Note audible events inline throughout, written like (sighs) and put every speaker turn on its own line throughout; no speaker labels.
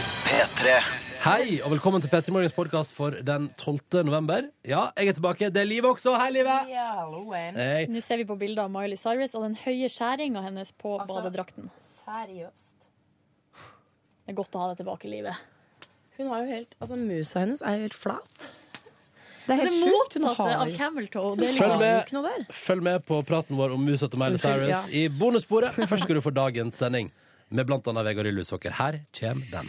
P3.
Hei, og velkommen til Petter Morgens podkast for den 12. november. Ja, jeg er tilbake. Det er livet også. Hei, livet!
Ja, Loen.
Hei.
Nå ser vi på bilder av Miley Cyrus og den høye skjæringa hennes på
Altså-
badedrakten.
Seriøst.
Det er godt å ha det tilbake i livet.
Hun har jo helt, altså Musa hennes er jo helt flat. Det
Det
er
er det
helt sjukt. Hun
motsatte
har
av
jo
camel toe. Det er
Følg
liksom-
med.
har jo ikke noe der.
Følg med på praten vår om musa til Miley
Unnskyld,
Cyrus i bonussporet. Først skal du få dagens sending med blant annet Vegard Ylvisåker. Her kommer den.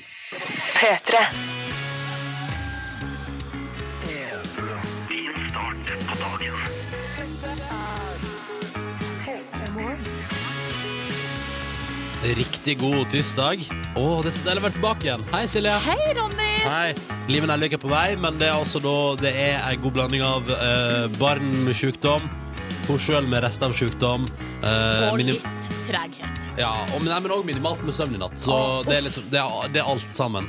Riktig god tirsdag. Å, det er så deilig å være tilbake igjen. Hei, Silje.
Hei, Ronny!
Hei. Liven Elvik er på vei, men det er altså da Det er en god blanding av eh, barn med sykdom, hun sjøl med rester av sykdom eh,
Og
minim-
litt treghet.
ja, og, nei, men òg minimalt med søvn i natt. Så
Å,
det, er liksom, det, er, det er alt sammen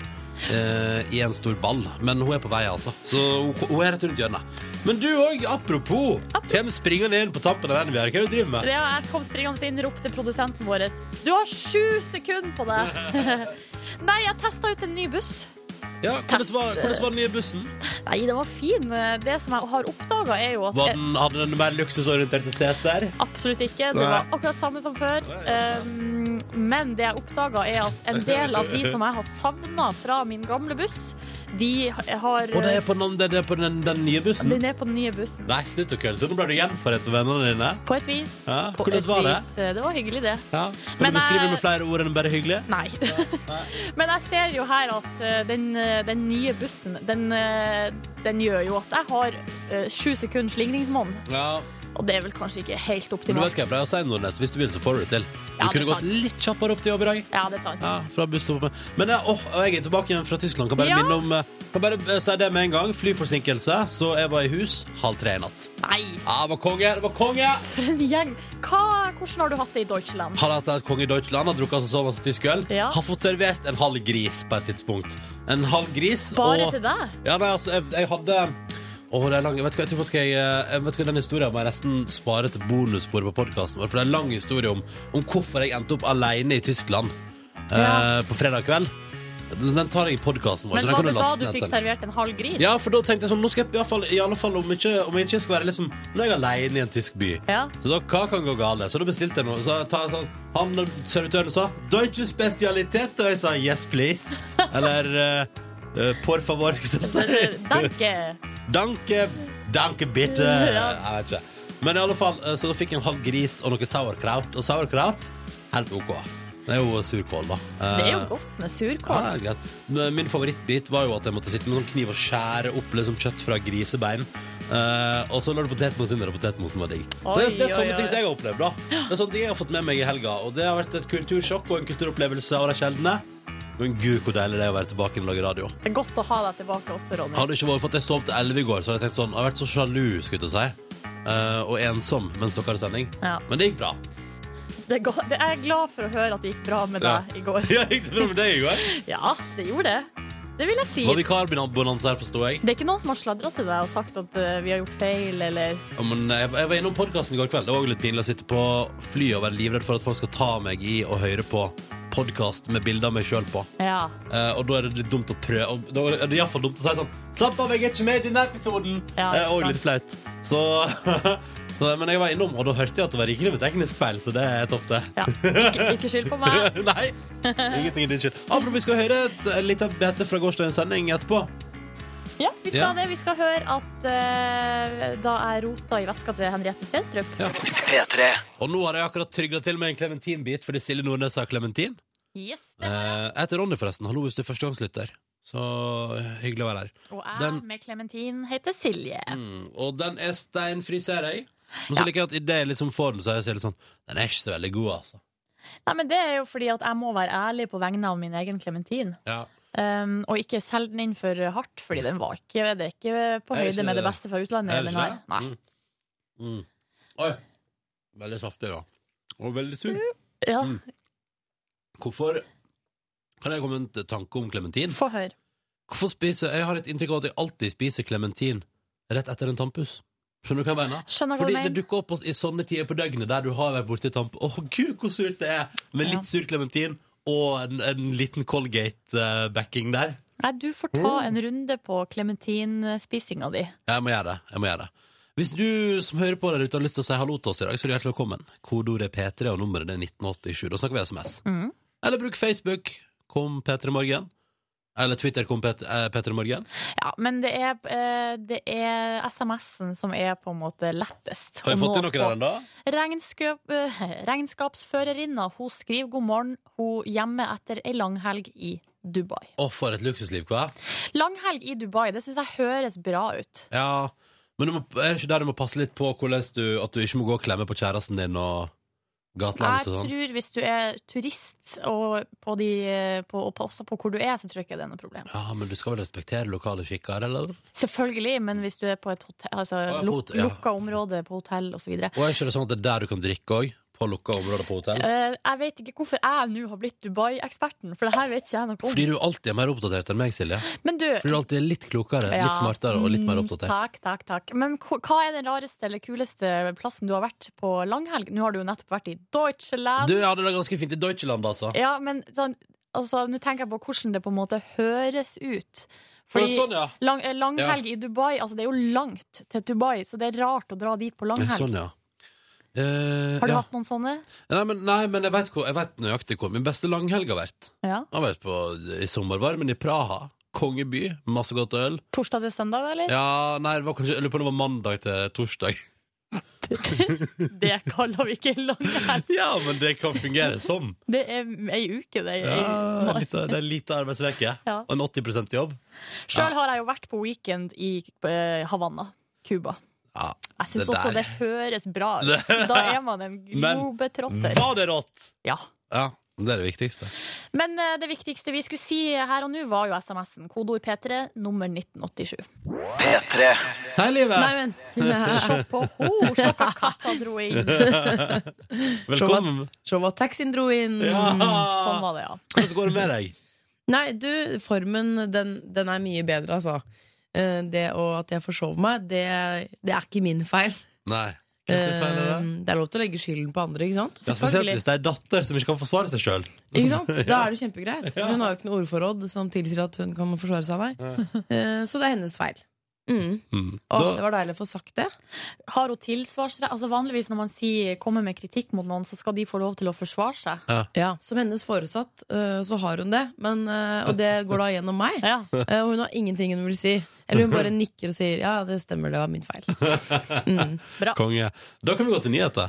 eh, i en stor ball. Men hun er på vei, altså. Så hun, hun er rett rundt hjørnet. Men du òg, apropos. Hvem springer ned på tampen av Envy her? Hva er det du driver med?
Det var jeg kom springende inn, ropte produsenten vår. Du har sju sekunder på deg!
(laughs)
Nei, jeg testa ut en ny buss.
Ja, hvordan, var, hvordan var den nye bussen?
Nei, den var fin. Det som jeg har oppdaga, er jo at
Var den, hadde den mer luksusorienterte
Eh.
seter?
Absolutt ikke. Det
Nei.
var akkurat samme som før. Um, men det jeg oppdaga, er at en del av de som jeg har savna fra min gamle buss, de har
Og det er på, den, det er på den, den nye bussen?
Den er på den nye bussen.
Nei, slutt å kødde. Så nå ble du gjenforent med vennene dine?
På et vis.
Ja,
På
hvordan
et
var det?
vis. eh, Det var hyggelig, det.
Ja. Kan
Men eh,
du beskrive
jeg-
med flere ord enn bare hyggelig?
Nei. (laughs) Men jeg ser jo her at eh, den, eh, den nye bussen, den, eh, den gjør jo at jeg har eh, sju sekunders slingringsmonn.
Ja.
Og det er vel kanskje ikke helt
Men du vet
optimalt.
hva jeg pleier å si, Nordnes? Hvis du vil, så får du det til. Du
Ja, det er
kunne gått
sant.
litt kjappere opp til jobb i dag.
Ja, det er sant.
Ja, fra busstoppet. Men ja, åh, jeg er tilbake igjen fra Tyskland. Kan bare
Ja.
minne om eh, Kan bare eh, si det med en gang. Flyforsinkelse. Så jeg var i hus halv tre i natt.
Nei, (laughs)
Ja, det var konge! Det var konge!
for en gjeng. Hva, hvordan har du hatt det i Deutschland?
Har hatt et konge i Deutschland, har drukket så masse tysk øl.
Ja.
Har fått servert en halv gris på et tidspunkt. En halv gris
Bare
og
til deg?
Ja, nei, altså, jeg, jeg hadde Åh, det er lang Vet du hva, jeg tror faktisk jeg, eh, vet du hva, den historien må jeg nesten spare til bonussporet på podcasten vår For det er en lang historie om, om hvorfor jeg endte opp alene i Tyskland eh,
Ja.
På fredag kveld Den den tar jeg i podcasten vår
Men
så den
var
kan
det da
laste
du
ned
fikk
selv.
servert en halv gris?
Ja, for da tenkte jeg sånn Nå skal jeg i, hvert fall, i alle fall om, ikke, om jeg ikke skal være liksom Nå er jeg alene i en tysk by
Ja.
Så da, hva kan gå galt? Så da bestilte jeg noe så jeg tar, sånn, Han servitøren sa Deutsche spesialitet Og jeg sa yes please Eller eh, eh, Por favor skulle jeg si
eh, Danke.
(laughs) Danke, danke bitte
Ja.
Jeg vet ikke men i alle fall, eh, så da fikk jeg en halv gris og noe sauerkraut Og sauerkraut, helt ok Det er jo surkål da
Det er jo
Eh,
godt med
ja,
surkål.
det er greit. Men Min favorittbit var jo at jeg måtte sitte med sånn kniv og skjære opp liksom kjøtt fra grisebein. Eh, og så lå det potetmos under, og potetmosen var digg. det, er- det er sånne
Oi, oi,
ting
oi.
som jeg har opplevd. da Det er sånne ting jeg har fått med meg i helga Og det har vært et kultursjokk og en kulturopplevelse av de sjeldne. Men gud, hvor deilig det er å være tilbake og lage radio.
Det er godt å ha deg tilbake også, Ronny.
Hadde det ikke vært for at jeg sov til 11 i går, så hadde jeg tenkt sånn Jeg har vært så sjalu, skulle jeg til å si. eh, og ensom mens dere hadde sending.
Ja.
Men det gikk bra. (laughs)
Det er go- det- jeg er glad for å høre at det gikk bra med
Ja.
deg i går.
Ja, gikk det bra med deg i går?
(laughs) Ja, det gjorde det. Det vil jeg si.
Var vikarbonanza her, forstår jeg.
Det er ikke noen som har sladra til deg og sagt at eh, vi har gjort feil, eller
Ja, men eh, jeg, jeg var innom podkasten i går kveld. Det var også litt pinlig å sitte på flyet og være livredd for at folk skal ta meg i og høre på podkast med bilder av meg sjøl på.
Ja.
Eh, og da er det litt dumt å prøve og Da er det iallfall dumt å si sånn Slapp av, jeg er ikke med i denne episoden!
Ja,
Eh, og
sant.
litt flaut. Så så- (laughs) Men jeg var innom, og da hørte jeg at det var rikelig med teknisk feil, så det er topp, det.
ja. Ikke, ikke skyld på meg.
(laughs) Nei! Ingenting er din skyld. Apropos, vi skal høre et, et lite bete fra gårsdagens sending etterpå.
Ja, vi skal
Ja.
det. Vi skal høre at eh, da jeg rota i veska til Henriette Stenstrup
Ja.
P3.
Og nå har jeg akkurat trygla til med en klementinbit fordi Silje Nordnes har klementin.
Yes.
Eh, Jeg heter Ronny, forresten. Hallo hvis du er førstegangslytter. Så eh, hyggelig å være her.
Og jeg
den-
med Clementine heter Silje.
Mm, og den er steinfri, ser jeg. Men så liker jeg at idet jeg liksom får den, så er jeg så litt sånn Den er ikke så veldig god, altså.
Nei, men Det er jo fordi at jeg må være ærlig på vegne av min egen klementin.
Ja.
Um, og ikke selge den inn for hardt, fordi den var ikke, det er ikke på
Er det
høyde
ikke
med det
det?
beste fra utlandet.
Er det
den
ikke
her.
det?
Nei.
Mm. Mm. Oi. Veldig saftig, da. Og veldig sur.
Ja,
Mm. Hvorfor Kan jeg komme med en tanke om klementin?
Få høre.
Hvorfor spiser Jeg har et inntrykk av at jeg alltid spiser klementin rett etter en tannpuss. Skjønner du hva jeg mener?
Skjønner hva du
Fordi det
mener.
dukker opp i sånne tider på døgnet der du har vært borti tamp. Åh, gud, hvor surt det er med litt sur klementin og en, en liten Colgate-backing der.
Nei, du får ta
Mm.
en runde på klementinspisinga di.
Jeg må gjøre det. jeg må gjøre det Hvis du som hører på der ute har lyst til å si hallo til oss i dag, så er du hjertelig velkommen. Kodeordet er P3, og nummeret det er 1987. Da snakker vi SMS.
Mhm.
Eller bruk Facebook, kom P3 Morgen. Eller Twitter, kom P3 eh, P3 Morgen.
Ja, men det er, eh, det er SMS-en som er på en måte lettest.
Har
å
vi fått
nå
til noe der
på.
ennå?
Regnskap, eh, regnskapsførerinna hun skriver god morgen. Hun hjemme etter ei langhelg i Dubai.
Å, for et luksusliv, hva?
Langhelg i Dubai, det syns jeg høres bra ut.
Ja, men du må, er det ikke der du må passe litt på hvordan du, at du ikke må gå og klemme på kjæresten din og gatelangs
Jeg
og sånn?
tror hvis du er turist, og, på de, eh, på, og på- også på hvor du er, så tror jeg ikke det er noe problem.
Ja, men du skal vel respektere lokale skikker, eller?
Selvfølgelig, men hvis du er på et hotell,
ja,
altså,
på
luk,
hotell, ja.
lukka område på hotell osv.
Og er ikke det sånn at det er der du kan drikke òg? På lukka områder på hotell?
Uh, jeg vet ikke hvorfor jeg nå har blitt Dubai-eksperten, for det her vet ikke jeg noe om.
Fordi du alltid er mer oppdatert enn meg, Silje.
Men du,
Fordi du alltid er litt klokere,
Øh, Ja.
litt smartere og litt mer
Mm,
oppdatert.
Takk, takk, takk. Men hva hva er den rareste eller kuleste plassen du har vært på langhelg? Nå har du jo nettopp vært i Deutschland.
Du jeg hadde det ganske fint i Deutschland, altså.
Ja, men sånn, altså, nå tenker jeg på hvordan det på en måte høres ut.
For
Fordi
sånn, ja.
lang, eh, langhelg i Dubai, altså det er jo langt til Dubai, så det er rart å dra dit på
Ja,
langhelg.
Sånn, ja. Eh,
Har du
ja.
hatt noen sånne?
Nei, men, nei, men jeg, vet hvor, jeg vet nøyaktig hvor min beste langhelg har vært.
Ja.
Jeg har vært på, I sommervarmen i Praha. Kongeby. Masse godt øl.
Torsdag til søndag, eller?
Ja, nei, det var kanskje, jeg lurer på om det var mandag til torsdag. (laughs)
Det kaller vi ikke langhelg.
Ja, men det kan fungere som.
(laughs) Det er ei uke, det. er
Ja,
ei-
litt, av- det er lite arbeidsveke
Ja.
og en 80 jobb.
Sjøl har jeg jo vært på weekend i eh, Havana, Cuba.
Ja.
Jeg syns
Det
også
der-
det høres bra ut.
Det-
(laughs) Da er man en
(laughs) Men-
god betrotter.
Var det rått?
Ja.
Ja, det er det viktigste.
Men eh, det viktigste vi skulle si her og nå, var jo SMS-en. Kodeord P3, nummer 1987.
P3
Hei, livet!
Nei, men (laughs)
Se på henne! Se hva katta dro inn!
Velkommen.
Se hva taxien dro inn.
(laughs) Sånn
Ja.
var det, ja.
Hvordan går det med deg?
Nei, du, formen, den, den er mye bedre, altså. Eh, Det og at jeg forsov meg, det, det er ikke min feil.
Nei. Hva er det feil er det?
Eh, det er lov til å legge skylden på andre, ikke sant?
Ja, spesielt hvis det er datter som ikke kan forsvare seg sjøl.
Ikke sant? Da er det
(laughs)
kjempegreit. Hun har jo ikke noe ordforråd som tilsier at hun kan forsvare seg, nei. Eh, Så det er hennes feil. Mm. Åh, det var deilig å få sagt det.
Har hun tilsvarsrett? Altså Vanligvis når man sier, kommer med kritikk mot noen, så skal de få lov til å forsvare seg.
Ja, Som hennes foresatt, eh, så har hun det. Men, eh, og det går da gjennom meg.
Ja.
Eh, Og hun har ingenting hun vil si. Eller hun bare nikker og sier 'ja, det stemmer, det var min feil'. Mm.
Konge. Da kan vi gå til nyheter.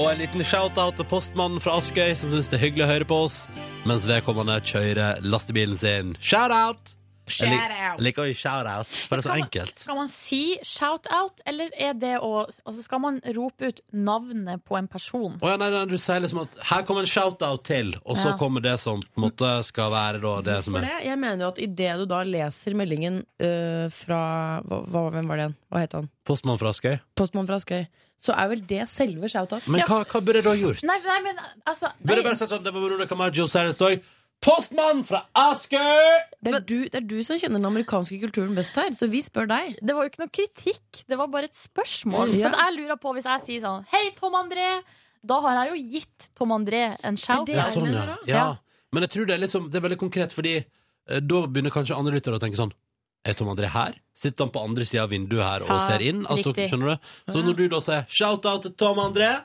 Og en liten shout-out til postmannen fra Askøy, som syns det er hyggelig å høre på oss mens vedkommende kjører lastebilen sin. Shout-out! Jeg lik- jeg liker å gi shout-out, for det er så
Skal man-
enkelt.
Skal man si shout-out, eller er det å Altså skal man rope ut navnet på en person?
Å ja, nei, nei, du sier liksom at her kommer en shout-out til, og så
Ja.
kommer det som på en måte skal være da, det som
For
er
det, jeg mener jo at idet du da leser meldingen eh, fra hva, hva- Hvem var det igjen? Hva het han?
postmann fra Askøy.
Postmann fra Askøy. Så er vel det selve shout-out.
Men
Ja.
hva, hva burde du ha gjort?
Nei, nei men altså
Burde
nei.
bare sagt sånn Det var Veronica Maggio, Sarah Storg. Postmann fra Askøy!
Det, er du- det er du som kjenner den amerikanske kulturen best her, så vi spør deg.
Det var jo ikke noe kritikk, det var bare et spørsmål.
Ja.
For at jeg lurer på, hvis jeg sier sånn Hei, Tom André! Da har jeg jo gitt Tom André en shout.
Det
Ja,
er
sånn,
mener
ja.
også.
ja.
Ja.
Men jeg tror det er, liksom, det er veldig konkret, fordi eh, da begynner kanskje andre lyttere å tenke sånn Er Tom André her? Sitter han på andre sida av vinduet her og
Ja,
ser inn? Altså,
riktig.
skjønner du? Så når du da sier 'shout-out til Tom André',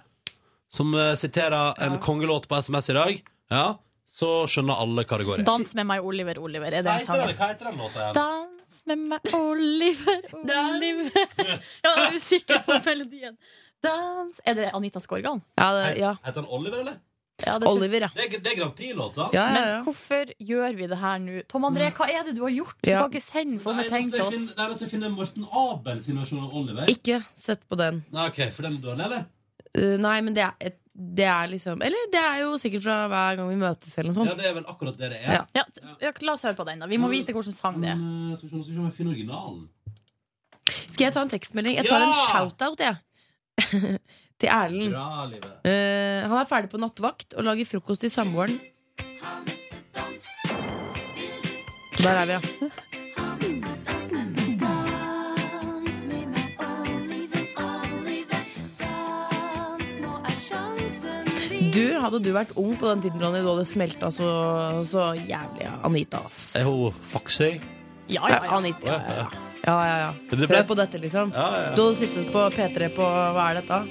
som eh, siterer en kongelåt på SMS i dag, ja, så skjønner alle hva det går i.
Dans med meg, Oliver, Oliver. Er det
Hva
en
heter den-
sang?
hva heter den låta igjen?
Dans med meg, Oliver, Oliver. Jeg var usikker på melodien. Dans Er det Anita Skorgan?
Ja, det, ja.
Heter den Oliver, eller?
Ja, det tror jeg.
Oliver, ja.
Det er, det er Grand Prix-låt, sant?
Ja, ja,
Men
ja.
hvorfor gjør vi det her nå? Tom André, hva er det du har gjort? Du
Ja.
kan ikke sende
Det
sånne ting
eneste
til
jeg
oss.
finner- det eneste jeg finner, er Morten Abel sin versjon av Oliver.
Ikke sett på den.
Nei, ok, For den er dårlig, eller?
Eh, nei, men det er, et, det er liksom Eller det er jo sikkert fra hver gang vi møtes, eller noe sånt.
Ja, det er vel akkurat det det er.
Ja.
Ja, t- ja, la oss høre på den, da. Vi må vite hvilken sang det er.
Men, eh, Skal vi se nå skal vi se om jeg finner originalen.
Skal jeg ta en tekstmelding? Jeg tar
Ja!
en shout-out, jeg. (laughs) Til Erlend.
Bra, livet.
Eh, han er ferdig på nattevakt og lager frokost til samboeren. Der er vi, ja. Du, hadde du vært ung på den tiden, Ronny, du hadde smelta så, så jævlig av Anita, ass.
Er hun foxy?
Ja, ja, ja.
Anita, ja, ja,
Ja, (laughs)
ja. ja, ja, ja.
Men det ble-
Hør på dette, liksom.
Ja, ja, ja.
Du hadde sittet på P3 på hva er dette?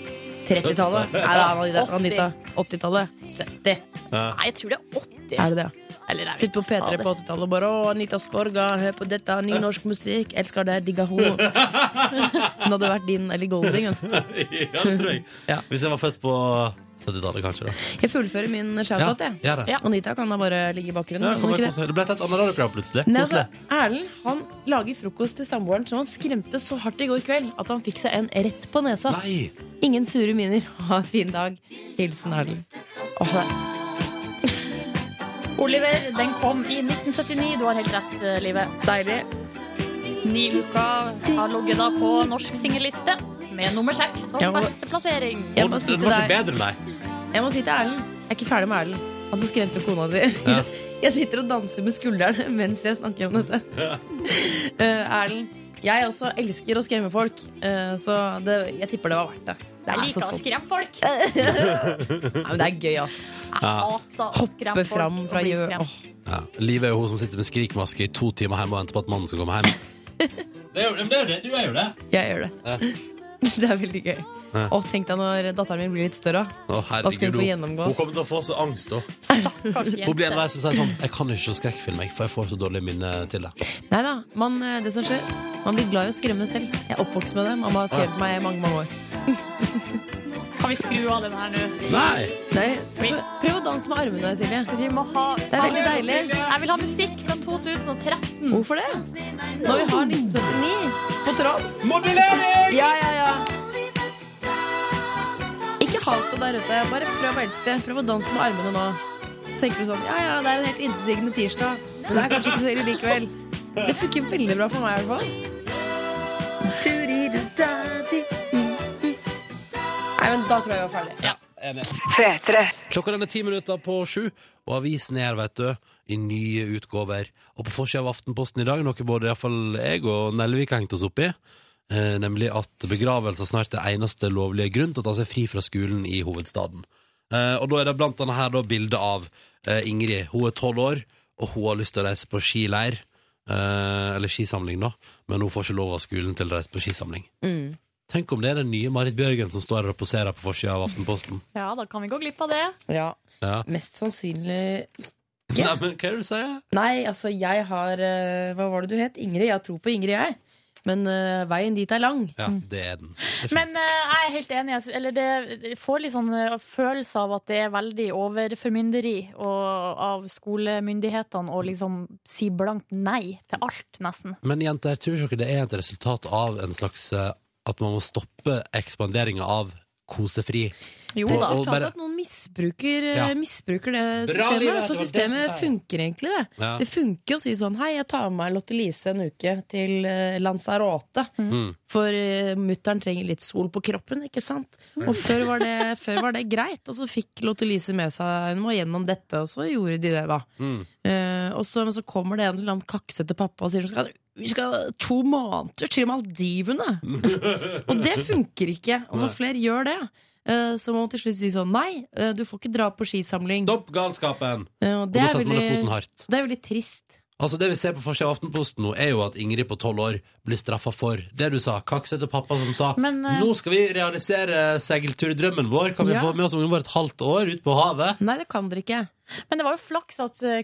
30-tallet? Nei, det er Anita. Anita. 80-tallet. 70.
Nei, jeg tror det er 80.
Er det det?
Eller jeg vet
Sitter på P3
fader.
på 80-tallet og bare Å, Anita Skorga, hør på dette. Ny norsk musikk. Elsker det. Digga
(laughs)
ho. Hun hadde vært din Ellie Golding. altså. vet du.
ja, det tror jeg.
Ja.
Hvis jeg var født på 70-tallet, kanskje. da
Jeg fullfører min shoutout, jeg.
gjør det.
Ja.
Anita kan da bare ligge i bakgrunnen.
Ja,
kan
kom,
hun
kom,
ikke det?
kom. det ble et helt annet radioprogram plutselig.
Nei,
Koselig.
altså, Erlend han lager frokost til samboeren som han skremte så hardt i går kveld at han fikk seg en rett på nesa.
Nei!
Ingen sure miner. Ha en fin dag. Hilsen Erlend. Åh, det-
Oliver, den kom i 1979. Du har helt rett, eh, Live. Deilig. Ni uker har ligget da på norsk singelliste med nummer seks
Ja,
som
men-
beste plassering.
Jeg må
Og
si
Den
til
var ikke
deg
bedre, nei.
Jeg må si til Erlend Jeg er ikke ferdig med Erlend. Han som skremte kona di.
Ja.
(laughs) Jeg sitter og danser med skulderen mens jeg snakker om dette. (laughs) Eh, Erlend, jeg også elsker å skremme folk, eh, så det, jeg tipper det var verdt det. Det er, så
Jeg liker å
sånn.
skremme folk.
Nei, men det er gøy, ass.
Jeg hater å
Hoppe
skremme folk.
fram fra
og bli
gjø...
skremt.
Åh.
Ja. Liv er jo hun som sitter med skrikmaske i to timer hjemme og venter på at mannen skal komme hjem. (laughs) Det er jo men det, er jo det. Du er jo det.
Jeg gjør det.
Ja.
(laughs) Det er veldig gøy.
Ja.
Og tenk deg når datteren min blir litt større.
Å,
Da skal hun
herregud,
få
hun,
gjennomgå,
hun
ass.
kommer til å få så angst, da.
Stakkars
Hun blir en av
jente.
de som sier sånn Jeg kan ikke se skrekkfilm, jeg, for jeg får så dårlig minne til det.
Nei da. Man, eh, det som skjer, man blir glad i å skremme selv. Jeg er oppvokst med det. Mamma har skremt meg i mange, mange år.
Kan vi skru av den her nå?
Nei!
Nei, prøv, prøv å danse med armene, Silje.
Vi må ha
Det er veldig deilig.
Jeg vil ha musikk fra 2013.
Hvorfor det? Når vi har 1979 på tråd.
Modellering!
Ja, ja, ja. Ikke hat det der ute. Bare prøv å elske det. Prøv å danse med armene nå. Så tenker du sånn Ja, ja, det er en helt intetsigende tirsdag, men det er kanskje ikke så ille likevel. Det funker veldig bra for meg, i hvert fall. Nei, men da tror jeg vi var ferdig.
Enig. Klokka den er ti minutter på sju, og avisen er her, vet du, i nye utgaver. Og på forsida av Aftenposten i dag, noe både i hvert fall jeg og Nelvik har hengt oss opp i, eh, nemlig at begravelser snart er eneste lovlige grunn til å ta seg fri fra skolen i hovedstaden. Eh, og da er det blant annet her da bilde av eh, Ingrid. Hun er tolv år, og hun har lyst til å reise på skileir. Eh, eller skisamling, da. Men hun får ikke lov av skolen til å reise på skisamling. Tenk om det er den nye Marit Bjørgen som står her og poserer på forsida av Aftenposten.
Ja, da kan vi gå glipp av det.
Ja.
Ja.
Mest sannsynlig
Nei, men hva er det du sier?
Nei, altså jeg har eh, Hva var det du het? Ingrid? Jeg har tro på Ingrid, jeg. Men eh, veien dit er lang.
Ja, det er den. Det er fint.
Men eh, jeg er helt enig. jeg sy- Eller det jeg får litt sånn eh, følelse av at det er veldig overformynderi og, av skolemyndighetene å liksom si blankt nei til alt, nesten.
Men jenter, tror dere ikke det er et resultat av en slags eh, At man må stoppe ekspanderinga av kosefri?
Jo
Det-
Det
da.
er
og
klart
bare-
at noen misbruker, eh,
Ja.
misbruker det
Bra, Livet,
systemet.
det
for
var det som
systemet
sa jeg.
funker egentlig, det.
Ja.
Det funker å si sånn Hei, jeg tar med meg Lotte Lise en uke til eh, Lanzarote.
Mm.
For uh, mutter'n trenger litt sol på kroppen, ikke sant?
Mm.
Og før var, det, før var det greit. Og så fikk Lotte Lise med seg Hun må gjennom dette, og så gjorde de det, da.
Mm.
Eh, og så, men så kommer det en eller annen kaksete pappa og sier vi skal, vi skal to måneder til Maldivene! og det funker ikke. Og når flere gjør det, eh, så må man til slutt si sånn Nei, eh, du får ikke dra på skisamling.
Stopp galskapen!
Eh, og
Og
det,
da
er
setter man ned foten
veldig,
hardt.
det er veldig trist.
Altså Det vi ser på forsida av Aftenposten nå, er jo at Ingrid på tolv år blir straffa for det du sa. Kaksete pappa som sa
Men, eh,
nå skal vi realisere seilturdrømmen vår. Kan vi
Ja.
få med oss ungen vår et halvt år ut på havet?
Nei, det kan dere ikke.
Men det var jo flaks at eh,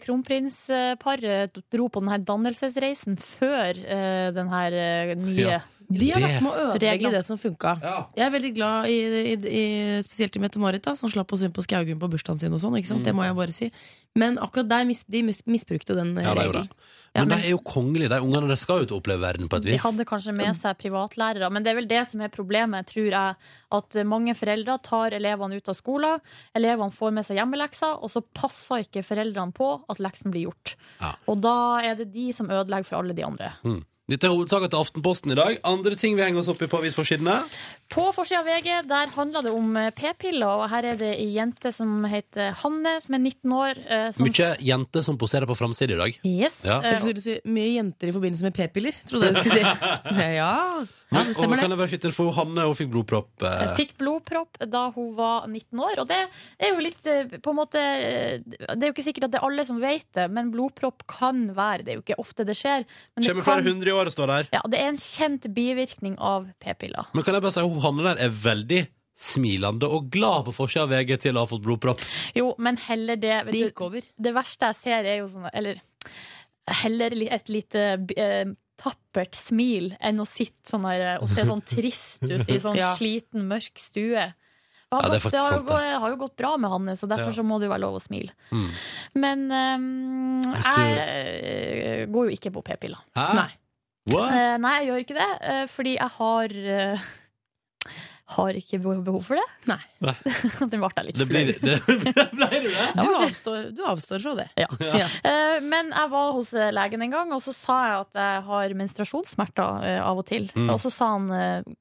kronprinsparet dro på den her dannelsesreisen før eh, den her eh, nye
Ja.
De har
Det-
vært med å ødelegge
Reglene.
det som funka. Jeg er veldig glad i, i, i spesielt i Mette-Marit, da, som slapp oss inn på Skaugum på bursdagen sin. og sånn, ikke sant? Det
Mm.
må jeg bare si. Men akkurat der mis, de mis, misbrukte den eh,
Ja, det er jo det.
regelen. Ja,
Men de
men-
er jo kongelige, de ungene. De skal jo til å oppleve verden på et
De
vis.
hadde kanskje med seg privatlærere, men det er vel det som er problemet, tror jeg. At mange foreldre tar elevene ut av skolen, elevene får med seg hjemmelekser, og så passer ikke foreldrene på at leksen blir gjort.
Ja.
Og da er det de som ødelegger for alle de andre.
Mm. Dette er hovedsaken til Aftenposten i dag. Andre ting vi henger oss opp i på avisforsidene.
På forsida av VG der handler det om eh, p-piller, og her er det ei jente som heter Hanne, som er 19 år. eh, Som
Mye jenter som poserer på framsida i dag.
Yes.
Ja. (laughs)
eh,
Jeg skulle si Mye jenter i forbindelse med p-piller, trodde jeg du skulle si. ja. Ja, det
og
stemmer
kan
det.
jeg bare skyte inn, for Hanne hun fikk blodpropp.
Jeg
Eh.
fikk blodpropp da hun var 19 år, og det er jo litt eh, på en måte eh, Det er jo ikke sikkert at det er alle som vet det, men blodpropp kan være Det er jo ikke ofte det skjer. Men det,
Kommer flere
kan,
hundre i året, står der.
ja, det er en kjent bivirkning av p-piller.
Men kan jeg bare si hun Hanne der er veldig smilende og glad på forsida av VG til å ha fått blodpropp.
Jo, men heller det
Det
vet du,
gikk over.
Det verste jeg ser er jo sånn Eller heller li- et lite eh, tappert smil enn å sitte sånn her og se sånn trist ut i
(laughs)
sånn
Ja.
sliten, mørk stue. Det har,
Ja, det er
gått,
faktisk
det har,
sant,
jo gå- har jo gått bra med Hanne, så derfor
Ja.
så må det jo være lov å smile.
Mm.
Men ehm,
Hvis du-
jeg eh, går jo ikke på p-piller.
Hæ?
Nei.
What?
Eh, nei, jeg gjør ikke det, eh, fordi jeg har eh, (laughs) har ikke behov for det.
Nei.
Nei.
(laughs) Den ble jeg litt
Det blir
flau.
det, (laughs) Ble du det?
Du avstår, du avstår fra det.
Ja.
Ja.
Eh, Men jeg var hos eh, legen en gang, og så sa jeg at jeg har menstruasjonssmerter eh, av og til.
Mm.
Og så sa han eh,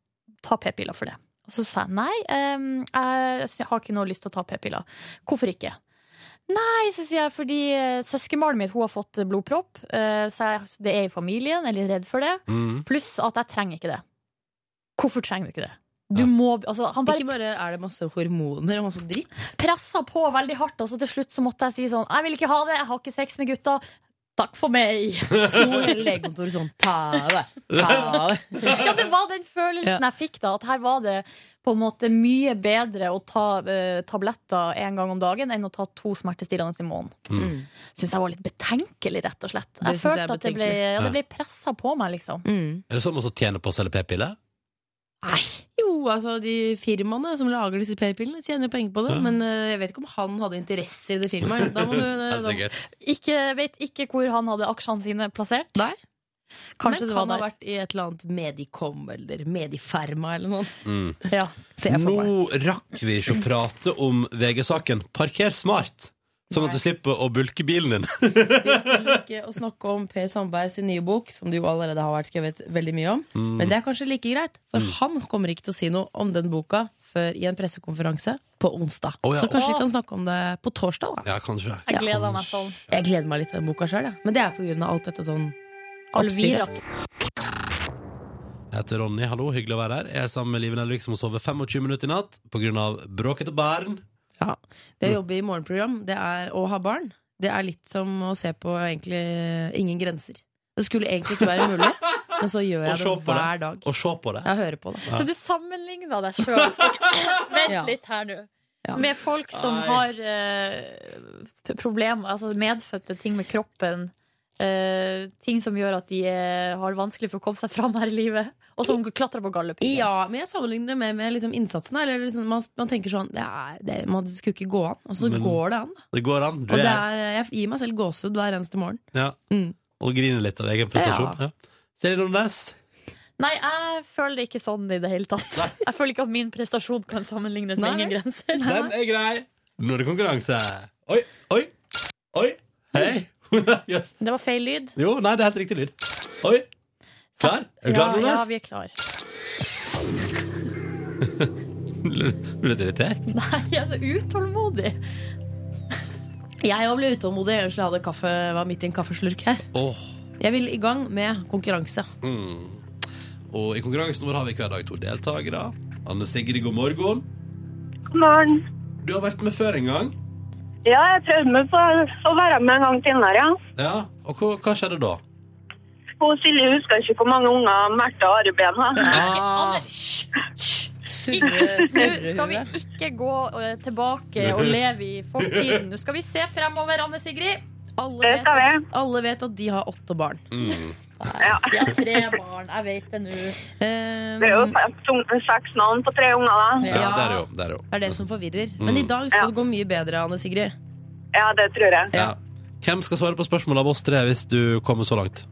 ta p-piller for det. Og så sa jeg nei, eh, jeg sy- har ikke noe lyst til å ta p-piller. Hvorfor ikke? Nei, så sier jeg fordi eh, søskenbarnet mitt hun har fått eh, blodpropp. eh, Så jeg, så det er i familien, jeg er litt redd for det.
Mm.
Pluss at jeg trenger ikke det. Hvorfor trenger du ikke det?
Ja.
Du må, altså, han bare
Ikke bare er det masse hormoner og masse dritt.
pressa på veldig hardt, og så til slutt så måtte jeg si sånn Jeg vil ikke ha det, jeg har ikke sex med gutta. Takk for meg.
Så hele legekontoret sånn ta det, ta
(laughs)
det.
Ja, det var den følelsen
Ja.
jeg fikk da, at her var det på en måte mye bedre å ta eh, tabletter en gang om dagen enn å ta to smertestillende i måneden.
Mm.
Syns jeg var litt betenkelig, rett og slett. Jeg
Det synes jeg
følte
er
at det ble,
betenkelig.
ja,
Ja.
det ble pressa på meg, liksom.
Mm.
Er det sånn man så tjener på å selge p-piller?
Nei.
Jo, altså de firmaene som lager disse p-pillene, tjener jo penger på det. Men eh, jeg vet ikke om han hadde interesser i det firmaet.
(laughs)
Da må du,
Eh,
Er det
da,
sikkert?
Ikke, vet ikke hvor han hadde aksjene sine plassert.
Nei.
Kanskje
men kan
det var
ha
der.
vært i et eller annet Medicom eller Mediferma eller noe sånt.
Mm.
Ja.
Ser jeg for meg.
Nå rakk vi ikke å prate om VG-saken. Parker smart, sånn at du slipper å bulke bilen din.
Ikke å snakke om Per Sandberg sin nye bok, som det jo allerede har vært skrevet veldig mye om.
Mm.
Men det er kanskje like greit, for han kommer ikke til å si noe om den boka før i en pressekonferanse på onsdag.
Å, ja.
Så kanskje
Å.
vi kan snakke om det på torsdag, da.
Ja, kanskje.
Jeg gleder meg sånn.
Jeg gleder meg litt til den boka sjøl, ja. men det er på grunn av alt dette sånn
Alvira.
Jeg heter Ronny, hallo, hyggelig å være her. Jeg er sammen med Liven Elvik, som sover 25 minutter i natt på grunn av bråkete barn.
Ja. Det å jobbe i morgenprogram det er, og ha barn, det er litt som å se på egentlig ingen grenser. Det skulle egentlig ikke være mulig, men så gjør
Og
jeg
se
det
på det.
hver dag.
Og se på det.
Jeg hører på det.
Så du sammenligna
(laughs)
deg sjøl Vent
Ja.
litt her nå.
Ja.
Med folk som
Nei.
har eh, p- problem, altså medfødte ting med kroppen. eh, ting som gjør at de eh, har vanskelig for å komme seg fram her i livet. Og som klatrer på gallepiggen.
Ja, men jeg sammenligner det med, med liksom innsatsen. her, Eller liksom, man, man tenker sånn det er, det, Man det skulle ikke gå an. Og så
Men-
går det an.
Det går an. Du
Og det
er
er, jeg gir meg selv gåsehud hver eneste morgen.
ja.
Mm.
Og griner litt av egen prestasjon. Ja. Silje Nordnes.
Nei, jeg føler det ikke sånn i det hele tatt. Jeg føler ikke at min prestasjon kan sammenlignes med
Nei.
ingen grenser.
Den er grei. Nå er det konkurranse. Oi, oi, oi. Hei. (laughs) Yes.
Det var feil lyd.
Jo, nei, det er helt riktig lyd. Oi. Klar? Er du klar,
Ja, ja,
Nordnes?
vi er klar.
Blir du litt irritert?
Nei, jeg er så utålmodig.
Jeg òg ble utålmodig. Unnskyld, jeg hadde kaffe, var midt i en kaffeslurk her.
Åh.
Jeg vil i gang med konkurranse.
Og i konkurransen vår har vi hver dag to deltakere. Anne Sigrid, god morgen.
God morgen.
Du har vært med før en gang.
Ja, jeg prøvde meg på å være med en gang tidligere. ja.
Ja, Og hva, hva skjedde da?
Og Silje husker ikke hvor mange unger Märtha og Ari Ben har.
Anne,
Surre,
Nå skal vi ikke gå eh, tilbake
(laughs)
og leve i fortiden. Nå skal vi se fremover, Anne Sigrid.
Alle
Det
vet,
skal vi.
at, alle vet at de har åtte barn.
Vi har tre barn. Jeg vet det nå.
Ehm,
Det er jo seks, un- seks navn på tre unger, da.
Ja,
Ja.
der er jo. Der er jo.
det er det som forvirrer. Men i dag skal
Ja.
det gå mye bedre, Anne Sigrid.
Ja, det tror jeg.
Ja. Hvem skal svare på spørsmålet av oss tre hvis du kommer så langt?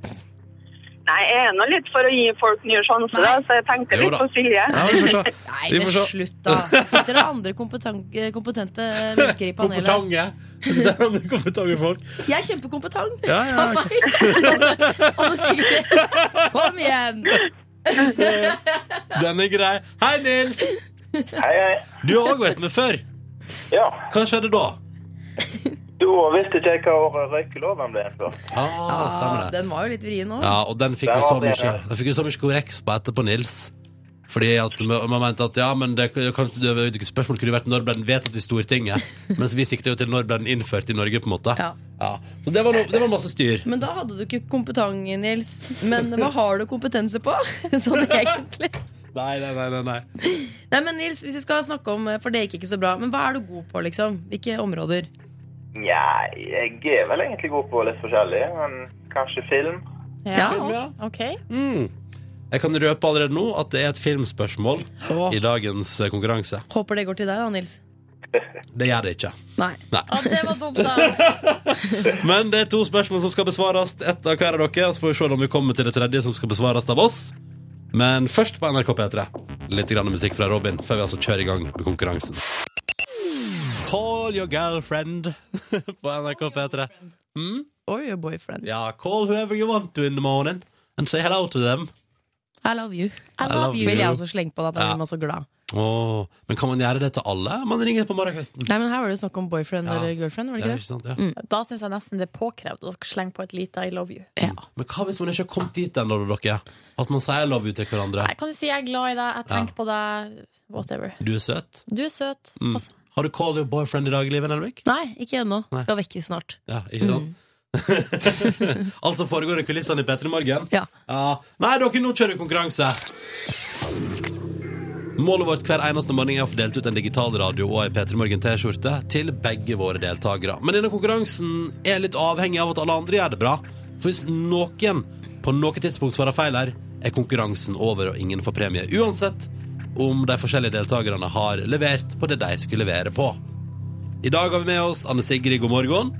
Nei, jeg er nå litt for å gi folk nye sjanser, da, så jeg tenkte
Jo
litt
da.
på
(laughs)
Silje.
Ja, vi får se.
Nei,
Vi
men
får se.
slutt, da. Sitter det andre kompetan- eh, kompetente
(laughs)
mennesker i panelet?
Kompetange. Det er andre kompetange folk.
Jeg er kjempekompetent!
Ja, ja.
Anne Sigrid, kom igjen!
(laughs) Den er grei. Hei, Nils.
Hei, hei.
Du har òg vært med før.
Ja,
Hva skjedde da?
Da visste ikke jeg hva røykeloven ble innført.
Ah, stemmer det.
Den var jo litt vrien òg.
Ja, og den fikk
Den
jo så
var
mye
bedre.
Den fikk jo så mye korreks på etterpå, Nils. Fordi at man man mente at ja, men det, kan, det, det spørsmålet kunne jo vært når ble den vedtatt i Stortinget, mens vi sikter jo til når ble den innført i Norge, på en måte.
Ja.
Så det var, no, det var masse styr.
Men da hadde du ikke kompetanse, Nils. Men hva har du kompetanse på? (laughs) Sånn egentlig.
Nei, nei, nei, nei, nei.
Nei, men Nils, hvis vi skal snakke om eh, For det gikk ikke så bra. Men hva er du god på, liksom? Hvilke områder?
Nja, jeg er vel egentlig god på litt forskjellig, men kanskje film.
Ja.
ok.
Mm. Jeg kan røpe allerede nå at det er et filmspørsmål i dagens eh, konkurranse.
Håper det går til deg, da, Nils.
Det gjør det ikke.
Nei.
Ja, det var dumt, da.
Men det er to spørsmål som skal besvares, ett av hver av dere. Og så får vi se om vi kommer til det tredje som skal besvares av oss. Men først på NRK P3. Litt grann musikk fra Robin før vi altså kjører i gang med konkurransen. Call your girlfriend (laughs) på NRK P3. Mm?
Or your boyfriend.
Ja, call whoever you want to in the morning and say hello to them.
I love you.
I
love
love
you.
you.
Vil jeg også slenge på det, at da
Ja.
blir man så glad.
Åh, men kan man gjøre det til alle? Man ringer på morgenkvisten.
Nei, men her var det snakk om boyfriend
Ja.
eller girlfriend, var
Ja,
det ikke
ikke sant, ja.
(laughs) Da syns jeg nesten det er påkrevd å slenge på et lite I love you.
det? Ja.
Men hva hvis man ikke har kommet dit ennå, dere? At man sier love you til hverandre?
Nei, kan du si jeg er glad i deg, jeg tenker på deg, whatever.
Du er søt.
Du er søt.
Mm.
Pass-
Har du called your boyfriend i dag, Liven Elvik?
Nei, ikke ennå.
Nei.
Skal vekke snart.
Ja, ikke sant? (laughs) Alt som foregår i kulissene i P3 Morgen.
Ja.
Nei, dere, nå kjører vi konkurranse! Målet vårt hver eneste morgen er å få delt ut en digital radio og ei P3 Morgen T-skjorte til begge våre deltakere. Men denne konkurransen er litt avhengig av at alle andre gjør det bra. For hvis noen på noe tidspunkt svarer feil her, er konkurransen over og ingen får premie. Uansett om de forskjellige deltakerne har levert på det de skulle levere på. I dag har vi med oss Anne Sigrid, god morgen.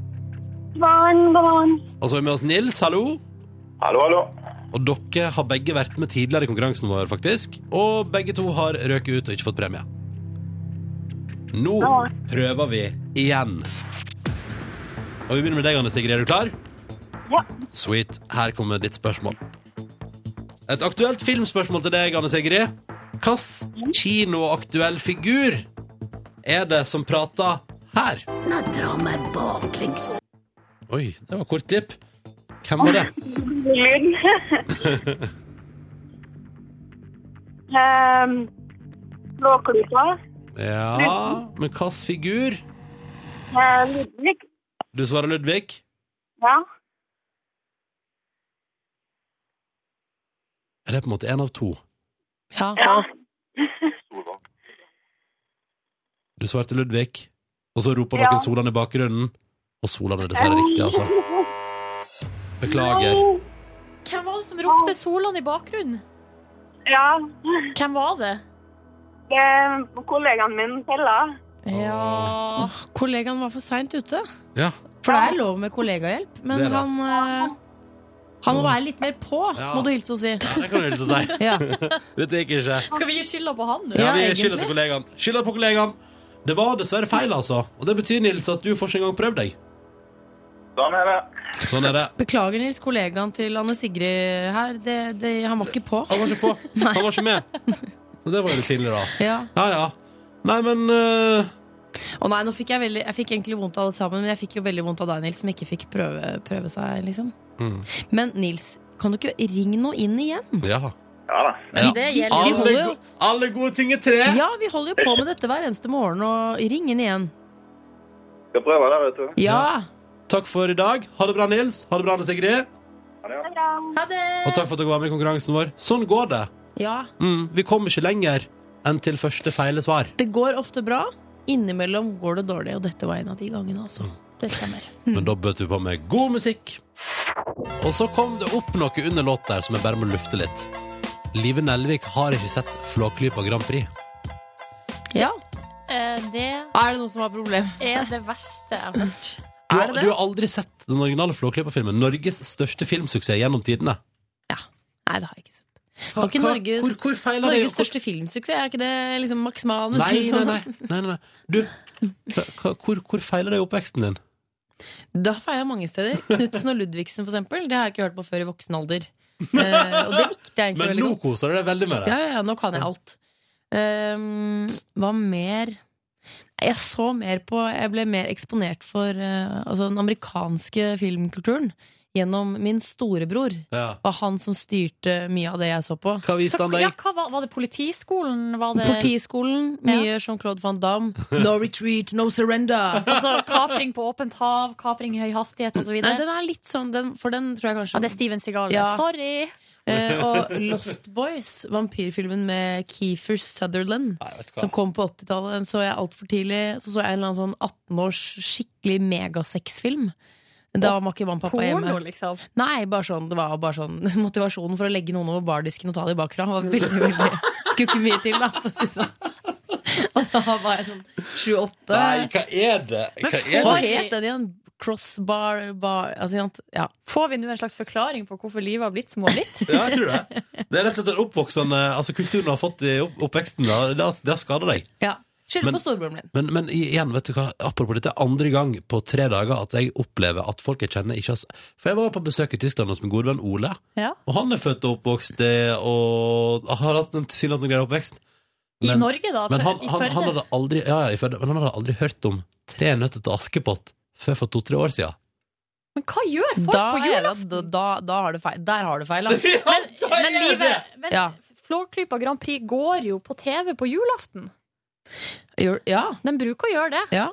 Morgen, god morgen.
Og så er vi med oss Nils, hallo.
Hallo, hallo.
Og dere har begge vært med tidligere i konkurransen vår, faktisk. Og begge to har røket ut og ikke fått premie. Nå
Ja.
prøver vi igjen. Og vi begynner med deg, Anne Sigrid. Er du klar?
Ja.
Sweet. Her kommer ditt spørsmål. Et aktuelt filmspørsmål til deg, Anne Sigrid.
Mm.
Hvilken kinoaktuell figur er det som prater her?
Nå dra meg baklengs.
Oi, det var kort klipp. Hvem var det?
Lyden.
(laughs)
um,
Ehm,
Blåklypa.
Ja, men hvilken figur?
Eh,
Ehm,
Ludvig.
Du svarer Ludvig.
Ja.
Er det på en måte en av to?
Ja.
ja.
Du svarte Ludvig, og så roper
Ja.
noen Solan i bakgrunnen. Og Solan er dessverre riktig, altså. Beklager.
Hvem var det som ropte Solan i bakgrunnen?
Ja.
Hvem var det?
Det er kollegaen min, Pella.
Ja
Åh, kollegaen var for seint ute.
Ja.
For det er lov med kollegahjelp, men
Det er det.
han eh, Han må være litt mer på,
Ja.
må du hilse og si.
ja, det kan du hilse og si.
Ja.
Dette gikk ikke.
Skal vi gi skylda på han nå?
Ja,
Ja,
vi
egentlig.
skylder til kollegaen. Skylder på kollegaen. Det var dessverre feil, altså. Og det betyr, Nils, at du får ikke engang prøvd deg.
Sånn er det.
Sånn er det.
Beklager, Nils, kollegaen til Anne Sigrid her. Det, det, han var ikke på.
Han var ikke på. Han var ikke med. Så det var jo litt pinlig, da.
Ja.
Ja, ja. Nei, men eh,
Å nei, nå fikk jeg, veldig, jeg fikk egentlig vondt av alle sammen, men jeg fikk jo veldig vondt av deg, Nils, som ikke fikk prøve, prøve seg, liksom.
Mm.
Men Nils, kan du ikke ringe nå inn igjen?
Ja.
Ja da.
Ja.
Det gjelder
Vi
Alle,
holder jo
go alle gode ting er tre.
Ja, vi holder jo på med dette hver eneste morgen, og ring inn igjen.
Skal prøve det, vet du.
Ja!
Takk for i dag. Ha det bra, Nils. Ha det bra, Anne Sigrid.
Ha det bra.
Ha det!
Og takk for at dere var med i konkurransen vår. Sånn går det.
Ja.
Mm, vi kommer ikke lenger enn til første feile svar.
Det går ofte bra. Innimellom går det dårlig, og dette var en av de gangene, altså.
Det stemmer.
Mm.
Men da bød vi på med god musikk. Og så kom det opp noe under låt der som jeg bare må lufte litt. Live Nelvik har ikke sett Flåklypa Grand Prix.
Ja.
Eh, Det
Er det noe som har problem?
er det verste jeg har hørt.
Du,
Er
har-
det det?
du har aldri sett den originale Flåklypa-filmen. Norges største filmsuksess gjennom tidene.
Nei, det har jeg ikke sett. Var ikke
Hva-
Norges-
Hvor, hvor feiler det?
Norges største liksom? filmsuksess, er ikke det liksom Max Manus?
Nei, nei, nei. nei, nei, nei. Du, hva- hva- hvor, hvor feiler det i oppveksten din?
(laughs) Da feiler jeg mange steder. Knutsen og Ludvigsen, for eksempel. Det har jeg ikke hørt på før i voksen alder. Eh, og det likte jeg egentlig
Men
veldig
nå
godt.
koser du deg veldig med
Ja,
det.
ja, ja, nå kan jeg alt. Um, hva Ehm, mer? jeg så mer på Jeg ble mer eksponert for eh, altså, den amerikanske filmkulturen gjennom min storebror.
Ja.
Det var han som styrte mye av det jeg så på.
Hva viste
Så,
han
ja,
deg?
hva var, var det politiskolen? Var det
Partiskolen, mye Jean-Claude Van Damme. No retreat, no surrender.
altså, kapring på åpent hav, kapring i høy hastighet
(laughs)
osv.?
Nei,
Ja,
den er litt sånn, den, for den tror jeg kanskje
det er Steven Seagal.
Ja.
Sorry!
Eh, og Lost Boys, vampyrfilmen med Keefer Sutherland,
Nei, vet du
som
hva.
kom på 80-tallet, den så jeg altfor tidlig. Så så jeg en eller annen sånn 18-års skikkelig megasexfilm. Da var ikke mamma og pappa hjemme.
Porno, liksom. (laughs)
Nei, bare sånn, det var bare sånn (laughs) motivasjonen for å legge noen over bardisken og ta dem bakfra. Var veldig, (laughs) veldig Skulle ikke mye til, da. for å si det sånn. Og da var jeg sånn sju-åtte.
Nei, hva er det?
Men
Hva
få-
er
Hva
det?
het den igjen? Crossbar bar, altså, sant? Ja.
Får vi nå en slags forklaring på hvorfor livet har blitt som det har blitt?
Ja, jeg tror det. Det er rett og slett en oppvoksende Altså, kulturen du har fått i opp oppveksten, da, det har- det har skada deg.
ja. Skylder
Men-
på storebroren min.
Men, men igjen, vet du hva, apropos dette, andre gang på tre dager at jeg opplever at folk jeg kjenner ikke har s- For jeg var på besøk i Tyskland hos min gode venn Ole,
Ja.
og han er født og oppvokst eh, og har hatt en tilsynelatende grei oppvekst.
I
Men-
Norge, da?
Men han,
i
han,
Førde?
han, hadde aldri, ja, ja, i Førde, men han hadde aldri hørt om Tre nøtter til Askepott før for to-tre år siden.
Men hva gjør folk
Da,
på
er
julaften?
det- da, da, da har du feil. Der har
(laughs)
du feil, da.
Men, men
er det?
livet men,
Ja.
Flåklypa Grand Prix går jo på TV på julaften.
Jo, Ja.
Den bruker å gjøre det.
ja.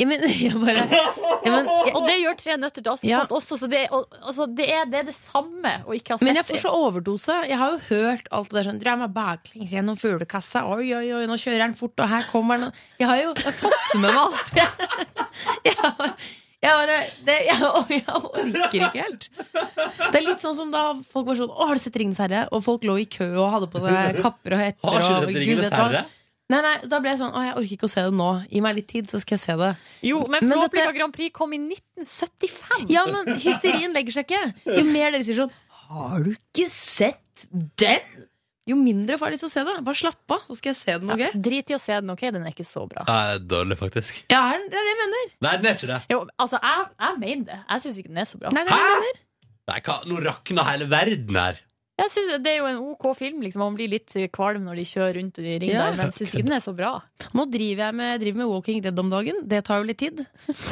Ja, men, (laughs) jeg bare, ja, men, jeg,
Og det gjør Tre nøtter til Askepott også, så det, er- og, altså, det, er, det er det samme å ikke ha sett
Men jeg får så overdose. Jeg har jo hørt alt det der sånn Dra meg baklengs gjennom fuglekassa. Oi, oi, oi, nå kjører han fort, og her kommer han. Jeg har jo jeg har fått med meg alt. (laughs) Jeg, jeg, har- jeg bare det, jeg, og (laughs) jeg orker ikke helt. Det er litt sånn som da folk var sånn Å, har du sett Ringenes herre? Og folk lå i kø og hadde på seg kapper og hetter.
Har ikke
og,
dette
Gud
Ringenes
vet hva.
herre?
Nei, nei, da ble jeg sånn Å, jeg orker ikke å se det nå. Gi meg litt tid, så skal jeg se det.
Jo, men
Men
Flåklypa
dette-
Grand Prix kom i 1975.
Ja, men hysterien legger seg ikke. Jo mer dere sier sånn Har du ikke sett den? Jo mindre får jeg lyst til å se det. Bare slapp av, så skal jeg se den.
Ja,
ok?
Drit i å se den, OK? Den er ikke så bra.
Nei, dårlig, faktisk.
Ja, er den- det er det jeg mener.
Nei, den er ikke det.
Jo, altså, jeg, jeg mener det. Jeg syns ikke den er så bra.
Nei, det er det jeg mener.
Nei, hva? Nå rakna hele verden her.
Jeg synes Det er jo en OK film. liksom Man blir litt kvalm når de kjører rundt i ring
Ja.
der, men jeg syns ikke den er så bra.
Nå driver jeg med, jeg driver med Walking Dead om dagen. Det tar jo litt tid.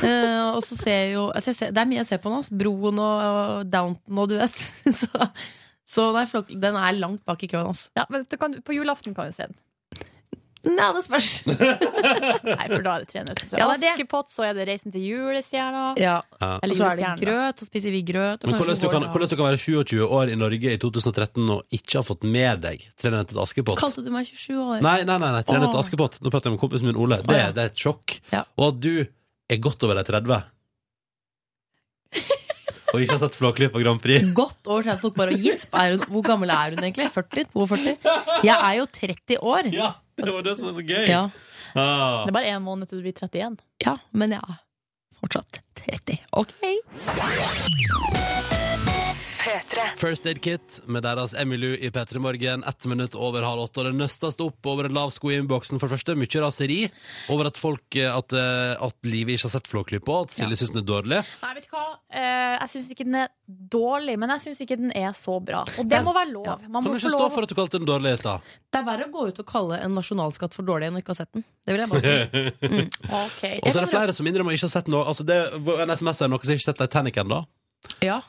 Eh, og så ser jeg jo altså jeg ser, Det er mye jeg ser på nå. ass. Broen og, og Downton og du vet. (laughs) Så, så nei, flok, den er langt bak i køen, altså.
Ja, men du kan, På julaften kan du se den.
Nei, det spørs.
Nei, for da er det tre nøtter til
Ja, det er det.
Askepott, så er det Reisen til julestjerna.
Ja,
Ja.
og
Eller
så er det
julestjerna.
grøt, og spiser vi grøt. Og
Men
kanskje
hvordan du,
går
kan,
det av.
hvordan du kan være 27 år i Norge i 2013 og ikke ha fått med deg Tre nøtter til Askepott?
Kalte du meg 27 år?
Nei, nei, nei, nei Tre nøtter til
Åh.
Askepott. Nå prater jeg med kompisen min Ole. Det,
Åh, ja.
det er et sjokk.
Ja.
Og at du er godt over de
(laughs)
30 og ikke har sett Flåklypa Grand
(laughs)
Prix.
Godt over 30 folk bare og gisp. Er hun, hvor gammel er hun egentlig? 40? 42? Jeg er jo 30 år.
Ja, det var det som var så gøy.
Ja,
Ah.
Det er bare én måned til du blir 31.
ja men jeg er fortsatt 30. Ok.
First Aid Kit med deres Emilu i P3 Morgen. Ett minutt over halv åtte. Og det nøstes opp over en lav sko i innboksen. For det første, mye raseri over at folk eh, At, eh, at livet ikke har sett Flåklypa, at Silje synes den er dårlig.
Nei, vet du hva? Eh, jeg syns ikke den er dårlig, men jeg syns ikke den er så bra. Og det må være lov.
Ja.
Man
Kan du
må få
ikke stå
lov.
for at du kalte den dårlig i stad?
Det er verre å gå ut og kalle en nasjonalskatt for dårlig enn å ikke ha sett den. Det vil jeg bare
(laughs)
si.
Ok.
Og så er det flere som innrømmer ikke har sett noe Altså, det var en SMS er noen som ikke har sett Titanic ennå.
Ja,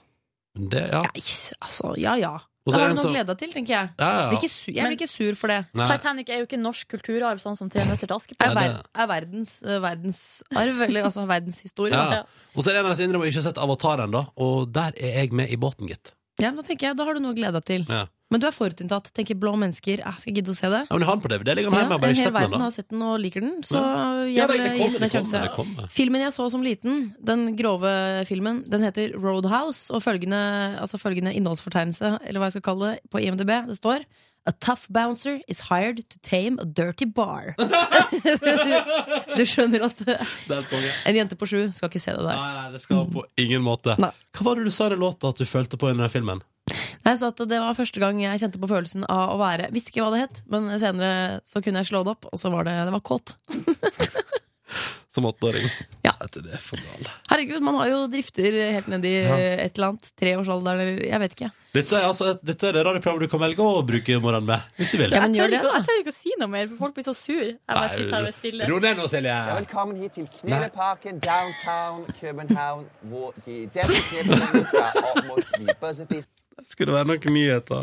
Men det, ja.
Nei, altså, ja ja.
Og så
Da
er
har
det en
du noe å
som-
glede deg til, tenker jeg.
Ja,
Jeg
ja,
blir ikke sur, jeg blir ikke sur for det.
ja. Nei.
Titanic er jo ikke norsk kulturarv, sånn som Tre nøtter til
Er,
Askepott.
Nei,
ver
det-
er verdens, eh, verdensarv, eller altså verdenshistorie.
Ja.
Ja.
Og så er det en av dem som innrømmer ikke har sett Avatar ennå, og der er jeg med i båten, gitt.
ja, men Da tenker jeg, da har du noe å glede deg til.
Ja.
Men du er forutinntatt. Tenker blå mennesker. Jeg skal jeg gidde å se det.
Ja, men jeg har den på DVD, ligger den hjemme,
Ja,
jeg har
en
bare
hel
ikke sett
verden altså.
den
har
ennå.
sett den og liker den, så
Ja,
jeg
det, det
ville gitt
kommer,
den
det
en sjanse.
kommer, det kommer.
Filmen jeg så som liten, den grove filmen, den heter Roadhouse, og følgende, altså følgende innholdsfortegnelse, eller hva jeg skal kalle det, på IMDb, det står A tough bouncer is hired to tame a dirty bar. (laughs) du skjønner at eh,
Det er et konge.
en jente på sju skal ikke se det der.
Nei, nei, det skal på ingen måte.
Nei.
Hva var det du sa i den låta at du følte på i den filmen?
Nei, så at Det var første gang jeg kjente på følelsen av å være Visste ikke hva det het, men senere så kunne jeg slå det opp, og så var det, det var kåt.
som åtteåring.
Ja.
Vet du, Det er for galt.
Herregud, man har jo drifter helt nedi
Ja.
eh, et eller annet. Treårsalderen eller Jeg vet ikke.
Dette er, altså, et- dette er det radioprogrammet du kan velge å bruke morgenen med, hvis du vil.
Ja, men
Jeg
gjør
tør,
det,
ikke,
da.
jeg tør ikke å si noe mer, for folk blir så sur. Jeg bare
Nei,
sitter her og er stille.
Ro ned nå, Silje.
Velkommen hit til Kneleparken downtown København, hvor de demonstrerer mennesker opp mot de bøssefisk.
Skulle være noen nyheter.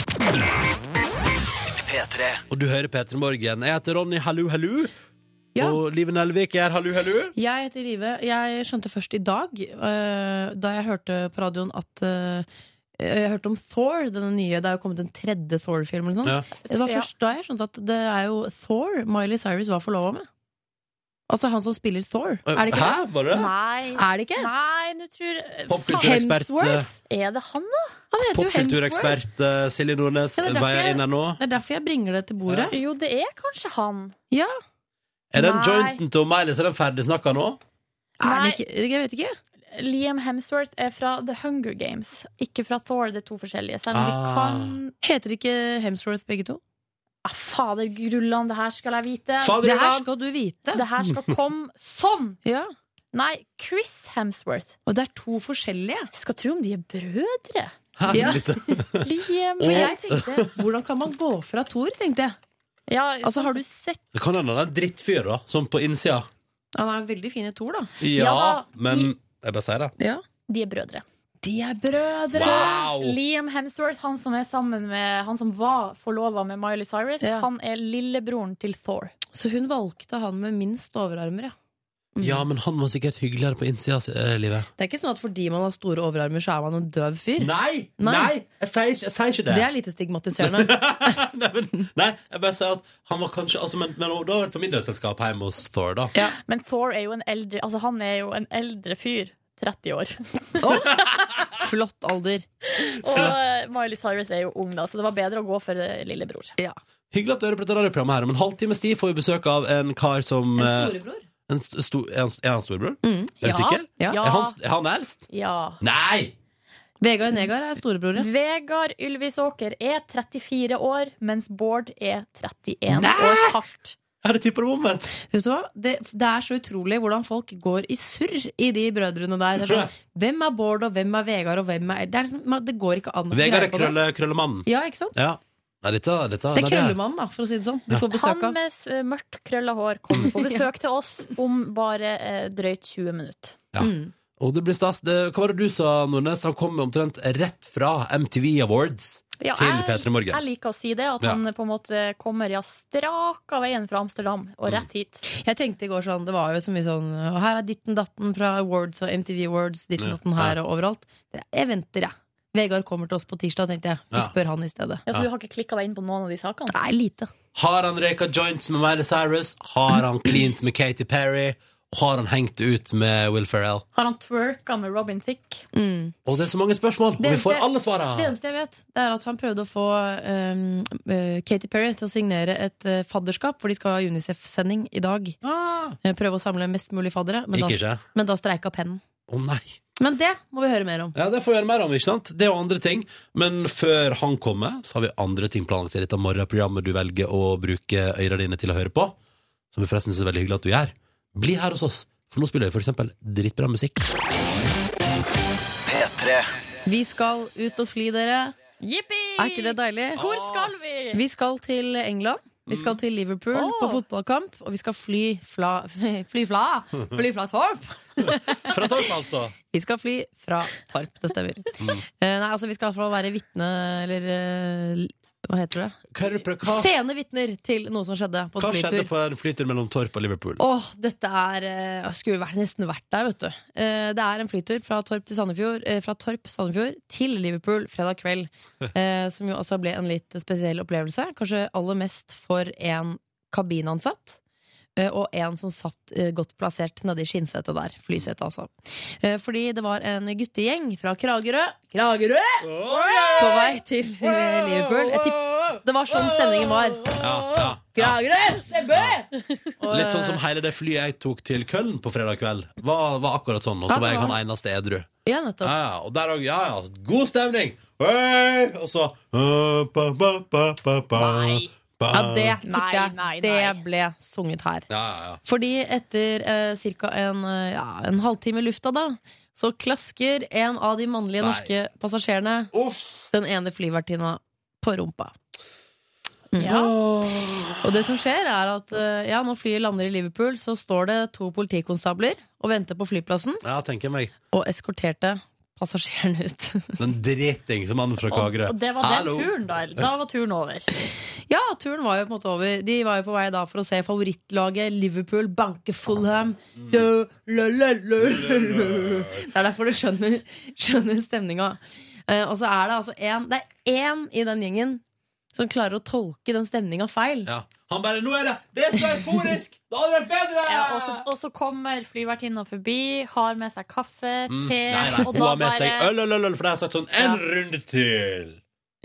Og du hører P3 Morgen. Jeg heter Ronny Hallo Hallo.
Ja.
Og Live Nelvik er Hallo Hallo.
Jeg heter Live. Jeg skjønte først i dag, eh, da jeg hørte på radioen at eh, Jeg hørte om Thor, denne nye. Det er jo kommet en tredje Thor-film. eller noe sånt.
Ja.
Det var
Ja.
først da jeg skjønte at det er jo Thor Miley Cyrus var forlova med. Altså han som spiller Thor. Er det ikke det?
Hæ, var det det?
Nei,
Er det ikke?
Nei, nå tror
Popkulturekspert, eh,
Er det han, da?
Han heter jo Hemsworth.
Popkulturekspert eh, Silje Nordnes
Ja, det er derfor
veier
jeg-
inn her nå.
Det er derfor jeg bringer det til bordet.
Jo, det er kanskje han.
Ja,
Er den
Nei.
jointen til Miley så er den ferdig snakka nå?
er
Nei.
det ikke? Jeg vet ikke.
Liam Hemsworth er fra The Hunger Games, ikke fra Thor. Det er to forskjellige. Selv om
Ah.
vi kan
Heter ikke Hemsworth begge to?
ah, Fader grullan, det her skal jeg vite.
Fader,
Det her
Ivan!
skal du vite.
Det her skal komme sånn!
Ja.
Nei, Chris Hemsworth.
Og det er to forskjellige.
Skal tro om de er brødre.
Hæ,
Ja.
litt-
Liam
For jeg tenkte, hvordan kan man gå fra Thor, tenkte jeg.
ja,
Altså,
sånn
har du sett
Det kan hende han er en drittfyr, da. Sånn på innsida.
Han er en veldig fin i Thor, da.
Ja,
da,
men Jeg bare sier det.
Ja.
sett- De er brødre.
De er brødre!
Wow!
Liam Hemsworth, han som, er sammen med, han som var forlova med Miley Cyrus,
Ja.
han er lillebroren til Thor.
Så hun valgte han med minst overarmer, ja. Mm.
Ja, men han var sikkert hyggeligere på innsida, eh, livet.
Det er ikke sånn at fordi man har store overarmer, så er man en døv fyr.
Nei!
Nei.
Jeg sier ikke, jeg sier ikke
Det er
(laughs)
lite stigmatiserende.
nei, men, nei, jeg bare sier at han var kanskje altså, Men, men da har vært på middagsselskap hjemme hos Thor, da.
ja.
Men Thor er jo en eldre Altså han er jo en eldre fyr 30 år (laughs)
Flott alder.
Og eh, Miley Cyrus er jo ung da Så det var bedre å gå for eh, lillebror
Ja.
Hyggelig at du hører på dette radioprogrammet her. Om en halvtimes tid får vi besøk av en kar som eh, en sto, er, han, er han storebror? Er du
Ja.
sikker?
Mm. Ja.
Ja,
Er, han, er han eldst?
ja.
Nei!
Vegard Negar er storebror, ja.
Vegard Ylvisåker er 34 år Mens Bård er 31 år hardt
Jeg hadde tippa det omvendt.
Vet du hva? Det, det er så utrolig hvordan folk går i surr i de brødrene der. Det er
(laughs)
sånn, hvem er Bård, og hvem er Vegard, og hvem er Det, er liksom, man- det går ikke an å få
Vegard
greie
er
på det.
krølle, krøllemannen.
Ja, ikke sant?
Ja. Nei, dette, dette,
Det er
nei, det-
Krøllemannen, da, for å si det sånn. Du får besøk
Han
av.
med s- eh, mørkt krølla hår kommer (laughs) på besøk til oss Om bare eh, drøyt 20 minutter
Mm.
Og det blir stas. Det, hva var det du sa, Nordnes? Han kom omtrent rett fra MTV Awards
Ja,
til
jeg-
P3 Morgen.
Jeg liker å si det, at
Ja.
han eh, på en måte kommer ja, strak av veien fra Amsterdam Og rett hit
Jeg tenkte i går sånn, det var jo så mye sånn «Å, Her er ditten datten fra awards og MTV Awards, ditten
Ja,
datten her og overalt. Jeg venter, jeg. Vegard kommer til oss på tirsdag, tenkte jeg. Vi
Ja.
spør han i stedet.
ja, Så Altså, du har ikke klikket deg inn på noen av de sakene?
Nei, lite.
Har han røyka joints med Miley Cyrus? Har han cleant med Katy Perry? Og har han hengt ut med Will Ferrell?
Har han twerka med Robin Thicke?
Og det er så mange spørsmål, og
Det-
vi får
det-
alle svara!
Mm. Det eneste jeg vet, det er at han prøvde å få um, eh, Katy Perry til å signere et eh, fadderskap, for de skal ha Unicef-sending i dag. Eh, Prøve å samle mest mulig faddere, men,
Gikk
da,
Ah. ikke?
men da streika pennen.
Å nei!
Men det må vi høre mer om.
Ja, Det får vi gjøre mer om, ikke sant? Det og andre ting. Men før han kommer, så har vi andre ting planlagt i dette morgenprogrammet du velger å bruke øyra dine til å høre på. Som vi forresten synes er veldig hyggelig at du gjør. Bli her hos oss, for nå spiller vi for eksempel dritbra musikk.
Vi skal ut og fly, dere.
Jippi!
Er ikke det deilig?
Hvor
Ah.
skal vi?
Vi skal til England. Vi skal til Liverpool
Åh.
på fotballkamp, og vi skal fly fla... (laughs) Fly fla! Fly fra Torp!
Fra Torp, altså!
Vi skal fly fra Torp, det stemmer. Eh, nei, altså, vi skal iallfall være vitne, eller eh, Hva heter det?
Hva, er det du prøver- hva,
Sene vitner til noe som skjedde på
hva
en
skjedde
flytur.
på en flytur mellom Torp og Liverpool?
Åh, dette er eh, Jeg skulle vært, nesten vært der, vet du. Eh, det er en flytur fra Torp til Sandefjord eh, Fra Torp Sandefjord til Liverpool fredag
(laughs)
kveld. eh, som jo altså ble en litt spesiell opplevelse. Kanskje aller mest for en kabinansatt. eh, Og en som satt eh, godt plassert nedi skinnsetet der. Flysetet, altså. Eh, Fordi det var en guttegjeng fra Kragerø Kragerø! På vei til eh, Liverpool. Jeg tipp, det var sånn stemningen var.
Ja, ja, ja.
Kragerø! Sebø! Og,
Litt sånn som hele det flyet jeg tok til Køln på fredag kveld, var, var akkurat sånn. Og så
Ja, det
var jeg
Ah.
var
han eneste edru.
Ja, nettopp.
Ja, ja, og der òg. Ja, ja. God stemning! Hey! Og så øh, ba, ba, ba, ba, ba.
Ja, det tipper
Nei,
jeg.
nei, nei.
Det ble sunget her.
Ja, ja, ja.
Fordi etter eh, ca. En, eh, ja, en halvtime i lufta, da, så klasker en av de mannlige
Nei.
norske passasjerene
Uff!
den ene flyvertinna på rumpa.
Ja.
Og det som skjer er at eh, ja, når flyet lander i Liverpool, så står det to politikonstabler og venter på flyplassen
Ja, tenker jeg meg.
og eskorterte passasjeren ut. (laughs)
Den dritings mannen fra Kragerø.
Og det var den
Hallo.
turen, da. eller? Da var turen over.
ja, turen var jo på en måte over. De var jo på vei da for å se favorittlaget Liverpool banke Fulham. Du, la, la, la, la, la. Det er derfor du skjønner, skjønner stemninga. Eh, og så er det altså én Det er én i den gjengen som klarer å tolke den stemninga feil.
Ja. Han bare 'Nå er det Det er så euforisk! Det hadde vært bedre!'
Ja, og, så, og så kommer flyvertinna forbi, har med seg kaffe,
Mm.
te
Nei, nei,
(laughs) og
hun
da
har med seg
bare-
øl, øl, øl, øl, for det har jeg sagt sånn en runde til.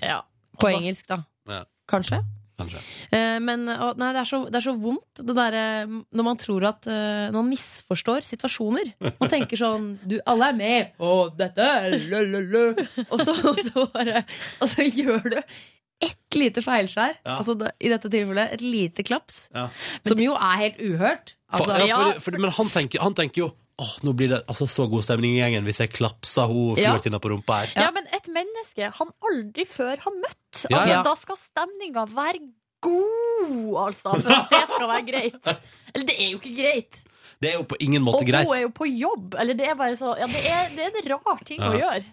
Ja.
På
Og da-
engelsk, da.
Ja.
Kanskje.
Kanskje.
Eh, men å, nei, det, er så, det er så vondt det derre når man tror at eh, Når man misforstår situasjoner. Man tenker sånn du, 'Alle er med!' Og dette er lø, lø, lø. Og så, og så, bare, og så gjør du ett lite feilskjær.
Ja.
Altså, det, I dette tilfellet et lite klaps.
Ja.
Som jo er helt uhørt.
For,
Altså,
ja, for, for, men han tenker, han tenker jo Åh, nå blir det altså, så god stemning i gjengen hvis jeg klapser hun
Ja.
flyvertinna på rumpa her.
Ja, men et menneske han aldri før har møtt.
Ja,
altså,
ja.
Da skal stemninga være god, altså, for at det skal være greit. Eller det er jo ikke greit.
Det er jo på ingen
Og
måte
hun
greit.
er jo på jobb. Eller det er bare så Ja, det er, det er en rar ting å
Ja.
gjøre.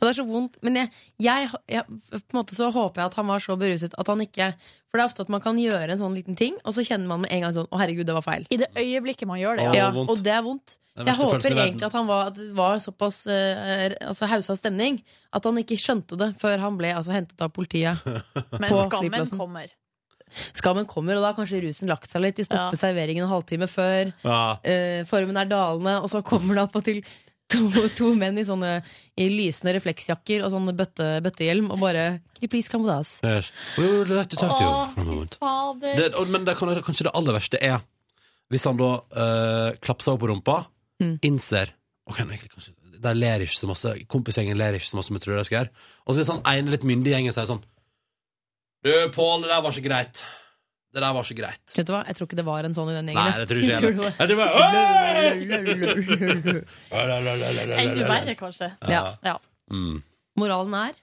Og det er så vondt. Men jeg, jeg, jeg, på en måte så håper jeg at han var så beruset at han ikke For det er ofte at man kan gjøre en sånn liten ting, og så kjenner man med en gang sånn 'Å, herregud, det var feil'.
I det øyeblikket man gjør det.
Å,
Ja.
Ja,
vondt.
og det er vondt.
Den
Så jeg
verste
håper
følelsen i verden.
egentlig at, han var, at det var såpass eh, altså, hausa stemning at han ikke skjønte det før han ble altså, hentet av
(laughs)
politiet.
Men
på
skammen
flyplassen.
kommer.
Skammen kommer, og da har kanskje rusen lagt seg litt. De stopper
Ja.
serveringen en halvtime før.
Ja.
eh, formen er dalende, og så kommer det attpåtil to, to menn i sånne i lysende refleksjakker og sånn bøtte, bøttehjelm og bare Can you please come with us?
Yes. We would like to talk to you for a moment.
fader.
Det, og- men det kan, kanskje det aller verste er hvis han da eh, klapser opp på rumpa,
Mm.
innser Ok, nå er jeg kanskje De ler ikke så masse, kompisgjengen ler ikke så masse som jeg tror de skal gjøre. Og så hvis han ene litt myndige gjengen sier sånn Du, Pål, det der var ikke greit. Det der var ikke greit.
Vet du hva, Jeg tror ikke det var en sånn i den
Nei,
gjengen.
det tror ikke
(laughs)
jeg heller. Jeg tror
Lululululul.
bare
Enda verre, kanskje.
Ja.
Ja.
Mm.
Moralen er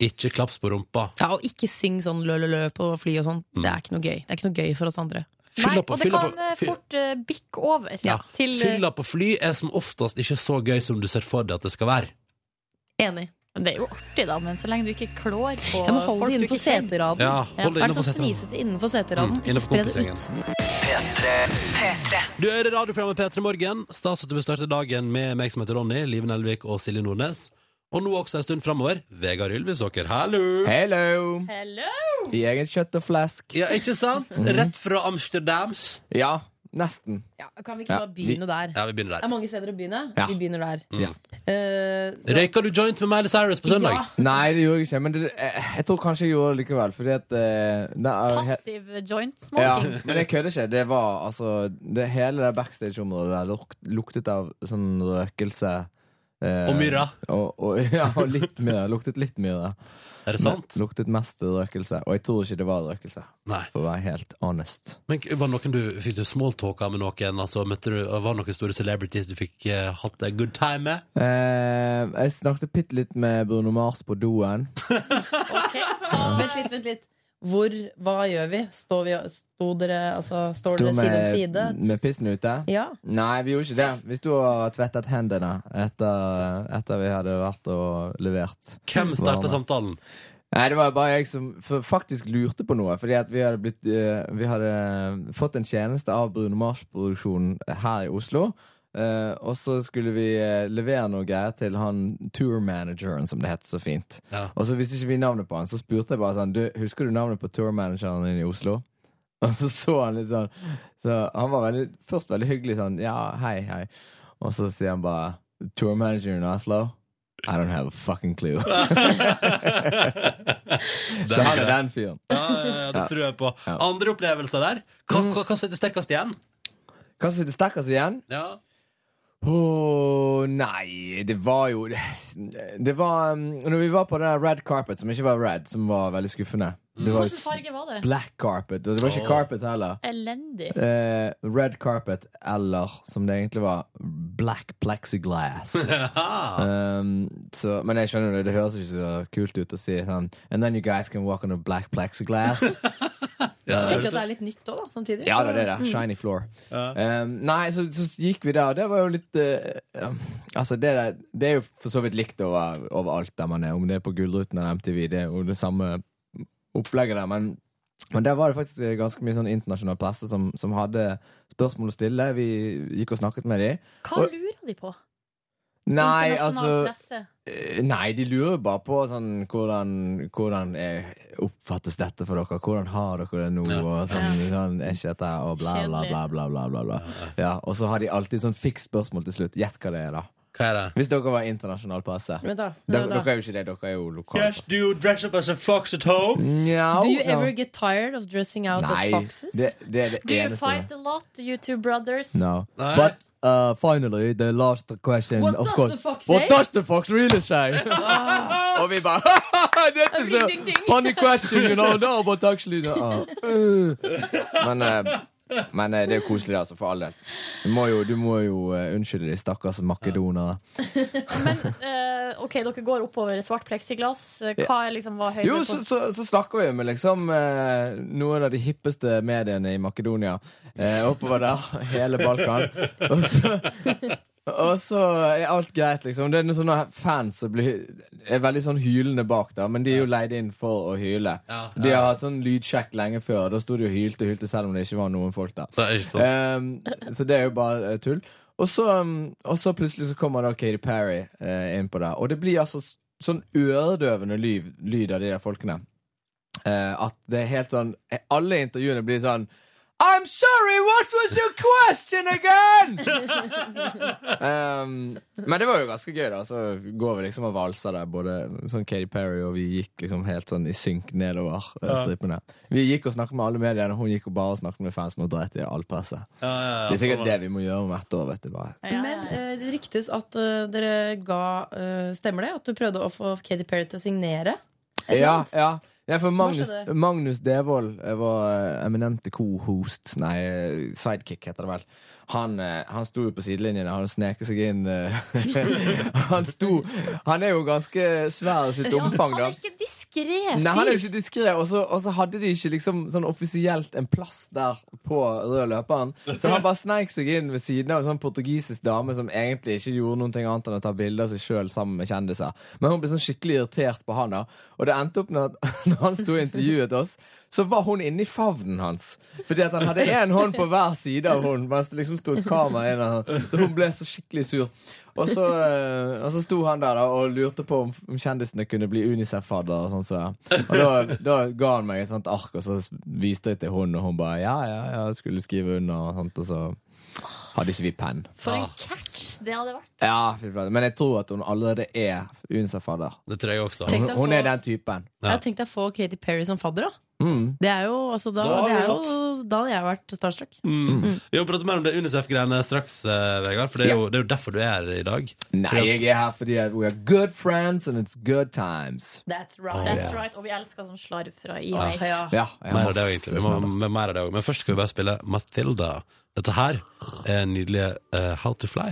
Ikke klaps på rumpa.
ja, og ikke syng sånn lø-lø-lø på fly og sånn. Det
Mm.
er ikke noe gøy. Det er ikke noe gøy for oss andre.
Nei,
Fylla
og
på,
det
fylla
kan
på,
eh,
fylla-
fort eh, bikke over
Ja.
til eh,
fylla på fly er som oftest ikke så gøy som du ser for deg at det skal være.
Enig.
Men Det er jo artig, da, men så lenge du ikke klår på
Jeg må holde
folk
det
du
innenfor
ikke kjenner.
seteraden.
Ja, hold det
Vær
innenfor
så
seteraden.
fnisete innenfor seteraden.
Mm,
Ikke
innenfor
spre det ut.
kompisgjengen. Du hører radioprogrammet P3 Morgen. Stas at du vil starte dagen med meg som heter Ronny, Liven Elvik og Silje Nordnes. Og nå også en stund framover, Vegard Ylvisåker. Hallo!
Hello!
Hello!
I eget kjøtt og flask.
Ja, ikke sant? Rett fra Amsterdams.
Ja, nesten.
Ja, kan vi ikke
Ja,
bare begynne der?
Ja, vi begynner
Det er
der.
mange steder å begynne.
Ja.
Vi begynner der.
Mm.
Ja.
Eh,
Røyka du joint med Miley Cyrus på søndag?
Ja.
Nei, det gjorde jeg ikke, men det, jeg, jeg tror kanskje jeg gjorde det likevel, fordi at eh, nei, he-
Passiv joint
ja,
smoking.
Men jeg kødder ikke. Det var altså det, Hele det backstage-området der luk, luktet av sånn røkelse. eh,
Og myrra.
Og, og, (laughs) ja, og litt myrra. Luktet litt myrra.
Er det sant?
Luktet mest røkelse. Og jeg tror ikke det var røkelse,
Nei.
for å være helt honest.
Men var det noen du, Fikk du smalltalka med noen? Altså, møtte du, var det noen store celebrities du fikk eh, hatt a good time med?
Eh, jeg snakket bitte litt med Bruno Mars på doen.
Ok.
(laughs)
Vent litt, vent litt. Hvor, hva gjør vi? Står, vi, sto dere, altså, står
Sto
dere side om side?
med, med pissen ute.
Ja.
Nei, vi gjorde ikke det. Vi sto og tvettet hendene etter, etter vi hadde vært og levert.
Hvem sånn starta
Varme.
samtalen?
Nei, det var bare jeg som f- faktisk lurte på noe. Fordi at vi hadde, blitt, eh, vi hadde fått en tjeneste av Bruno Mars-produksjonen her i Oslo. Eh, og så skulle vi eh, levere noe greier til han tourmanageren, som det het så fint.
Ja.
Og så visste ikke vi navnet på han, så spurte jeg bare sånn du, Husker du navnet på tourmanageren din i Oslo? (laughs) Og så så han litt sånn Så han var veldig, først veldig hyggelig sånn Ja, hei, hei. Og så sier han bare Tourmanageren i Oslo? I don't have a fucking clue. Så han er den fyren.
Ja, ja, ja, det tror jeg på.
Ja. Mm.
Andre opplevelser der? Hva, hva, hva sitter sterkest igjen?
Hva som sitter sterkest igjen?
Ja.
Åh, nei, det var (sighs) jo Det var um, Når vi var på den der red carpet, som ikke var red, som var veldig skuffende Det var
Hvilken farge var det?
black carpet, og det var ikke
Åh.
carpet heller.
Elendig.
Eh, red carpet, eller som det egentlig var, black plexiglass.
Haha.
Um, så, men jeg skjønner det, det høres ikke så kult ut å si sånn And then you guys can walk on a black plexiglass.
Ja,
Tenk at det
det
er litt nytt òg, da. Samtidig.
ja, det er det. Shiny floor.
Ja.
Um, nei, så, så gikk vi der, og det var jo litt eh, um, Altså, det, der, det er jo for så vidt likt over, overalt der man er, om det er på Gullruten eller MTV. Det er jo det samme opplegget der, men men der var det faktisk eh, ganske mye sånn internasjonal presse som, som hadde spørsmål å stille. Vi gikk og snakket med dem.
Hva lurer de på?
Nei,
Internasjonal
altså
presse.
Eh, Nei, de lurer bare på sånn, hvordan, hvordan eh, oppfattes dette for dere. Hvordan har dere det nå?
Ja.
Og sånn, sånn, er ikke dette og bla, bla, bla, bla, bla, bla, bla. Ja, Og så har de alltid sånn fiks spørsmål til slutt. Gjett hva det er, da.
Hva er det?
Hvis dere var internasjonal presse.
Vent da,
Dere,
vent da.
dere er jo ikke det. Dere er jo lokale.
do you dress up as a fox at home?
Nja,
Do you
ja.
ever get tired of dressing out as
Nei,
foxes?
det, det er det
Do you
eneste.
fight a lot, you two brothers?
No.
Nei.
But uh, finally, the last question,
What
of
does
course.
the fox
What
say?
does the fox
(laughs)
really say? (laughs) Og vi bare That is a
Ring, Oh, ding, ding. (laughs)
funny question, you know. No, but actually no. Uh. (laughs) Men, eh, men eh, det er jo koselig, altså, for all del. Du må jo, du må jo eh, unnskylde de stakkars makedonere.
Men eh, ok, dere går oppover svart pleksiglass. Hva er liksom var høyde
Jo, så, så, så snakker vi med liksom eh, noen av de hippeste mediene i Makedonia. Eh, oppover der, (laughs) hele Balkan. Og så, og så er alt greit, liksom. Det er noen sånne fans som blir, er veldig sånn hylende bak, da, men de er jo leid inn for å hyle.
Ja, ja.
De har hatt sånn lydsjekk lenge før. Da sto de og hylte og hylte selv om det ikke var noen folk der.
Det er ikke sant.
Ehm, så det er jo bare eh, tull. Og så, um, og så plutselig så kommer da Katy Perry eh, inn på det. Og det blir altså s- sånn øredøvende lyd, lyd av de der folkene. Eh, at det er helt sånn eh, Alle intervjuene blir sånn I'm sorry, what was your question again? Ehm, men det var jo ganske gøy, da. Så går vi liksom og valser der. Både sånn Katy Perry og vi gikk liksom helt sånn i synk nedover eh, strippene. Vi gikk og snakket med alle mediene, hun gikk og bare snakket med fansen og dreit i all presse.
Ja, ja, ja,
Det er sikkert
sånn var
det vi må gjøre om ett år, vet du bare.
Ja, ja, ja.
Men eh, det ryktes at eh, dere ga eh, Stemmer det? At du prøvde å få Katy Perry til å signere? Et eller
Ja,
annet?
ja. Ja, for Magnus,
skjedde?
Magnus Devold eh, var eh, eminente co-host Nei, eh, sidekick heter det vel. Han, eh, han sto jo på sidelinjen Han sneket seg inn. eh, (laughs) han sto Han er jo ganske svær i sitt omfang,
Han
da.
er ikke diskré.
Nei, han er jo ikke diskré, og så og så hadde de ikke liksom sånn offisielt en plass der på rød løperen. Så han bare sneik seg inn ved siden av en sånn portugisisk dame som egentlig ikke gjorde noen ting annet enn å ta bilder av seg sjøl sammen med kjendiser. Men hun ble sånn skikkelig irritert på han, da. Og det endte opp med at (laughs) når han sto og intervjuet oss, så var hun inne i favnen hans. Fordi at han hadde én hånd på hver side av hun mens det liksom sto et kamera inn. og sånn. Så hun ble så skikkelig sur. Og så, eh, og så sto han der da, og lurte på om, om kjendisene kunne bli Unicef-fadder. Og sånn så. Og da, da ga han meg et sånt ark, og så viste jeg til hun, og hun bare ja, ja, ja, skulle skrive under. Og, sånt, og så hadde ikke vi penn.
For en catch det hadde vært.
Ja, fy flate. Men jeg tror at hun allerede er Unicef-fadder.
Det Det tror jeg også.
Tenk
Hun,
deg å
hun
få-
er den typen.
Ja.
Jeg tenkte å få Katy Perry som fadder, da.
Mm.
Det er jo, altså, da,
Da har vi
det er jo, da hadde jeg vært starstruck.
Mm. Vi må prate mer om det UNICEF-greiene straks, eh, Vegard. For det er, jo, det er jo derfor du er her i dag.
Nei,
Fordi at-
jeg er her fordi at we are good friends and it's good times.
That's right.
Ah,
That's right, Og vi elsker sånn slarv fra Iveis.
Ah, Ja.
Ja, jeg har
Mer av det,
masse
egentlig. Vi må,
snadder.
med mer av det også. Men først skal vi bare spille Matilda. Dette her er nydelige eh, How to Fly.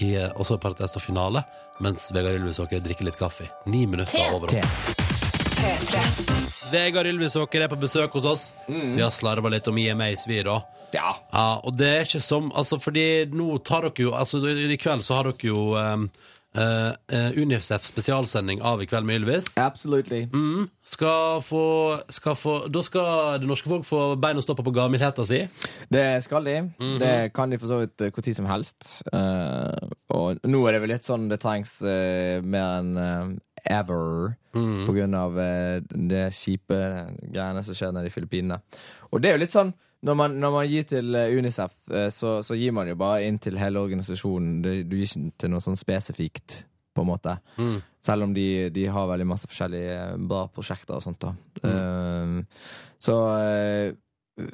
I eh, også Paratest og finale, mens Vegard Ylvisåker drikker litt kaffe. Ni
Te.
minutter over åtte. Vegard Ylvisåker er på besøk hos oss. Vi har slarva litt om E IMAs, vi, da.
Ja.
Ja, og det er ikke som Altså, fordi nå tar dere jo Altså, i i kveld så har dere jo um, UNICEF spesialsending av I kveld med Ylvis.
Absolutely.
Mm, skal få, skal få Da skal det norske folk få beina stoppa på gavmildheta si.
Det skal de. Det kan de for så vidt eh, hvor tid som helst. Eh, og nå er det vel litt sånn det trengs eh, mer enn eh, ever. På grunn av eh, det kjipe greiene som skjer nede i Filippinene. Og det er jo litt sånn når man, når man gir til eh, Unicef, eh, så, så gir man jo bare inn til hele organisasjonen. Det- Du gir ikke til noe sånn spesifikt, på en måte. Selv om de, de har veldig masse forskjellige eh, bra prosjekter og sånt. da Eh, Så eh,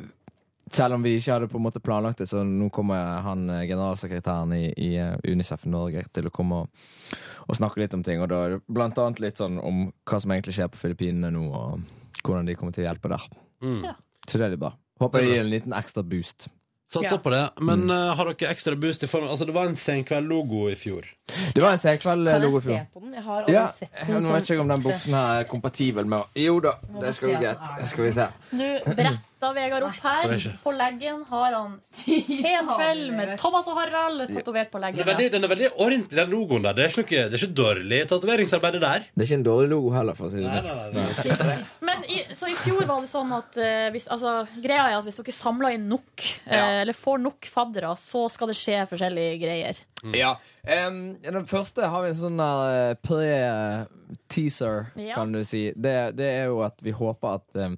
selv om vi ikke hadde på en måte planlagt det, så nå kommer han eh, generalsekretæren i, i eh, Unicef Norge til å komme og, og snakke litt om ting. Og da er det blant annet litt sånn om hva som egentlig skjer på Filippinene nå, og hvordan de kommer til å hjelpe der.
Mm.
Ja.
Så det er litt bra. Håper det gir en liten ekstra boost.
Satser
Ja.
på det. Men eh, har dere ekstra boost i form Altså, det var en Senkveld-logo i fjor.
Det var en senkveld,
Kan jeg
Logo
se
Fjord.
på den? Jeg har aldri
Ja,
sett den.
nå vet jeg ikke om den buksen her er kompatibel med Jo da, det skal gå greit. Det Skal vi se.
Nå bretter Vegard opp her.
Får jeg ikke.
På leggen har han
(laughs)
Senkveld med Thomas og Harald tatovert på
Den
leggen.
er veldig, den er veldig ordentlig, den logoen der. Det er ikke, noe, det er ikke dårlig tatoveringsarbeid, det der.
Det er ikke en dårlig logo heller, for å si det
Nei,
mildt.
nei, nei, nei.
Men i, så i fjor var det sånn at eh, hvis, altså, greia er at hvis dere samler inn nok, eh,
Ja.
eller får nok faddere, så skal det skje forskjellige greier.
Ja. em, ja, den første har vi en sånn der, eh, pre-teaser,
Ja.
kan du si. Det, det er jo at vi håper at em,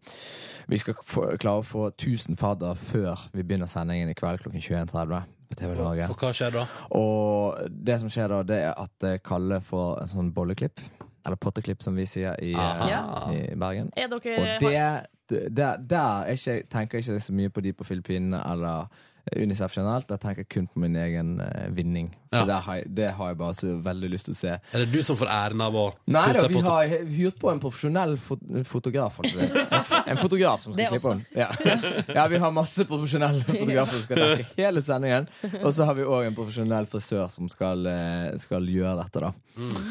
vi skal få, klare å få 1000 fadder før vi begynner sendingen i kveld klokken 21.30 på TV Norge.
For hva skjer da?
Og det som skjer da, det er at eh, Kalle får en sånn bolleklipp. Eller potteklipp, som vi sier i, eh,
Aha.
i Bergen.
Er dere,
Og det, det der, er ikke, tenker jeg ikke så mye på de på Filippinene eller eh, Unicef generelt. Jeg tenker kun på min egen eh, vinning.
Ja.
For det, har jeg, det har jeg bare så veldig lyst til å se.
Er det du som får æren av å
Nei da,
putte
vi
på-
har hyrt på en profesjonell fot fotograf. altså. En f- En fotograf som skal
Det
klippe den. Ja. ja, vi har masse (laughs) profesjonelle fotografer som skal dekke hele sendingen. Og så har vi òg en profesjonell frisør som skal, eh, skal gjøre dette, da.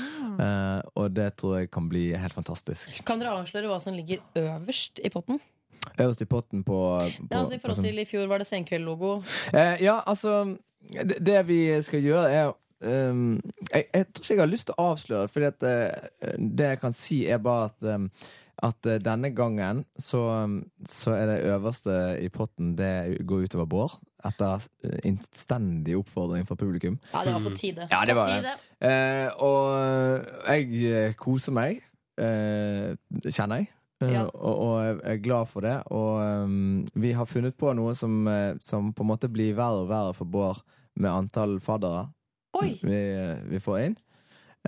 Eh, og det tror jeg kan bli helt fantastisk.
Kan dere avsløre hva som ligger øverst i potten?
Øverst i potten på, på
Det er altså I
på sånn som-
forhold til i fjor var det Senkveld-logo.
Eh, ja, altså det, det vi skal gjøre er ehm, jeg, jeg tror ikke jeg har lyst til å avsløre Fordi at eh, det jeg kan si er bare at ehm, At eh, denne gangen så, så er det øverste i potten Det går utover Bård Etter eh, innstendig oppfordring fra publikum
Ja, det var på tide.
Mm. Ja,
det.
Eh, og jeg eh, koser meg, eh, det kjenner jeg. Eh,
Ja.
Og, og jeg er glad for det. Og ehm, vi har funnet på noe som, eh, som på en måte blir verre og verre for Bård med antall faddere
Oi!
vi, eh, vi får inn.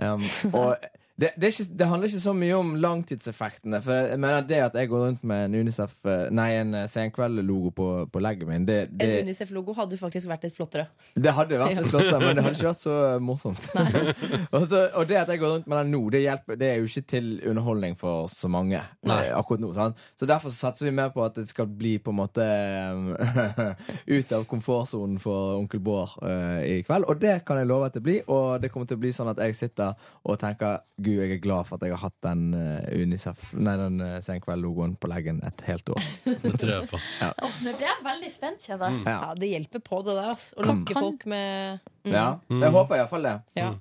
(laughs)
Em, og det, det, er ikke, det handler ikke så mye om langtidseffektene. For jeg mener det at jeg går rundt med en Unicef eh, Nei, en eh, Senkveld-logo på, på leggen min, det,
En
det,
Unicef-logo hadde jo faktisk vært litt flottere.
det hadde vært litt flott, men det hadde ikke vært så morsomt. (laughs) og, så, og det at jeg går rundt med den nå, det, hjelper, det er jo ikke til underholdning for så mange.
Nei.
eh, akkurat nå, sant? Så derfor så satser vi mer på at det skal bli på en måte eh, (laughs) ut av komfortsonen for onkel Bård eh, i kveld. Og det kan jeg love at det blir. Og det kommer til å bli sånn at jeg sitter og tenker Gud, jeg er glad for at jeg har hatt den eh, Unicef, nei, den uh, Senkveld-logoen på leggen et helt år.
Det tror jeg
(laughs)
på.
Åh, nå ble jeg veldig spent, kjenner
Mm.
jeg.
Ja, Det hjelper på, det der. ass. Å
Kan-
lokke
kan-
folk med
Ja, Jeg håper iallfall det. Mm.
Ja.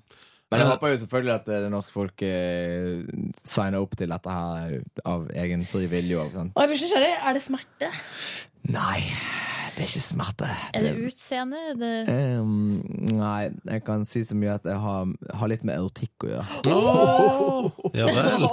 Men jeg
Eh,
håper jo selvfølgelig at eh, det norske folk eh, signer opp til dette her eh, av egen fri vilje. Og sånn.
Og jeg blir så nysgjerrig. Er det smerte?
Nei, det er ikke smerte.
Er det utseende? Er det...
Ehm, nei, jeg kan si så mye at jeg har, har litt med erotikk å gjøre.
Ja vel.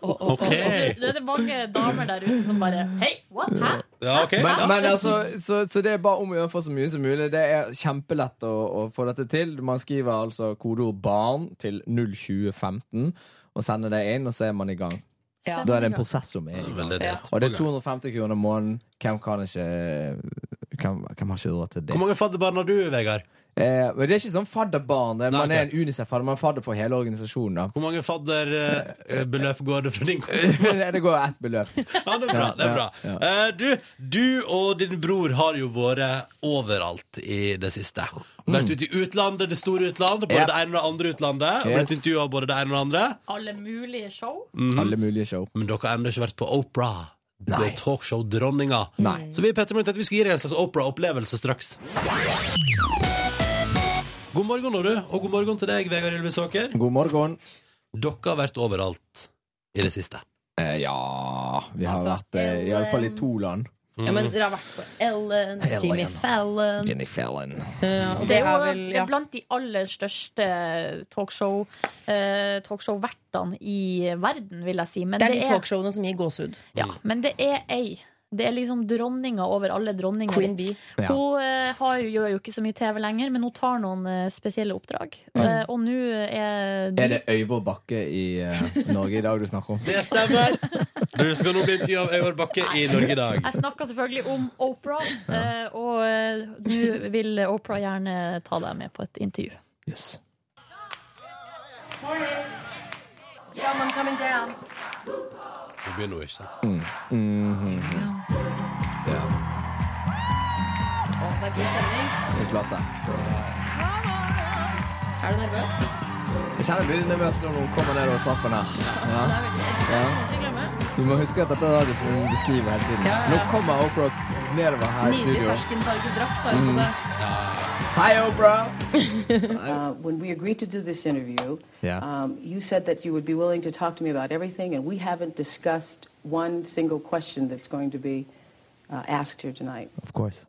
OK.
Nå er det mange damer der ute som bare Hei, what? Hæ?
Ja, ok
Men,
ja.
men altså, så, så det er bare om å gjøre å få så mye som mulig. Det er kjempelett å, å få dette til. Man skriver altså kodeord 'barn' til 02015 og sender det inn, og så er man i gang.
Ja.
Da er det en prosess som er i gang.
Veldig rett.
Og det er 250 kroner måneden. Hvem kan ikke Hvem, hvem har ikke råd til det?
Hvor mange fadderbarn har du, Vegard?
Eh, men det er ikke sånn fadderbarn. Det, er-
Nei,
man
ok.
er en Unicef-fadder. Man er fadder for hele organisasjonen. (laughs) da
Hvor mange fadderbeløp går det for din konto?
(laughs) Det går ett beløp.
Ja, det er bra. det er bra Eh, du, du og din bror har jo vært overalt i det siste.
Mm.
Vært ute i utlandet, det store utlandet, både
Yep.
det ene og det andre utlandet. Og
Yes.
blitt intervjua både det ene og det andre.
Alle mulige show?
Alle mulige show.
Men dere har ennå ikke vært på Opera. Det
Nei.
er talkshow-dronninga.
Nei.
Så vi i Petter Morgen tenkte vi skulle gi deg en slags Opera-opplevelse straks. God morgen, Oru, og god morgen til deg, Vegard Ylvisåker.
God morgen.
Dere har vært overalt i det siste.
Eh, ja Vi har
Altså,
vært eh, i alle fall i to land.
Ja, men Dere har vært på Ellen,
Ellen.
Jimmy Fallon
Jenny Fallon.
eh, Og
Det
det er
er, jo,
vel
det
ja.
er blant de aller største talkshow eh, talkshow-vertene i verden, vil jeg si. Men
Det er de talkshowene som gir gåsehud.
Ja, men det er ei. Det er liksom dronninga over alle dronninger.
Queen Bee.
Ja.
Hun eh, har, jo- gjør jo ikke så mye TV lenger, men hun tar noen eh, spesielle oppdrag. Eh, og nå er,
Er det Øyvor Bakke i eh, Norge i dag du snakker om?
Det stemmer! Du skal nå bli intervjua av Øyvard Bakke i Norge i dag.
Jeg snakker selvfølgelig om Opera, eh, og eh, nå vil Opera gjerne ta deg med på et intervju.
(laughs) Yes.
Someone coming down.
Vi begynner nå, ikke sant?
Mhm. Ja,
Å, det er god stemning.
det er flott, da.
Er du nervøs?
Jeg kjenner jeg blir litt nervøs når noen kommer ned over trappen her. Ja.
Det er veldig
Ja.
Ikke glemme.
Du må huske at dette er radio som vi beskriver hele tiden.
Ja, ja, ja.
Nå kommer Oprah nedover her i
Nydelig
studio. Mm.
ferskenfarget drakt har hun på seg.
Hei, Oprah!
(laughs) Uh, when we agreed to do this interview,
Ja.
um, you said that you would be willing to talk to me about everything, and we haven't discussed one single question that's going to be uh, asked here tonight.
Of course.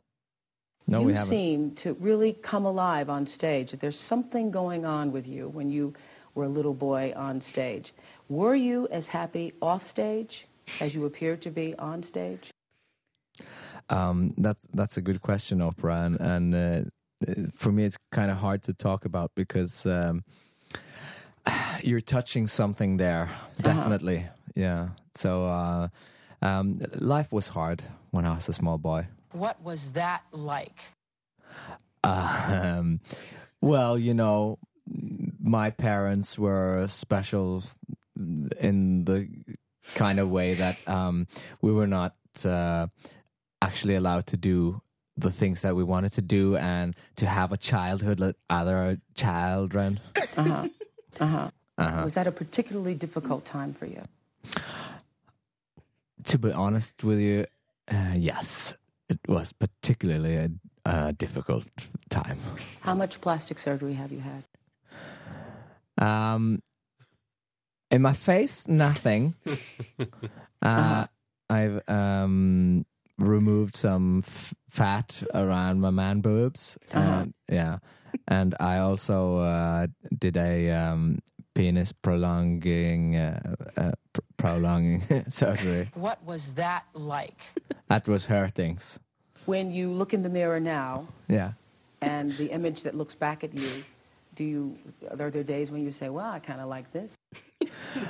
No,
you
we haven't.
seem to really come alive on stage. There's something going on with you when you were a little boy on stage. Were you as happy off stage as you appeared to be on stage?
Um, that's, that's a good question, Oprah. And, and uh, for me, it's kind of hard to talk about because um, (sighs) you're touching something there.
Uh-huh.
Definitely. Yeah. So uh, um, life was hard when I was a small boy.
What was that like?
(laughs) Um, well, you know, my parents were special in the kind of way that um, we were not uh, actually allowed to do the things that we wanted to do and to have a childhood like other children.
Uh-huh.
Uh-huh.
Was that a particularly difficult time for you?
To be honest with you, uh, yes, it was particularly a, a difficult time.
How much plastic surgery have you had?
Um, in my face, nothing. uh, I've um, removed some f- fat around my man boobs. And, yeah, and I also uh, did a um, penis prolonging uh, uh, pr- prolonging (laughs) surgery.
What was that like?
That was hurtings.
When you look in the mirror now
Yeah.
and the image that looks back at you, do you are there days when you say, "Well, I kind of like this"?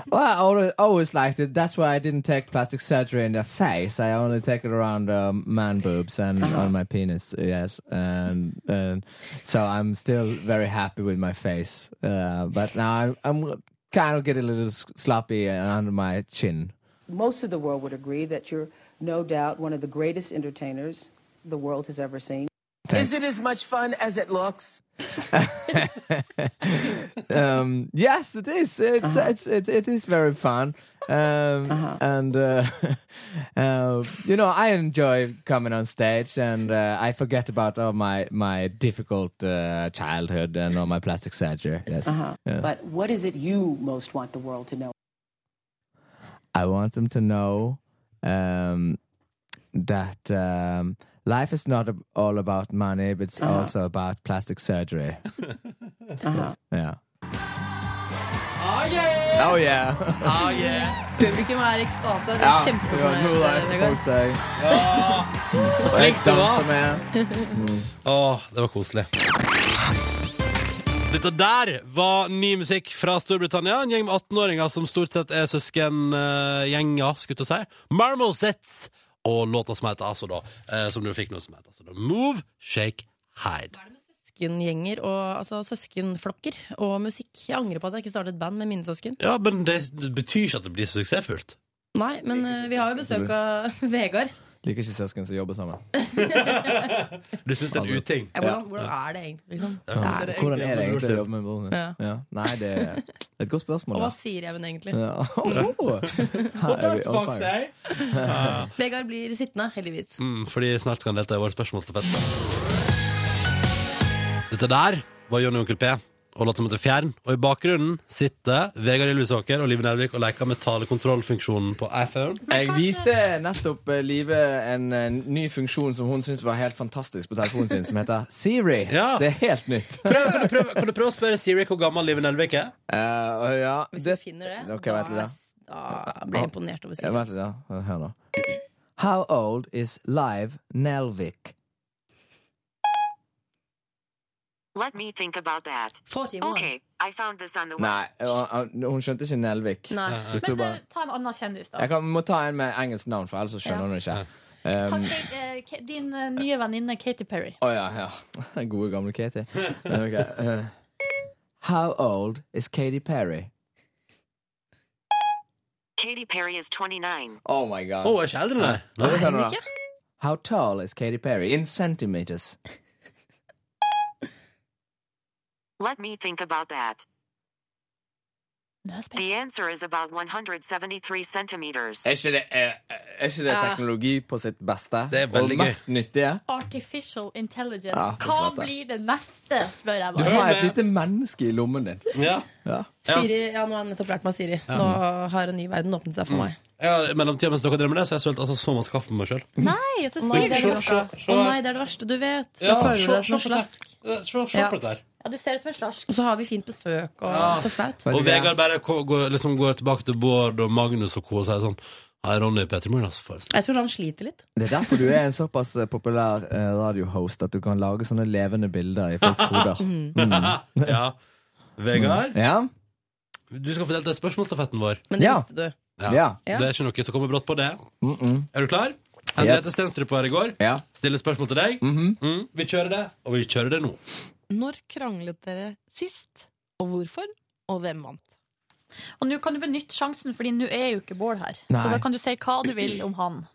Well, I always, always liked it. That's why I didn't take plastic surgery in the face. I only take it around um, man boobs and on my penis. Yes, and, and so I'm still very happy with my face. Uh, but now I'm, I'm kind of getting a little s- sloppy uh, under my chin.
Most of the world would agree that you're no doubt one of the greatest entertainers the world has ever seen.
Is
it as much fun as it looks?
Um, yes, it is. It's, it's it, it is very fun. Um, And uh, (laughs) uh, you know, I enjoy coming on stage, and uh, I forget about all my my difficult uh, childhood and all my plastic surgery. Yes, Yeah.
But what is it you most want the world to know?
I want them to know um, that um, life is not ab- all about money, but it's also about plastic surgery. Yeah. Oh yeah! Oh yeah! (laughs)
Ah,
Publikum er i ekstase. De
Ja,
er
det var en
kjempefornøyd.
god reise,
Vegard.
folk sier.
Så flink du var!
Med.
Åh, det var koselig. Dette der var ny musikk fra Storbritannia. En gjeng med 18-åringer som stort sett er søskengjenger, skulle jeg til å si. Marmosets! Og låta som heter altså da, eh, som du fikk nå, som heter altså da Move, Shake, Hide.
Søskengjenger og altså, søskenflokker og musikk. Jeg angrer på at jeg ikke startet band med mine søsken.
Ja, men det betyr ikke at det blir suksessfullt.
Nei, men eh, vi har jo besøk av (laughs) Vegard.
Liker ikke søsken som jobber sammen.
Du syns det er en uting?
Ja, hvordan, hvordan er det egentlig? Liksom?
hvordan er det
Hvordan er det egentlig å
egentlig?
jobbe med broren din?
Ja.
Ja. Nei, det er et godt spørsmål.
Og
da.
hva sier Even egentlig?
Ja. (laughs) Oh, her er vi on fire.
Vegard blir sittende, heldigvis.
Mm, fordi snart skal han delta i vår spørsmålstafett. Dette der var Jonny og Onkel P og låta som heter Fjern. Og i bakgrunnen sitter Vegard i Lusåker og Live Nervik og leker med talekontrollfunksjonen på iPhone.
Jeg viste nettopp eh, Live en, eh, ny funksjon som hun syntes var helt fantastisk på telefonen sin, som heter Siri.
Ja.
Det er helt nytt. (laughs)
Prøv, kan, du prøve, kan du prøve å spørre Siri hvor gammel Live Nelvik er?
Eh, og ja,
Hvis
det-
du finner det,
Ok, vent litt,
da, er
da.
s- da blir jeg imponert over
Ja, Vent litt,
Siri.
da. Hør nå. How old is Live Nelvik?
Let me think about that.
41.
Okay, I found this on the web.
Nei, hun hun skjønte ikke Nelvik.
Nei.
Det sto
Men
bare
eh, ta en annen kjendis, da.
Jeg kan, må ta en med engelsk navn, for ellers så
Ja.
skjønner hun det ikke.
Ta
Um,
Kate, eh, Ka- din eh, nye venninne Katy Perry.
Å ja, ja. (laughs) Gode, gamle Katy. Ok, eh. how old is Katy Perry?
Katy Perry is 29.
Oh my god.
Å, er ikke eldre, nei.
Nå
Nei,
kan
hun
du-
ikke.
How tall is Katy Perry in centimeters?
Let me think about that.
No,
the answer is about 173 centimeters.
Er ikke det, er, er ikke det
Ja.
teknologi på sitt beste?
Det er veldig
og mest nyttige?
Artificial intelligence.
Ja, for
Hva
flate.
blir det neste, spør jeg
Du
bare.
har et lite menneske i lommen din.
Ja.
Ja.
Siri, ja, nå har jeg nettopp lært meg Siri. Nå har en ny verden åpnet seg for meg.
Jeg har i mellomtida mens dere drømmer det, så har jeg sølt altså, så masse kaffe med meg sjøl.
Nei, så
Nei,
sier
se-
du noe.
se- se
Å
her.
nei, det er det verste du vet. Da
Ja,
føler
se-
du deg som en
se på det.
slask.
Se, se
Ja.
på dette her.
Ja, du ser ut som en slask.
Og så har vi fint besøk, og
Ja.
så flaut.
Og Vegard bare ko- går, liksom går tilbake til Bård og Magnus og co. og sier sånn Hei, Ronny Petermoen, altså. for
Jeg tror han sliter litt.
Det er derfor du er en såpass eh, populær eh, radiohost at du kan lage sånne levende bilder i folks hoder.
eksempel.» (laughs) ja. Vegard,
Mm. Ja?
du skal få delt den spørsmålsstafetten vår.
Men det
Ja.
visste du.
Ja.
Ja.
Det er ikke noe som kommer brått på det.
Mm -mm.
Er du klar? Henriette Stenstrup var her i går.
ja.
Stiller spørsmål til deg.
Mhm.
Mm, vi kjører det, og vi kjører det nå.
Når kranglet dere sist, og hvorfor, og hvem vant?
Og nå kan du benytte sjansen, Fordi nå er jo ikke Bård her.
Nei.
Så da kan du si hva du vil om han.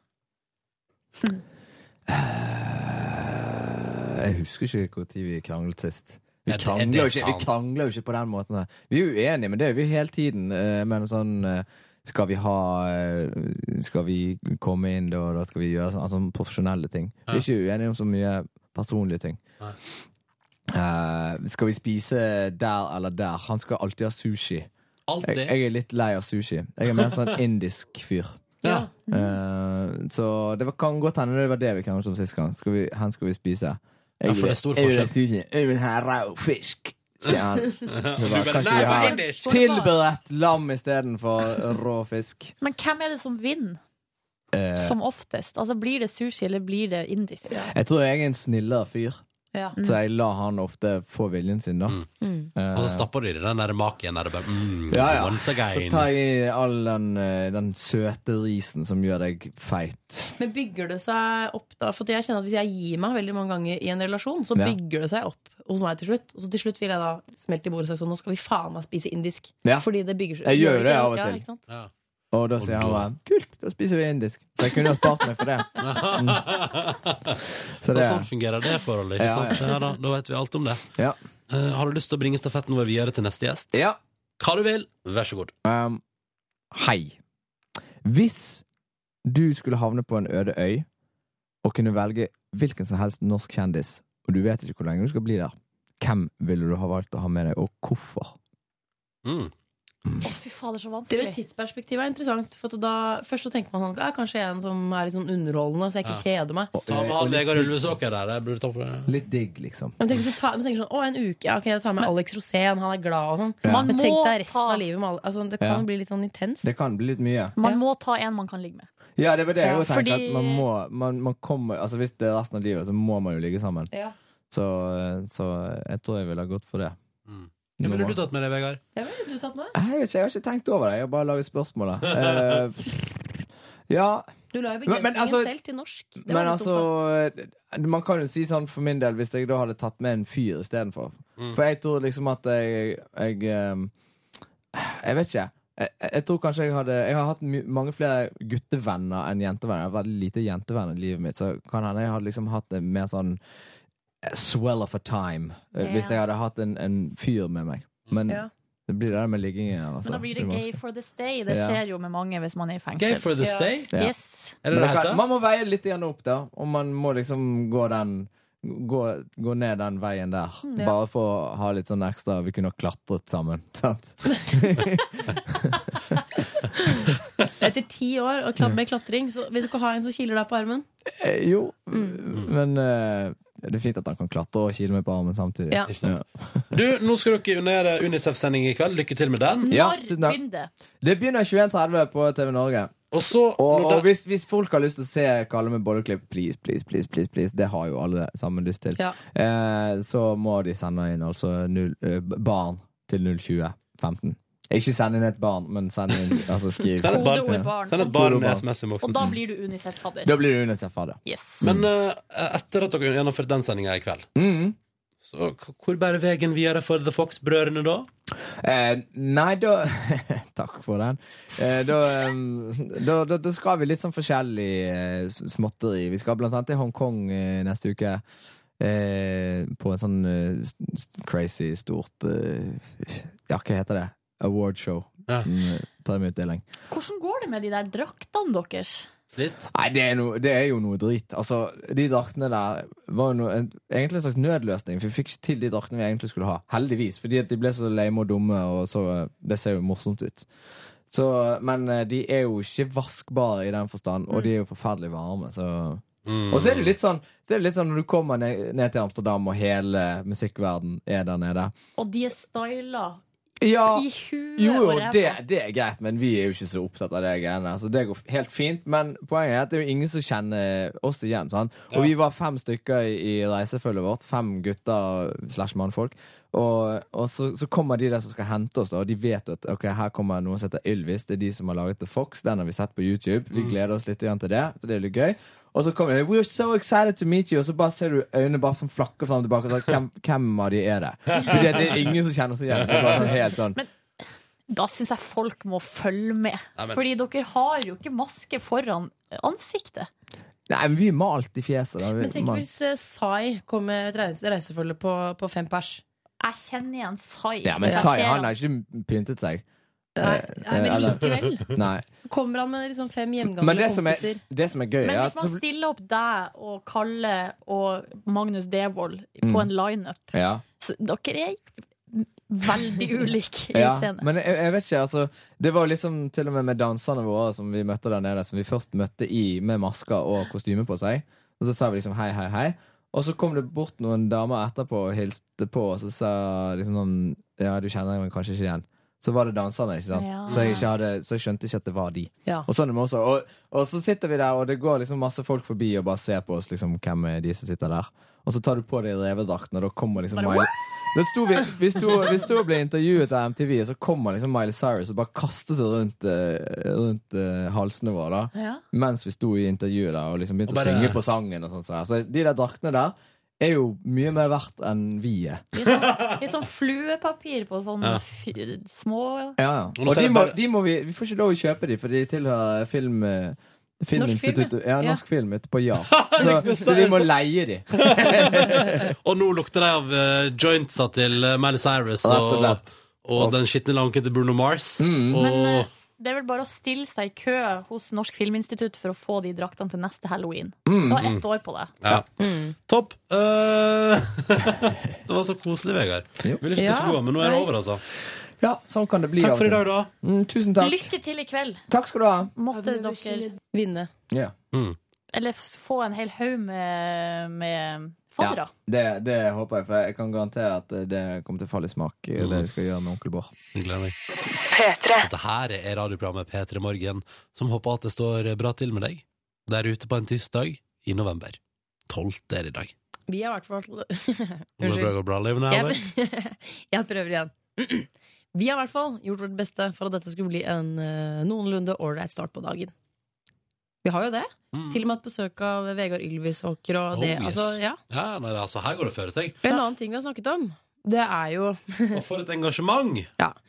Eh, Jeg husker ikke når vi kranglet sist. Vi
Ja, det-
krangler,
det er
jo
sant.
ikke, vi krangler jo ikke på den måten. her. Vi er jo uenige, men det er vi hele tiden. eh, Men sånn eh, Skal vi ha eh, Skal vi komme inn da, og da skal vi gjøre sånn altså, profesjonelle ting. Vi er ikke uenige om så mye personlige ting. Eh, skal vi spise der eller der? Han skal alltid ha sushi.
Alt
Jeg,
det.
jeg er litt lei av sushi. Jeg er mer
(laughs)
sånn indisk fyr.
Ja.
Eh, så det var, kan godt hende det var det vi kranglet om sist gang. Skal vi, hen skal vi spise?
Ja, for det er stor
jeg vil-
forskjell.
Jeg vil, jeg vil ha rå fisk, sier han. Det
Du
var,
bare,
kanskje
«Nei,
vi
for
har
indisk!»
tilberedt lam istedenfor rå fisk.
Men hvem er det som vinner,
Eh,
som oftest? Altså Blir det sushi, eller blir det indisk?
jeg tror jeg er en snillere fyr,
Ja.
så jeg lar han ofte få viljen sin, da.
Mm.
Mm.
Eh,
Og så stapper de i den der maken der det bare mm,
ja, ja.
Once
Så
again.
tar jeg i all den, eh, den søte risen som gjør deg feit.
Men bygger det seg opp da? For jeg kjenner at hvis jeg gir meg veldig mange ganger i en relasjon, så
Ja.
bygger det seg opp hos meg til slutt. Og så til slutt vil jeg da smelte i bordet og si sånn, nå skal vi faen meg spise indisk.
Ja.
Fordi det bygger seg
Jeg gjør
ikke
det av og
ja,
til.
ikke sant?
Ja.
(laughs) Og da sier han bare 'kult, da spiser vi indisk'. Så jeg kunne jo spart meg for det.
(laughs)
Så
Og
Mm. det
sånn fungerer det forholdet. Ikke
Ja, ja.
sant? Ja, da, da vet vi alt om det.
Ja.
Eh, har du lyst til å bringe stafetten vår videre til neste gjest?
ja.
Hva du vil, vær så god.
Um, hei. Hvis du skulle havne på en øde øy og kunne velge hvilken som helst norsk kjendis, og du vet ikke hvor lenge du skal bli der, hvem ville du ha valgt å ha med deg, og hvorfor?
Mm.
Å, fy fader, så
Det med
vanskelig.
tidsperspektivet er interessant. For at da, først så tenker man sånn, ja, kanskje en som er litt sånn underholdende, så jeg ikke kjeder meg.
Og,
Ta med
Eh, og
han
litt,
Vegard Ulvesåker der. Jeg burde ta på det.
litt digg, liksom.
Men tenker, så ta, men tenker sånn, å, en uke, ja, ok, jeg tar med Alex Rosén, han er glad og sånn.
Ja.
Man
Men
må,
tenk deg resten
ta,
av livet med alle, altså, det
Ja.
kan bli litt sånn intenst.
Det kan bli litt mye.
Ja.
man må ta en man kan ligge med.
Ja, det var det jeg
Ja,
jo tenkte.
fordi-
At man må, man, man kommer, altså hvis det er resten av livet, så må man jo ligge sammen.
Ja.
Så, eh, så jeg tror jeg ville ha gått for det.
Mm.
Nå
Hvem
må-
ville du tatt med deg, Vegard?
Det ville du tatt med.
Nei, Jeg vet ikke, jeg har ikke tenkt over det. Jeg har bare laget spørsmålet. Eh, ja,
Du la jo
Men-
begrensningen
men altså-
selv til norsk. Det var
men
litt
altså
dumt,
eh, Man kan jo si sånn for min del, hvis jeg da hadde tatt med en fyr istedenfor.
Mm.
For jeg tror liksom at jeg Jeg, eh, jeg vet ikke. Jeg, jeg tror kanskje jeg hadde Jeg har hatt my mange flere guttevenner enn jentevenner. Jeg har veldig lite jentevenner i livet mitt, så kan hende jeg hadde liksom hatt en mer sånn eh, swell of a time eh, hvis jeg hadde hatt en, en fyr med meg. Men
Ja.
det blir det der med liggingen igjen. Altså.
Men da blir det
må-
gay for the stay. Det
Ja.
skjer jo med mange hvis man er i
Gay
fengsel.
for the
Ja.
stay?
Ja.
Yes.
Er det
Men
det
det kan,
heter?
man må veie litt grann opp, da. Og man må liksom gå den Gå, gå ned den veien der.
Mm, Ja.
Bare for å ha litt sånn ekstra Vi kunne ha klatret sammen.
(laughs)
(laughs) Sant?
da. Etter ti år og kla- med klatring, så vil du ikke ha en som kiler deg på armen?
Eh, jo,
Mm.
men eh, det er fint at han kan klatre og kile meg på armen samtidig.
Ja.
Ikke sant? Du, nå skal dere unere Unicef-sending i kveld. Lykke til med den.
Ja,
Når
tusen takk.
begynner det?
Det begynner 21.30 på TV Norge.
Og så
Og,
når
og
det-
hvis, hvis folk har lyst til å se Kalle med bolleklipp, please, please, please, please, please. Det har jo alle sammen lyst til.
Ja.
Eh, så må de sende inn altså null, eh, barn til 02015. Ikke send inn et barn, men send (laughs) inn altså skriv.
Send et barn.
Kodeord barn.
Send et barn en SMS i
Og
boksen.
da blir du Unicef-fadder.
Mm. Da blir du UNICEF-fadder.
Yes.
Men eh, etter at dere har gjennomført den sendinga i kveld,
Mm.
så k- hvor bærer veien videre for The Fox-brødrene da?
Eh, nei, da (laughs) Takk for den. Eh, da, eh, da, da, da skal vi litt sånn forskjellig eh, s- småtteri. Vi skal blant annet til Hongkong eh, neste uke. Eh, på en sånn eh, s- s- crazy stort eh, Ja, hva heter det? Awardshow. Mm, Premieutdeling.
Hvordan går det med de der draktene deres?
Nei, det er, noe- det er jo noe drit. Altså, de draktene der var jo noe, en, egentlig en slags nødløsning. For vi fikk ikke til de draktene vi egentlig skulle ha. Heldigvis. Fordi at de ble så lame og dumme, og så eh, Det ser jo morsomt ut. Så, men eh, de er jo ikke vaskbare i den forstand, og de er jo forferdelig varme, så Og så er det jo litt sånn, så er det litt sånn når du kommer ned, ned til Amsterdam, og hele musikkverden er der nede.
Og de er styla
Ja,
i huet
jo, jo,
og ræva.
det, det er greit, men vi er jo ikke så opptatt av det greiene. Så det går helt fint. Men poenget er at det er jo ingen som kjenner oss igjen. Sant? Og vi var fem stykker i, i reisefølget vårt. Fem gutter slash mannfolk. Og, og så, så kommer de der som skal hente oss, da, og de vet at ok, her kommer noen som heter Ylvis. Det er de som har laget The Fox. Den har vi sett på YouTube. Vi gleder oss litt igjen til det. Så det er litt gøy. Og så kommer de We're so excited to meet you Og så bare ser du øynene bare som flakker fram og tilbake. Og så, hvem, hvem av de er det? Fordi at det er ingen som kjenner oss igjen. Det er bare sånn helt sånn
Da syns jeg folk må følge med.
Nei, men-
Fordi dere har jo ikke maske foran ansiktet.
Nei, men vi er malt i fjeset. Da. Vi,
Men tenk
malt.
Hvis eh, Sai kom med et reise- reisefølge på, på fem pers
Jeg kjenner igjen Sai.
ja, men Sai han har ikke pyntet seg. Eh,
Nei, nei, men
Eller-
likevel.
Nei.
Kommer han med liksom fem
Men
hjemmegamle
det som, er,
kompiser?
det som er gøy,
Men
er at
hvis man
så-
stiller opp deg og Kalle og Magnus Devold på
Mm.
en lineup,
ja.
så dere er
(laughs)
veldig ulike i
Ja,
utseendet.
men jeg, jeg vet ikke, altså Det var jo liksom til og med med danserne våre som vi møtte der nede, som vi først møtte i med masker og kostyme på seg. Og så sa vi liksom hei, hei, hei. Og så kom det bort noen damer etterpå og hilste på, og så sa liksom sånn Ja, du kjenner meg kanskje ikke igjen. Så var det danserne, ikke sant?
Ja.
Så, jeg ikke hadde, så jeg skjønte ikke at det var de.
Ja.
Og, sånn er vi også, og, og så sitter vi der, og det går liksom masse folk forbi og bare ser på oss liksom, hvem er de som sitter der. Og så tar du på deg revedrakten, og da kommer liksom
Bare,
Miley da sto vi, vi, sto, vi sto og ble intervjuet av MTV, og så kommer liksom Miley Cyrus og bare kaster seg rundt, eh, rundt eh, halsene våre da,
Ja.
mens vi sto i intervjuet da, og liksom begynte
Og bare-
å synge på sangen. Og sånt, så, så de der draktene der er jo mye mer verdt enn vi er.
Litt sånn fluepapir på sånn
Ja.
fy- små
Ja, ja.
Og nå
Og
ser
de
jeg
må,
bare-
de må vi, vi får ikke lov å kjøpe de, for de tilhører film... eh, Filminstituttet.
ja.
Ja, norsk film ute på Jar.
det
Så, så vi må
er så-
leie de.
Mm. Og nå lukter de av eh, jointsa til eh, Miley Cyrus
Rett og Mm.
og, og, den skitne lanken til Bruno Mars. Og
Men eh, det er vel bare å stille seg i kø hos Norsk Filminstitutt for å få de draktene til neste halloween.
Mm.
Du har ett år på det.
ja.
Mm.
Topp. Eh, (laughs) det var så koselig, Vegard. Vil ikke til
Ja.
skoa, men nå er det over, altså.
Ja, sånn kan det bli.
Takk
av og
for i
til.
dag, da.
Mm, tusen takk.
Lykke til i kveld.
Takk skal du ha.
Måtte dere vinne.
Ja.
Eller f- få en hel haug med, med
Ja,
faddere.
det, det håper jeg, for jeg kan garantere at det kommer til å falle i smak. eh, Det vi skal gjøre med Onkel Bård.
Dette her er radioprogrammet P3 Morgen, som håper at det står bra til med deg der ute på en tirsdag i november. 12. er det i dag.
Vi har i hvert fall (laughs)
Går det bra,
Unnskyld.
går det bra, Liv?
Jeg, (laughs) jeg prøver igjen. (clears throat) Vi har i hvert fall gjort vårt beste for at dette skulle bli en eh, noenlunde ålreit start på dagen. Vi har jo det.
Mm.
Til og med hatt besøk av Vegard Ylvisåker
Oh,
og det. altså, ja.
ja, nei, altså, her går det føre
(laughs)
seg.
En annen ting vi har snakket om, det er jo
Og for et engasjement!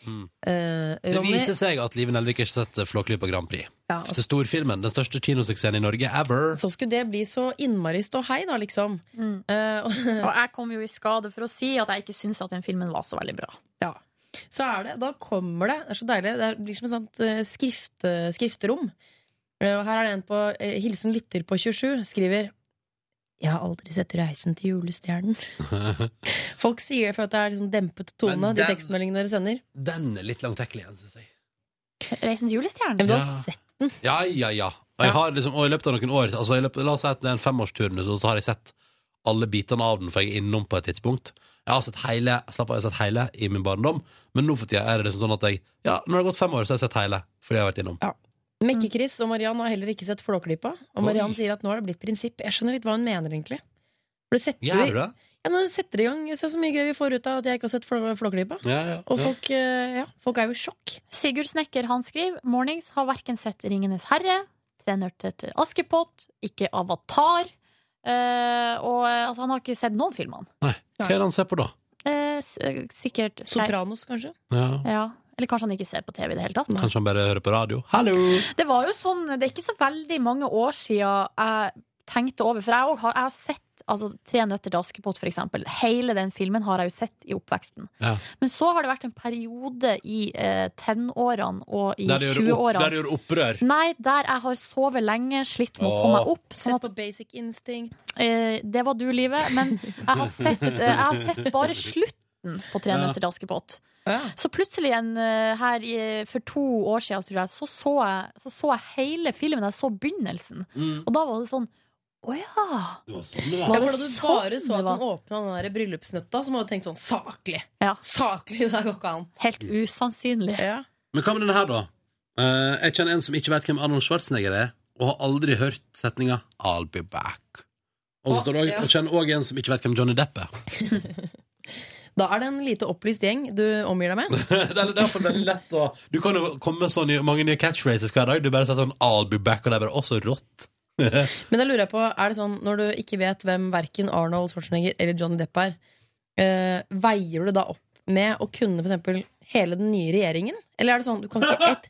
Mm.
eh,
Det
Ronny
viser seg at Live Nelvik ikke har sett Flåklypa Grand Prix.
Ja. altså-
Til storfilmen, den største kinosuksessen i Norge ever.
Så skulle det bli så innmari ståhei, da, liksom.
og jeg kom jo i skade for å si at jeg ikke syns at den filmen var så veldig bra.
(laughs) Ja. Så er det, da kommer det, det er så deilig, det blir som et sånt eh, skrift, eh, skrifterom. Eh, Og her er det en på eh, Hilsen lytter på 27, skriver Jeg har aldri sett Reisen til
(laughs)
julestjernen. Folk sier det for at det er liksom dempet tone,
Men
de
den-
tekstmeldingene dere sender.
Den er litt langtekkelig igjen, syns jeg.
Reisens julestjerne.
Men du har
Ja.
sett
Ja, ja, ja. Og, jeg har liksom, og i løpet av noen år altså i løpet, La oss si at det er en femårsturnus, og så har jeg sett alle bitene av den, for jeg er innom på et tidspunkt. Jeg har sett hele, slapp av, jeg har sett hele i min barndom, men nå for tida er det liksom sånn at jeg Ja, når det har gått fem år, så har jeg sett hele, fordi jeg har vært innom.
Mekke-Chris og Mariann har heller ikke sett Flåklypa. Og Mariann sier at nå har det blitt prinsipp. Jeg skjønner litt hva hun mener, egentlig. For det setter
Gjør du
jo
det?
ja, men det setter i gang Se så mye gøy vi får ut av at jeg ikke har sett Flå- Flåklypa.
Ja, ja,
Og
ja.
folk, eh, ja, folk er jo i sjokk.
Sigurd Snekker han skriver Mornings har verken sett Ringenes herre, Trener til Askepott, ikke Avatar. eh, og eh, altså, han har ikke sett noen filmer.
Hva er det han ser på da?
Eh, s- eh, sikkert
Sopranos, kanskje?
Ja.
Ja. Eller kanskje han ikke ser på TV i det hele tatt.
Kanskje han bare hører på radio. Hallo!
Det var jo sånn, det er ikke så veldig mange år siden jeg tenkte over, for jeg, også har, jeg har sett altså, Tre nøtter til Askepott, for eksempel. Hele den filmen har jeg jo sett i oppveksten.
Ja.
Men så har det vært en periode i eh, tenårene og i
Der det gjør, opp,
20-årene.
der det gjør opprør.
Nei, der jeg har sovet lenge, slitt med å
Åh.
komme meg opp. sånn
Sett på Basic Instinct.
Eh, det var du, livet. Men jeg har sett, eh, jeg har sett bare slutten på Tre
Ja.
nøtter til Askepott. Så plutselig en, eh, her i, for to år siden tror jeg, så, så jeg, så så jeg hele filmen. Jeg så begynnelsen.
Mm.
Og da var det sånn Å ja!
Ja,
Var
for
det
da du
sånn
bare så
det
at
var?
hun åpna den der bryllupsnøtta, så må du tenkt sånn saklig.
Ja.
Saklig, (laughs) det går ikke an.
Helt usannsynlig.
Ja.
Men hva med denne her, da? Eh, jeg kjenner en som ikke vet hvem Arnold Schwarzenegger er, og har aldri hørt setninga 'I'll be back'. Og så står det også,
ja.
jeg kjenner òg en som ikke vet hvem Johnny Depp er.
Da er det en lite opplyst gjeng du omgir deg med.
(laughs) det er derfor det er lett å Du kan jo komme med så nye, mange nye catchphrases hver dag. Du bare sier sånn 'I'll be back', og det er bare også rått.
Men da lurer jeg på, er det sånn når du ikke vet hvem verken Arnold Schwarzenegger eller Johnny Depp er, eh, veier du det da opp med å kunne for eksempel hele den nye regjeringen? Eller er det sånn du kan ikke et,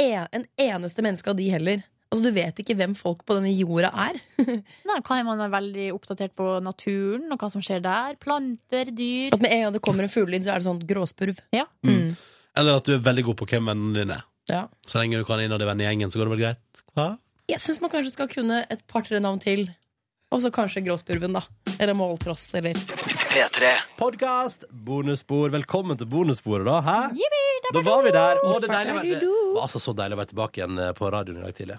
en, en eneste menneske av de heller? Altså Du vet ikke hvem folk på denne jorda er? (laughs)
Nei, kan man være veldig oppdatert på naturen og hva som skjer der. Planter, dyr.
At med en gang det kommer en fuglelyd, så er det sånn gråspurv?
Ja.
Eller at du er veldig god på hvem vennene dine er.
Ja.
Så lenge du kan innad i vennegjengen, så går det vel greit? Hva?
Jeg syns man kanskje skal kunne et par-tre navn til. Og så kanskje gråspurven, da. Eller måltross, eller
Podkast, bonusspor. Velkommen til bonussporet, da. Hæ?
Jippi,
Da var vi der. Å, det, er deilig å være- det
dabba-dabba-dabba-dabba.
var altså så deilig å være tilbake igjen eh, på radioen i dag tidlig.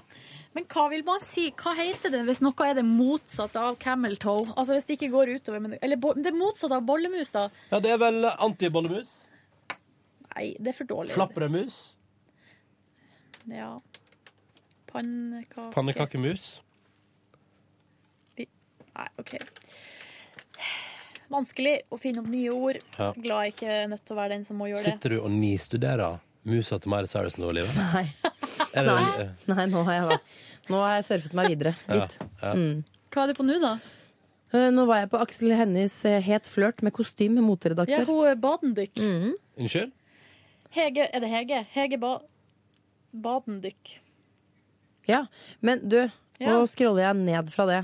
Men hva vil man si? Hva heter det hvis noe er det motsatte av camel toe? Altså hvis det ikke går utover men- Eller bo- det motsatte av bollemusa.
Ja, det er vel antibollemus.
Nei, det er for dårlig.
Flappremus.
Ja. Pannekake
Pannekakemus.
Nei, OK. Vanskelig å finne opp nye ord.
Ja.
Glad jeg ikke er nødt til å være den som må gjøre det.
Sitter du og nistuderer musa til Miley Cyrus nå, Live?
Nei.
Er det, Eh,
Nei. Nei, nå har jeg da Nå har jeg surfet meg videre
Ja,
litt.
ja.
Mm.
Hva er det på nå, da?
Eh, Nå var jeg på Aksel Hennies eh, Het flørt med kostyme,
Ja,
moteredaktør.
hun er Badendyk.
Unnskyld?
Hege, er det Hege? Hege ba Badendyk.
Ja. Men du, nå
Ja.
scroller jeg ned fra det.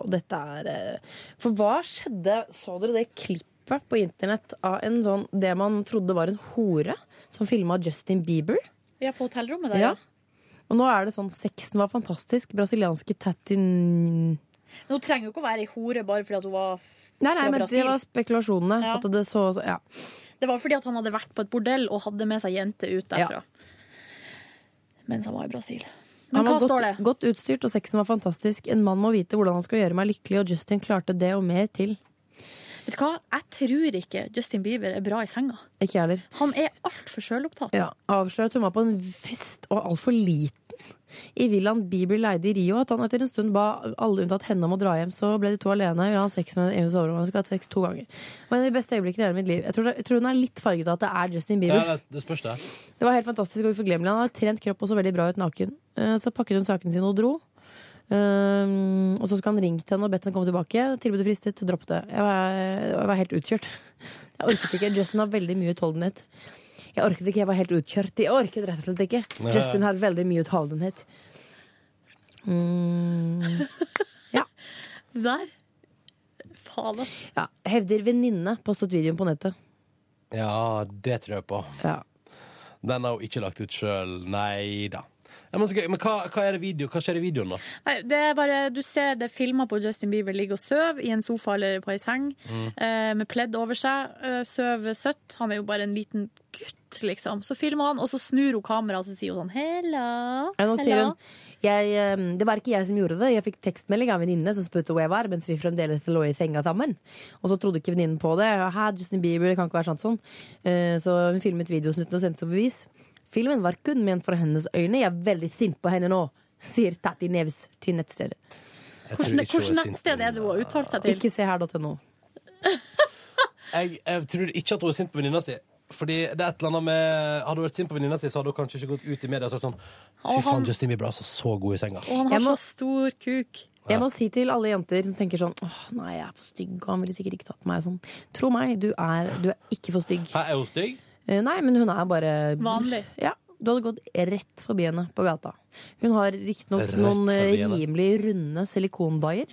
Og dette er eh, For hva skjedde? Så dere det klippet på internett av en sånn det man trodde var en hore, som filma Justin Bieber?
Ja, på hotellrommet der,
Ja. Og nå er det sånn 'Sexen var fantastisk', brasilianske Tatin...
Men hun trenger jo ikke å være ei hore bare fordi at hun var f-
Nei, nei,
fra
men det
Brasil.
var spekulasjonene.
Ja.
At det så, ja.
Det var fordi at han hadde vært på et bordell og hadde med seg jente ut derfra. Mens han var i Brasil. Men
Han var
hva står
godt,
det?
godt utstyrt, og sexen var fantastisk. En mann må vite hvordan han skal gjøre meg lykkelig, og Justin klarte det og mer til.
Vet du hva? Jeg tror ikke Justin Bieber er bra i senga.
Ikke jeg heller.
Han er altfor sjølopptatt.
Ja, Avslører at hun var på en fest og altfor liten i villaen Bieber leide i Rio. At han etter en stund ba alle unntatt henne om å dra hjem. Så ble de to alene. Hun hadde sex med en i soverommet. Hun skulle hatt sex to ganger. Det var en av de beste øyeblikkene i hele mitt liv. Jeg tror, det, jeg tror hun er litt farget av at det er Justin Bieber.
Ja, det, det spørs, det.
Det var helt fantastisk og uforglemmelig. Han hadde trent kropp og så veldig bra ut naken. Eh, Så pakket hun sakene sine og dro. Um, og så skulle han ringt henne og bedt henne komme tilbake. Tilbudet fristet, hun droppet det. Jeg var, jeg var helt utkjørt. (laughs) Jeg orket ikke. Justin har veldig mye utholdenhet. Jeg orket ikke, jeg var helt utkjørt. Jeg orket rett og slett ikke.
Nei.
Justin har veldig mye utholdenhet. Mm,
Der. Faen, ass.
ja. Hevder venninne, postet videoen på nettet.
Ja, det tror jeg på.
Ja.
Den har hun ikke lagt ut sjøl. Nei da. Ja, men så gøy. men hva, hva, er det video? hva skjer i videoen, da?
Nei, det er bare, du ser det er filmer på Justin Bieber ligger og sover i en sofa eller på ei seng
Mm.
eh, med pledd over seg. Eh, sover søtt. Han er jo bare en liten gutt, liksom. Så filmer han, og så snur hun kameraet og så sier hun sånn 'hello'.
Ja, nå sier
hello».
hun jeg, ehm, Det var ikke jeg som gjorde det. Jeg fikk tekstmelding av en venninne som spurte hvor jeg var, mens vi fremdeles lå i senga sammen. Og så trodde ikke venninnen på det. Hæ, Justin Bieber, det kan ikke være sant sånn. Eh, Så hun filmet videosnutten og sendte som bevis. Filmen var kun ment for hennes øyne. Jeg er veldig sint på henne nå, sier Tatti Neves til nettstedet.
Hvordan, hvordan nettsted er det hun har uttalt seg til?
Ikke se her.no.
Jeg, jeg tror ikke at hun er sint på venninna si. Fordi det er et eller annet med Hadde hun vært sint på venninna si, så hadde hun kanskje ikke gått ut i media og sagt sånn Fy
Og han-
faen, Justin Bieber er altså så god i senga.
Og han har
Jeg må-
så stor kuk.
Jeg må si til alle jenter som tenker sånn Åh, nei, jeg er for stygg, og han ville sikkert ikke tatt meg sånn. Tro meg, du er, du er ikke for stygg.
Hæ, er hun stygg?
Eh, Nei, men hun er bare
Vanlig.
Ja, du hadde gått rett forbi henne på gata. Hun har riktignok
Rett
noen eh,
forbi henne.
rimelig runde silikonbayer,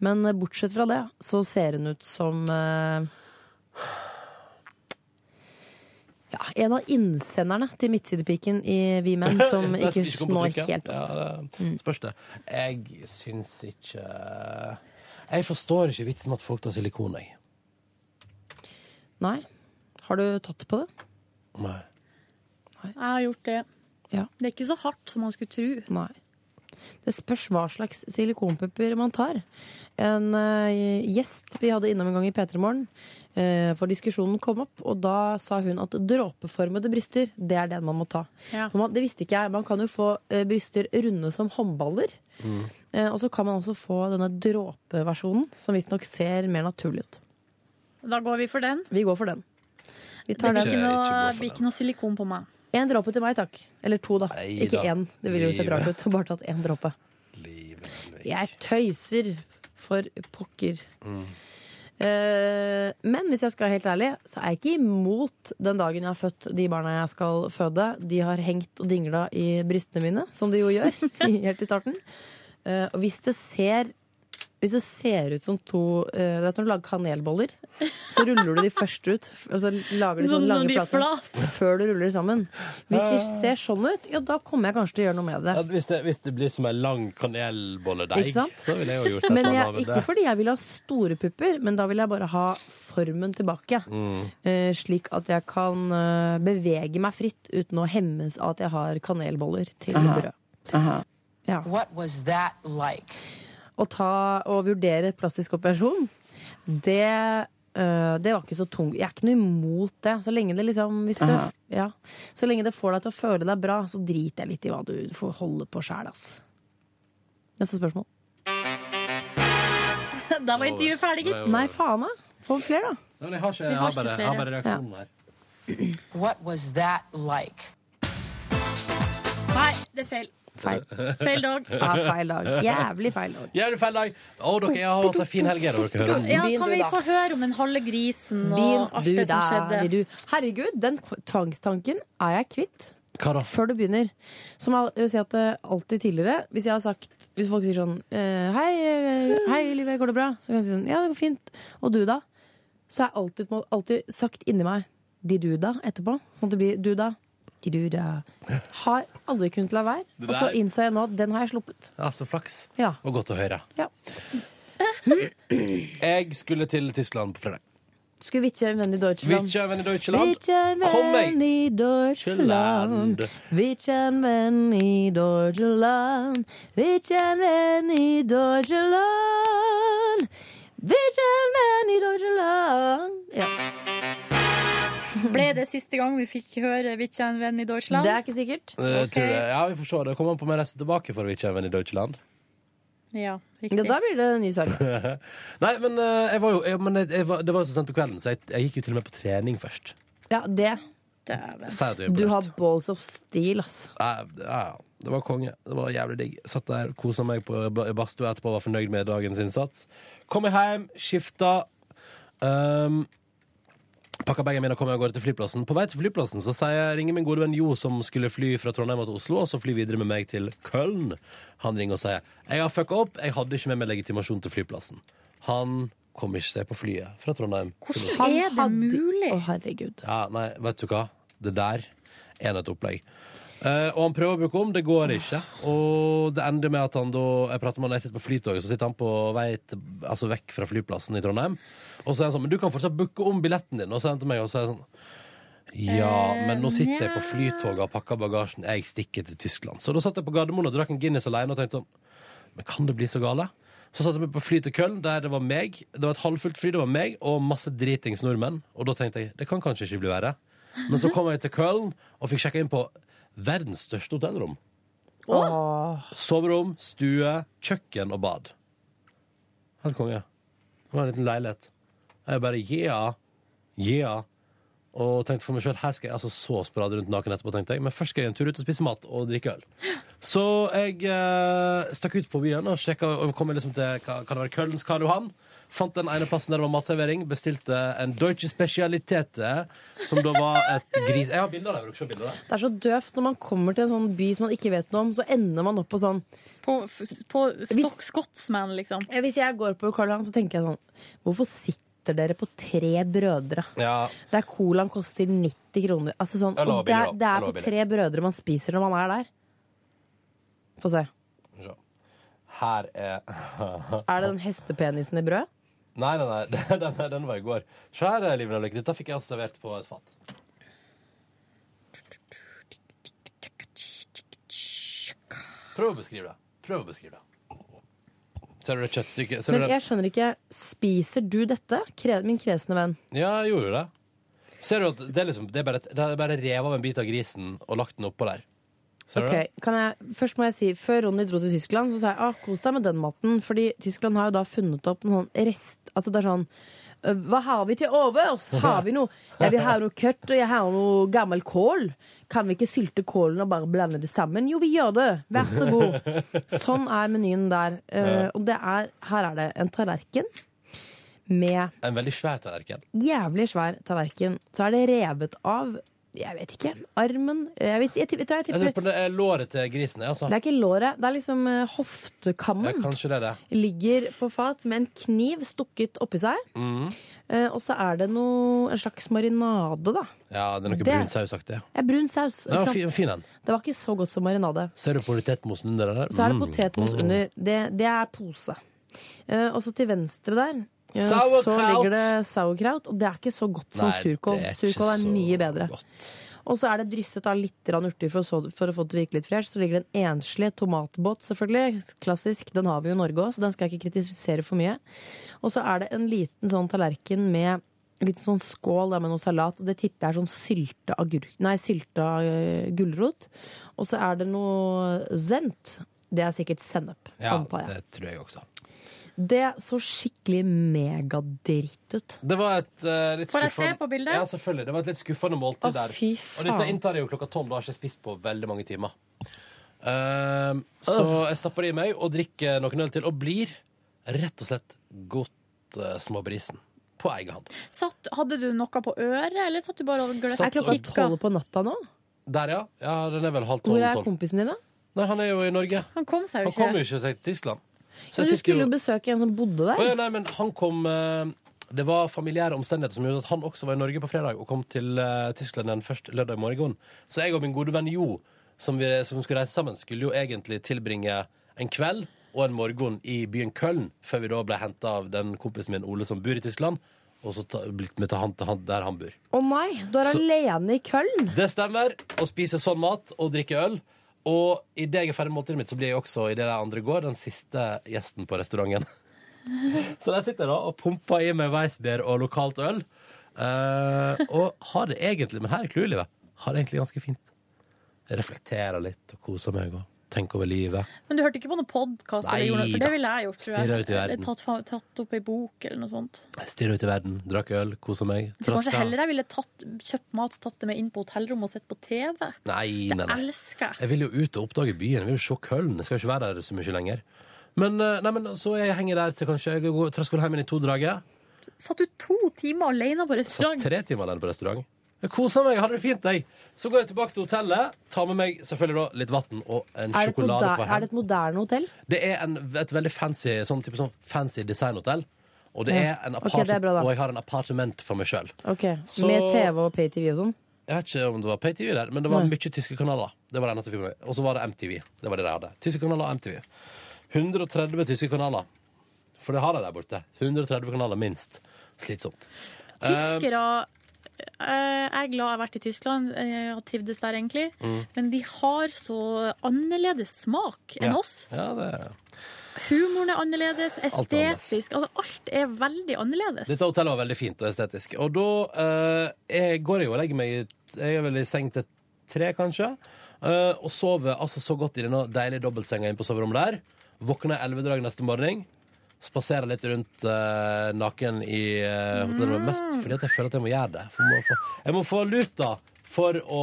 men eh, bortsett fra det så ser hun ut som eh, ja, en av innsenderne til Midtsidepiken i Vi menn som
Jeg
ikke
skal komme på
når
trykket.
helt Mm. opp.
Ja, det spørs det. Jeg syns ikke Jeg forstår ikke vitsen med at folk tar silikon, jeg.
Nei. Har du tatt på det?
Nei.
Jeg har gjort det.
Ja.
Det er ikke så hardt som man skulle tro.
Nei. Det spørs hva slags silikonpupper man tar. En eh, gjest vi hadde innom en gang i P3 Morgen, eh, for diskusjonen kom opp, og da sa hun at dråpeformede bryster, det er den man må ta. For man, det visste ikke jeg. Man kan jo få eh, bryster runde som håndballer.
Mm.
eh, og så kan man også få denne dråpeversjonen, som visstnok ser mer naturlig ut.
Da går vi for den.
Vi går for den. Vi
Det
tar
blir
den.
ikke noe, blir ikke noe silikon på meg.
En dråpe til meg, takk. Eller to, da. ikke
da.
én. Det ville jo sett
Livet.
rart ut. Bare tatt én dråpe. Jeg tøyser for pokker. Eh, Men hvis jeg skal være helt ærlig, så er jeg ikke imot den dagen jeg har født de barna jeg skal føde. De har hengt og dingla i brystene mine, som de jo gjør (laughs) helt i starten. Eh, Og hvis det ser hvis det ser ut som to eh, Du vet når du lager kanelboller, så ruller du de først ut. f- Altså lager de
Når-
sånne
når
lange
de er
flater før du ruller de sammen. Hvis de ser sånn ut, ja, da kommer jeg kanskje til å gjøre noe med det.
Ja, hvis, det, hvis det blir som en lang kanelbolledeig,
Ikke sant?
så ville jeg jo gjort et
Men
eller
jeg,
annet med
ikke fordi jeg vil ha store pupper, men da vil jeg bare ha formen tilbake.
Mm.
Eh, slik at jeg kan eh, bevege meg fritt uten å hemmes av at jeg har kanelboller til
Aha.
brød. Ja. Å ta og vurdere plastisk operasjon, det eh, det var ikke så tungt. Jeg er ikke noe imot det. Så lenge det, liksom, hvis det,
Aha.
ja, så lenge det får deg til å føle deg bra, så driter jeg litt i hva du får holde på sjæl. Neste spørsmål.
Der var intervjuet ferdig, gitt.
Nei, faen da. Få flere, da.
Nei, men jeg har ikke,
Vi
jeg
har
har
ikke
bare, jeg har bare
flere.
reaksjonen her.
What was that like?
Nei, det er feil.
Feil.
Feil dag.
(laughs) Ja, feil dag. Jævlig feil dag.
Jævlig feil dag! Å, dere jeg har hatt en fin helg, er det dere hører?
Ja,
Begynn
kan
du,
vi
da.
få høre om den halve grisen
Begynn
og alt
du
det som
da,
skjedde?
vil du. Herregud, den k- tvangstanken er jeg kvitt.
Hva da?
Før du begynner. Som al- jeg vil si at eh, alltid tidligere, hvis jeg har sagt Hvis folk sier sånn eh, Hei, eh, hei livet, går det bra? Så kan jeg si sånn Ja, det går fint. Og du, da? Så har jeg alltid, må- alltid sagt inni meg de du, da, etterpå. Sånn at det blir du, da. De du, da. Har aldri kunnet la være.
Det
Og så
der-
innså jeg nå at den har jeg sluppet.
Ja, så flaks.
Ja.
Og godt å høre.
Ja.
Jeg skulle til Tyskland på fredag.
Skulle vi ikke vende i Deutschland?
Vitcher, venner Deutschland.
Hvilken
Kom
venn
meg!
i Deutschland?
Deutschland.
Hvilken venn i Deutschland? Hvilken venn i Deutschland? Hvilken venn i Deutschland? Ja.
Ble det siste gang vi fikk høre 'Vitja en venn i Deutschland'?
Det er ikke sikkert.
Eh,
Ok.
tror jeg. Ja, vi får se. Det kommer an på om jeg reiser tilbake for Vitcher, venner Deutschland.
Ja,
Ja,
riktig.
da blir det en
(laughs)
ny sak.
Nei, men, eh, jeg var jo, jeg, men jeg, jeg var, det var jo så sent på kvelden, så jeg, jeg gikk jo til og med på trening først.
Ja, det.
Si at du er
Du
imponert.
har balls of steel, ass.
Ja, ja, ja. det var konge. Det var jævlig digg. Satt der, kosa meg på ba- badstua etterpå, var fornøyd med dagens innsats. Kom jeg hjem, skifta. Um, Pakka bagene mine og kom jeg av gårde til flyplassen. På vei til flyplassen så sier jeg, ringer min gode venn Jo, som skulle fly fra Trondheim til Oslo, og så fly videre med meg til Köln. Han ringer og sier jeg har fucka opp, jeg hadde ikke med meg legitimasjon til flyplassen. Han kom ikke seg på flyet fra Trondheim. til Oslo.
Er det mulig?
Å, herregud.
Ja, nei, vet du hva? Det der er et opplegg. Eh, og han prøver å bruke om, det går ikke. Og det ender med at han da Jeg prater med han jeg sitter på flytoget, så sitter han på vei til, altså vekk fra flyplassen i Trondheim. Og så er han sånn Men du kan fortsatt booke om billetten din. Og så er han til meg og sier sånn ja, men nå sitter jeg på flytoget og pakker bagasjen. Jeg stikker til Tyskland. Så da satt jeg på Gardermoen og drakk en Guinness alene og tenkte sånn Men kan det bli så gale? Så satte jeg meg på fly til Köln, der det var meg. Det var et halvfullt fly, det var meg og masse dritings nordmenn. Og da tenkte jeg det kan kanskje ikke bli verre. Men så kom jeg til Köln og fikk sjekka inn på verdens største hotellrom.
Åh.
Soverom, stue, kjøkken og bad. Helt konge. Det var en liten leilighet. Jeg bare yeah, yeah. Og tenkte for meg selv, her skal jeg altså så sprade rundt naken etterpå, tenkte jeg. Men først skal jeg en tur ut og spise mat og drikke øl. Så jeg eh, stakk ut på byen og sjekka og kom liksom til hva, kan det være Kølens Karl Johan. Fant den ene plassen der det var matservering. Bestilte en Deutsche Specialitete, som da var (laughs) et gris... Jeg har bilder av det. vil dere se bilder av det?
Det er så døvt når man kommer til en sånn by som man ikke vet noe om, så ender man opp på sånn
På, Stock Scotsman, liksom.
Hvis jeg går på Karl Johan, så tenker jeg sånn Hvorfor sitter dere på Tre brødre?
Ja.
Der colaen koster 90 kroner. Altså sånn,
Jeg lover
og det, er-
billig, da.
det
Jeg
er
lover
på Tre brødre man spiser når man er der. Få se.
Her er
Er det den hestepenisen i brød?
Nei, nei, nei. (laughs) Den, den var i går. Se her, Liven og Lykke. Dette fikk jeg altså servert på et fat. Prøv å beskrive det. Prøv å beskrive det. Ser du det kjøttstykket? Ser du
Men
det?
jeg skjønner ikke. Spiser du dette, Kre- min kresne venn?
Ja, jeg gjorde jo det. Ser du at det er, liksom, det er bare, et- det er bare revet av en bit av grisen og lagt den oppå der. Ser du
Ok, kan jeg, først må jeg si, Før Ronny dro til Tyskland, så sa jeg ah, kos deg med den maten. Fordi Tyskland har jo da funnet opp en sånn rest Altså det er sånn «Øh, Hva har vi til overs? Har vi
(laughs)
noe? Ja, vi har noe kjøtt, og jeg har noe gammel kål. Kan vi ikke sylte kålen og bare blande det sammen? Jo, vi gjør det. Vær så
(laughs)
god. Sånn er menyen der. Eh,
Ja.
og det er, her er det en tallerken med
det? En veldig svær tallerken.
jævlig svær tallerken. Så er det revet av jeg vet ikke. Armen jeg vet, jeg, vet, du hva, jeg
Jeg
tipper
tror på det er låret til grisen. ja, Altså.
det er ikke låret, det er liksom eh, hoftekammen.
Ja, kanskje det er det.
Ligger på fat med en kniv stukket oppi seg.
Mm.
Eh, og så er det noe, en slags marinade, da.
Ja, det er noe
Det-
brun sausaktig.
Ja, brun saus.
Det
ikke
var
sant?
fin, fin en.
Det var ikke så godt som marinade.
Ser du potetmosen under der?
Så er det
Mm.
potetmos
Mm.
under. Det, det er pose. Eh, og så til venstre der eh, så
Sauerkraut.
ligger det sauerkraut. Og det er ikke så godt som
Nei,
surkål.
det er ikke
Surkål er
så
mye bedre. Og så er det drysset av litt grann urter for, å så- for å få det til å virke litt fresh. Så ligger det en enslig tomatbåt, selvfølgelig. Klassisk. Den har vi jo i Norge òg, så den skal jeg ikke kritisere for mye. Og så er det en liten sånn tallerken med en liten sånn skål da, med noe salat, og det tipper jeg er sånn sylta agurk... Nei, sylta øh, gulrot. Og så er det noe zent. Det er sikkert sennep,
Ja,
antar jeg.
det tror jeg også.
Det så skikkelig megadritt ut.
Det var et eh, litt
Får jeg
skuffende
se på bildet?
Ja, selvfølgelig. Det var et litt skuffende måltid
Å,
der.
fy
Og dette
faen.
inntar jeg jo klokka tolv. Da har jeg ikke spist på veldig mange timer. Ehm, så
Åh.
jeg stapper det i meg og drikker noen øl til og blir rett og slett godt eh, småbrisen. På egen hånd.
Satt, hadde du noe på øret, eller satt du bare og gløtt?
Er klokka tolv
på natta nå?
Der, ja. ja. Den er vel halv tolv.
Hvor er
tolv.
kompisen din, da?
Nei, Han er jo i Norge.
Han kom seg jo
Han kom jo
ikke.
ikke seg til Tyskland. Så
Men
jeg
du
sitter
skulle
jo-
jo besøke en som bodde der.
Å, ja, nei, men han kom eh, Det var familiære omstendigheter som gjorde at han også var i Norge på fredag og kom til eh, Tyskland den første lørdag morgen. Så jeg og min gode venn Jo, som, vi, som skulle reise sammen, skulle jo egentlig tilbringe en kveld og en morgen i byen Køln, før vi da ble henta av den kompisen min Ole som bor i Tyskland, og så ta, blitt med til han, til han der han bor.
Å nei, du er
Så-
alene i Køln!
Det stemmer. Å spise sånn mat og drikke øl. Og idet jeg er ferdig med måltidet mitt, så blir jeg også i det der andre går, den siste gjesten på restauranten. Så der sitter jeg da og pumper i meg Weissbier og lokalt øl. Eh, og har det egentlig, men her er clouet i livet, har det egentlig ganske fint. Jeg reflekterer litt og koser meg og tenker over livet.
Men du hørte ikke på noen podkast?
Nei
For
da.
det ville jeg gjort, tror
Stirret
jeg.
ut i verden.
Jeg Tatt, fa- tatt opp ei bok eller noe sånt.
Stirrer ut i verden, drakk øl, koser meg.
Jeg tror kanskje
traska.
heller jeg ville tatt, kjøpt mat og tatt det med inn på hotellrommet og sett på TV.
Nei, nei,
Det
nei.
elsker jeg.
Jeg vil jo ut og oppdage byen. Jeg vil jo se Køln. Jeg skal jo ikke være der så mye lenger. Men, eh, nei, men så jeg henger der til kanskje Jeg går trasker hjem igjen i to draget.
Satt du to timer alene på
Satt
restaurant?
tre timer alene på restaurant. Jeg koser meg, jeg hadde det fint. jeg Så går jeg tilbake til hotellet, tar med meg selvfølgelig da litt vann og en
Er det, et
sjokolade
moder-
på hver
er det
hånd.
et moderne hotell?
Det er en, et veldig fancy sånn type sånn fancy designhotell. Og det
Ja.
er en
Ok, det er
aparte-
bra da.
og jeg har en appartement for meg sjøl.
Ok,
Så-
Med TV og pay-TV og sånn?
Jeg vet ikke om det var PayTV der, men det var
Nei.
mye tyske kanaler. Det var det eneste jeg fikk med meg. Og så var det MTV. Det var det de hadde. Tyske kanaler og MTV. 130 tyske kanaler. For det har de der borte. 130 kanaler, minst. Slitsomt. Eh,
Tyskere eh, Jeg er glad jeg har vært i Tyskland eh, og trivdes der, egentlig.
Mm.
Men de har så annerledes smak enn
ja.
oss.
Ja, det er
Humoren er annerledes,
Alt er annerledes.
estetisk altså Alt er veldig annerledes.
Dette hotellet var veldig fint og estetisk. Og da eh, jeg går jeg og legger meg i Jeg er vel i seng til tre, kanskje. eh, og sover altså så godt i denne deilige dobbeltsenga inne på soverommet der. Våkner elleve drag neste morgen. Spasere litt rundt eh, naken i eh, hotellet. men Mest fordi at jeg føler at jeg må gjøre det. For jeg, må få, jeg må få luta for å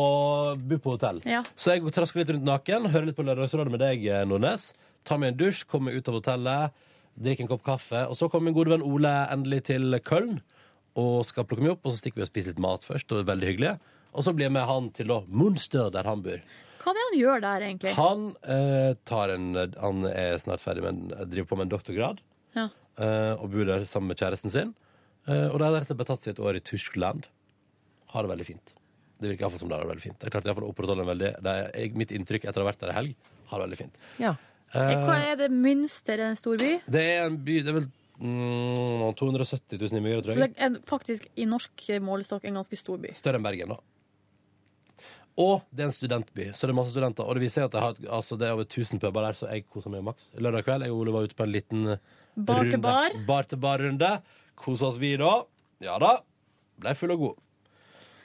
bo på hotell.
Ja.
Så jeg trasker litt rundt naken, hører litt på Lørdagsrådet med deg, eh, Nordnes. Tar meg en dusj, kommer meg ut av hotellet, drikker en kopp kaffe. Og så kommer min gode venn Ole endelig til Køln og skal plukke meg opp. Og så stikker vi og spiser litt mat først, og det er veldig hyggelig. Og så blir jeg med han til da Munster, der han bor.
Hva er det han gjør der, egentlig?
Han, eh, tar en, han er snart ferdig med en, driver på med en doktorgrad
Ja.
eh, og bor der sammen med kjæresten sin. Eh, og de har deretter betatt seg et år i Tyskland. Har det veldig fint. Det virker iallfall som det har det veldig fint. Jeg klarte i hvert fall å opprettholde en veldig, det er, mitt inntrykk etter å ha vært der i helg, har det veldig fint.
Ja.
Eh,
Hva er det Münster, en storby?
det er en by Det er vel mm, 270 000 innbyggere,
Så
tror
det
jeg.
er faktisk i norsk målestokk en ganske stor by.
Større enn Bergen, da. Og det er en studentby, så det er masse studenter. Og det viser seg at jeg har, et- altså, det er over 1000 puber der, så jeg koser meg maks. Lørdag kveld jeg og Ole var ute på en liten
Bar til
runde.
bar.
Bar til bar-runde. Kosa oss, vi, da. Ja da. Blei full og god.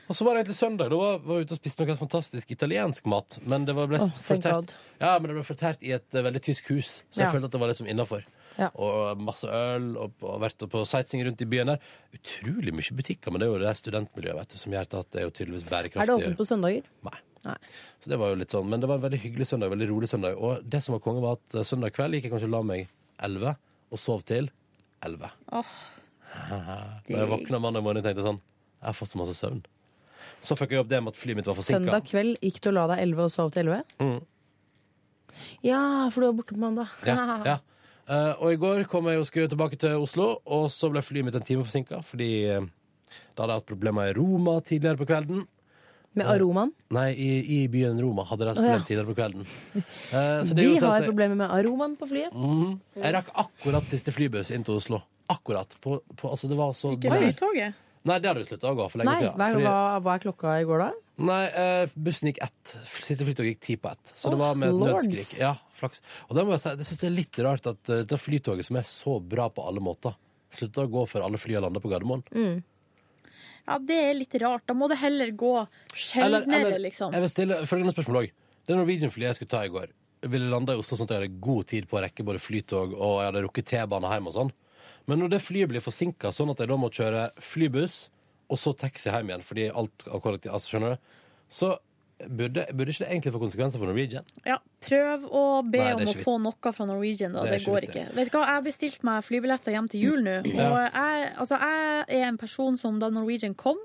Og så var det egentlig søndag. Da var, var jeg ute og spiste noe fantastisk italiensk mat. Men det var ble
thank
fortært,
God.
ja, men det ble fortært i et eh, veldig tysk hus, så jeg
Ja.
følte at det var liksom innafor.
Ja.
Og masse øl, og, og vært på sightseeing rundt i byen der. Utrolig mye butikker, men det er jo det der studentmiljøet vet du, som gjør at det er jo tydeligvis bærekraftig.
Er det åpent på søndager?
Så det var jo litt sånn, Men det var en veldig hyggelig søndag. veldig rolig søndag Og det som var konge, var at eh, søndag kveld gikk jeg kanskje og la meg elleve, og sov til elleve. Når jeg
Digg.
våkna mandag morgen tenkte jeg sånn Jeg har fått så masse søvn. Så fikk jeg opp det med at flyet mitt var forsinka.
Søndag kveld gikk du og la deg 11 og sov til 11?
Mm.
Ja, for du var borte på mandag.
Ja, ja. Eh, og i går kom jeg og skulle tilbake til Oslo, og så ble flyet mitt en time forsinka fordi eh, da hadde jeg hatt problemer i Roma tidligere på kvelden.
Med aromaen.
Nei, i, i byen Roma hadde jeg hatt
Å, ja.
problemer tidligere på kvelden. Eh, så det
Vi
gjorde at
har
jeg-
problemer med aromaen på flyet.
Mhm. Jeg rakk akkurat siste flybuss inn til Oslo. Akkurat. På, på, altså, det var så
Ikke flytoget?
Nei, det hadde jo slutta å gå for lenge
Nei,
siden.
hva,
fordi-
hva, hva er klokka i går, da?
Nei, eh, bussen gikk ett. Siste flytog gikk ti på ett. Så det
Åh,
var med et
lords.
nødskrik. Ja, flaks. Og det må jeg si, jeg synes det er litt rart at eh, det flytoget som er så bra på alle måter, slutter å gå før alle flyene lander på Gardermoen.
Ja, det er litt rart. Da må det heller gå
Eller-
sjeldnere,
eller-
liksom.
Jeg vil stille følgende spørsmål òg. Det Norwegian-flyet jeg skulle ta i går, ville landa i Oslo sånn at jeg hadde god tid på å rekke både flytog og jeg hadde rukket T-bane hjem og sånn. Men når det flyet blir forsinka sånn at jeg da må kjøre flybuss og så taxi hjem igjen fordi alt av kollektiv Altså, skjønner du? Så burde, burde ikke det egentlig få konsekvenser for Norwegian?
Ja, prøv å be
Nei, det er
om å
ikke vits.
få noe fra Norwegian, da.
Det er
Det,
ikke
går
vits,
ikke.
ja.
Vet du hva, jeg bestilte meg flybilletter hjem til jul nå. Og
Ja.
jeg, altså, jeg er en person som da Norwegian kom,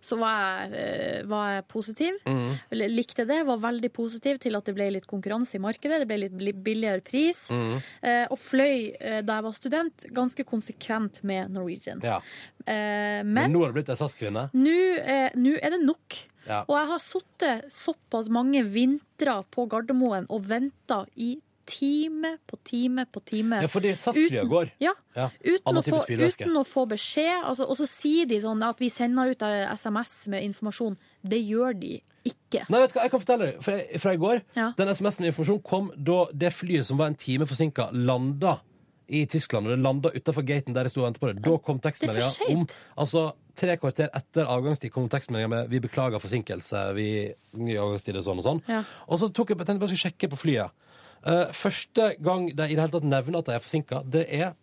så var jeg, eh, var jeg positiv.
Mhm.
Eller Likte det, var veldig positiv til at det ble litt konkurranse i markedet. Det ble litt bli- billigere pris.
Mm.
Eh, Og fløy eh, da jeg var student, ganske konsekvent med Norwegian.
Ja.
Eh,
Men,
Men
nå har det blitt ei SAS-kvinne.
nå eh, nå er det nok.
Ja.
Og jeg har sittet såpass mange vintre på Gardermoen og venta i time på time på time.
Ja, fordi SAS-flyet
Uten-
går.
Ja,
Ja.
Uten å,
Annen
få,
type spylevæske.
uten å få beskjed. Altså, og så sier de sånn at vi sender ut eh, SMS med informasjon. Det gjør de ikke.
Nei, vet du hva, jeg kan fortelle deg fra, fra i går.
Ja.
Den SMS-en informasjon kom da det flyet som var en time forsinka, landa i Tyskland. Og det landa utafor gaten der jeg sto og ventet på det. Da kom
Det er
tekstmeldinga
for
om Altså, tre kvarter etter avgangstid kom tekstmeldinga med 'Vi beklager forsinkelse', vi ny avgangstid og sånn og sånn.
Ja.
Og så tok jeg, jeg tenkte jeg bare skulle sjekke på flyet. Eh, første gang de i det hele tatt nevner at de er forsinka, det er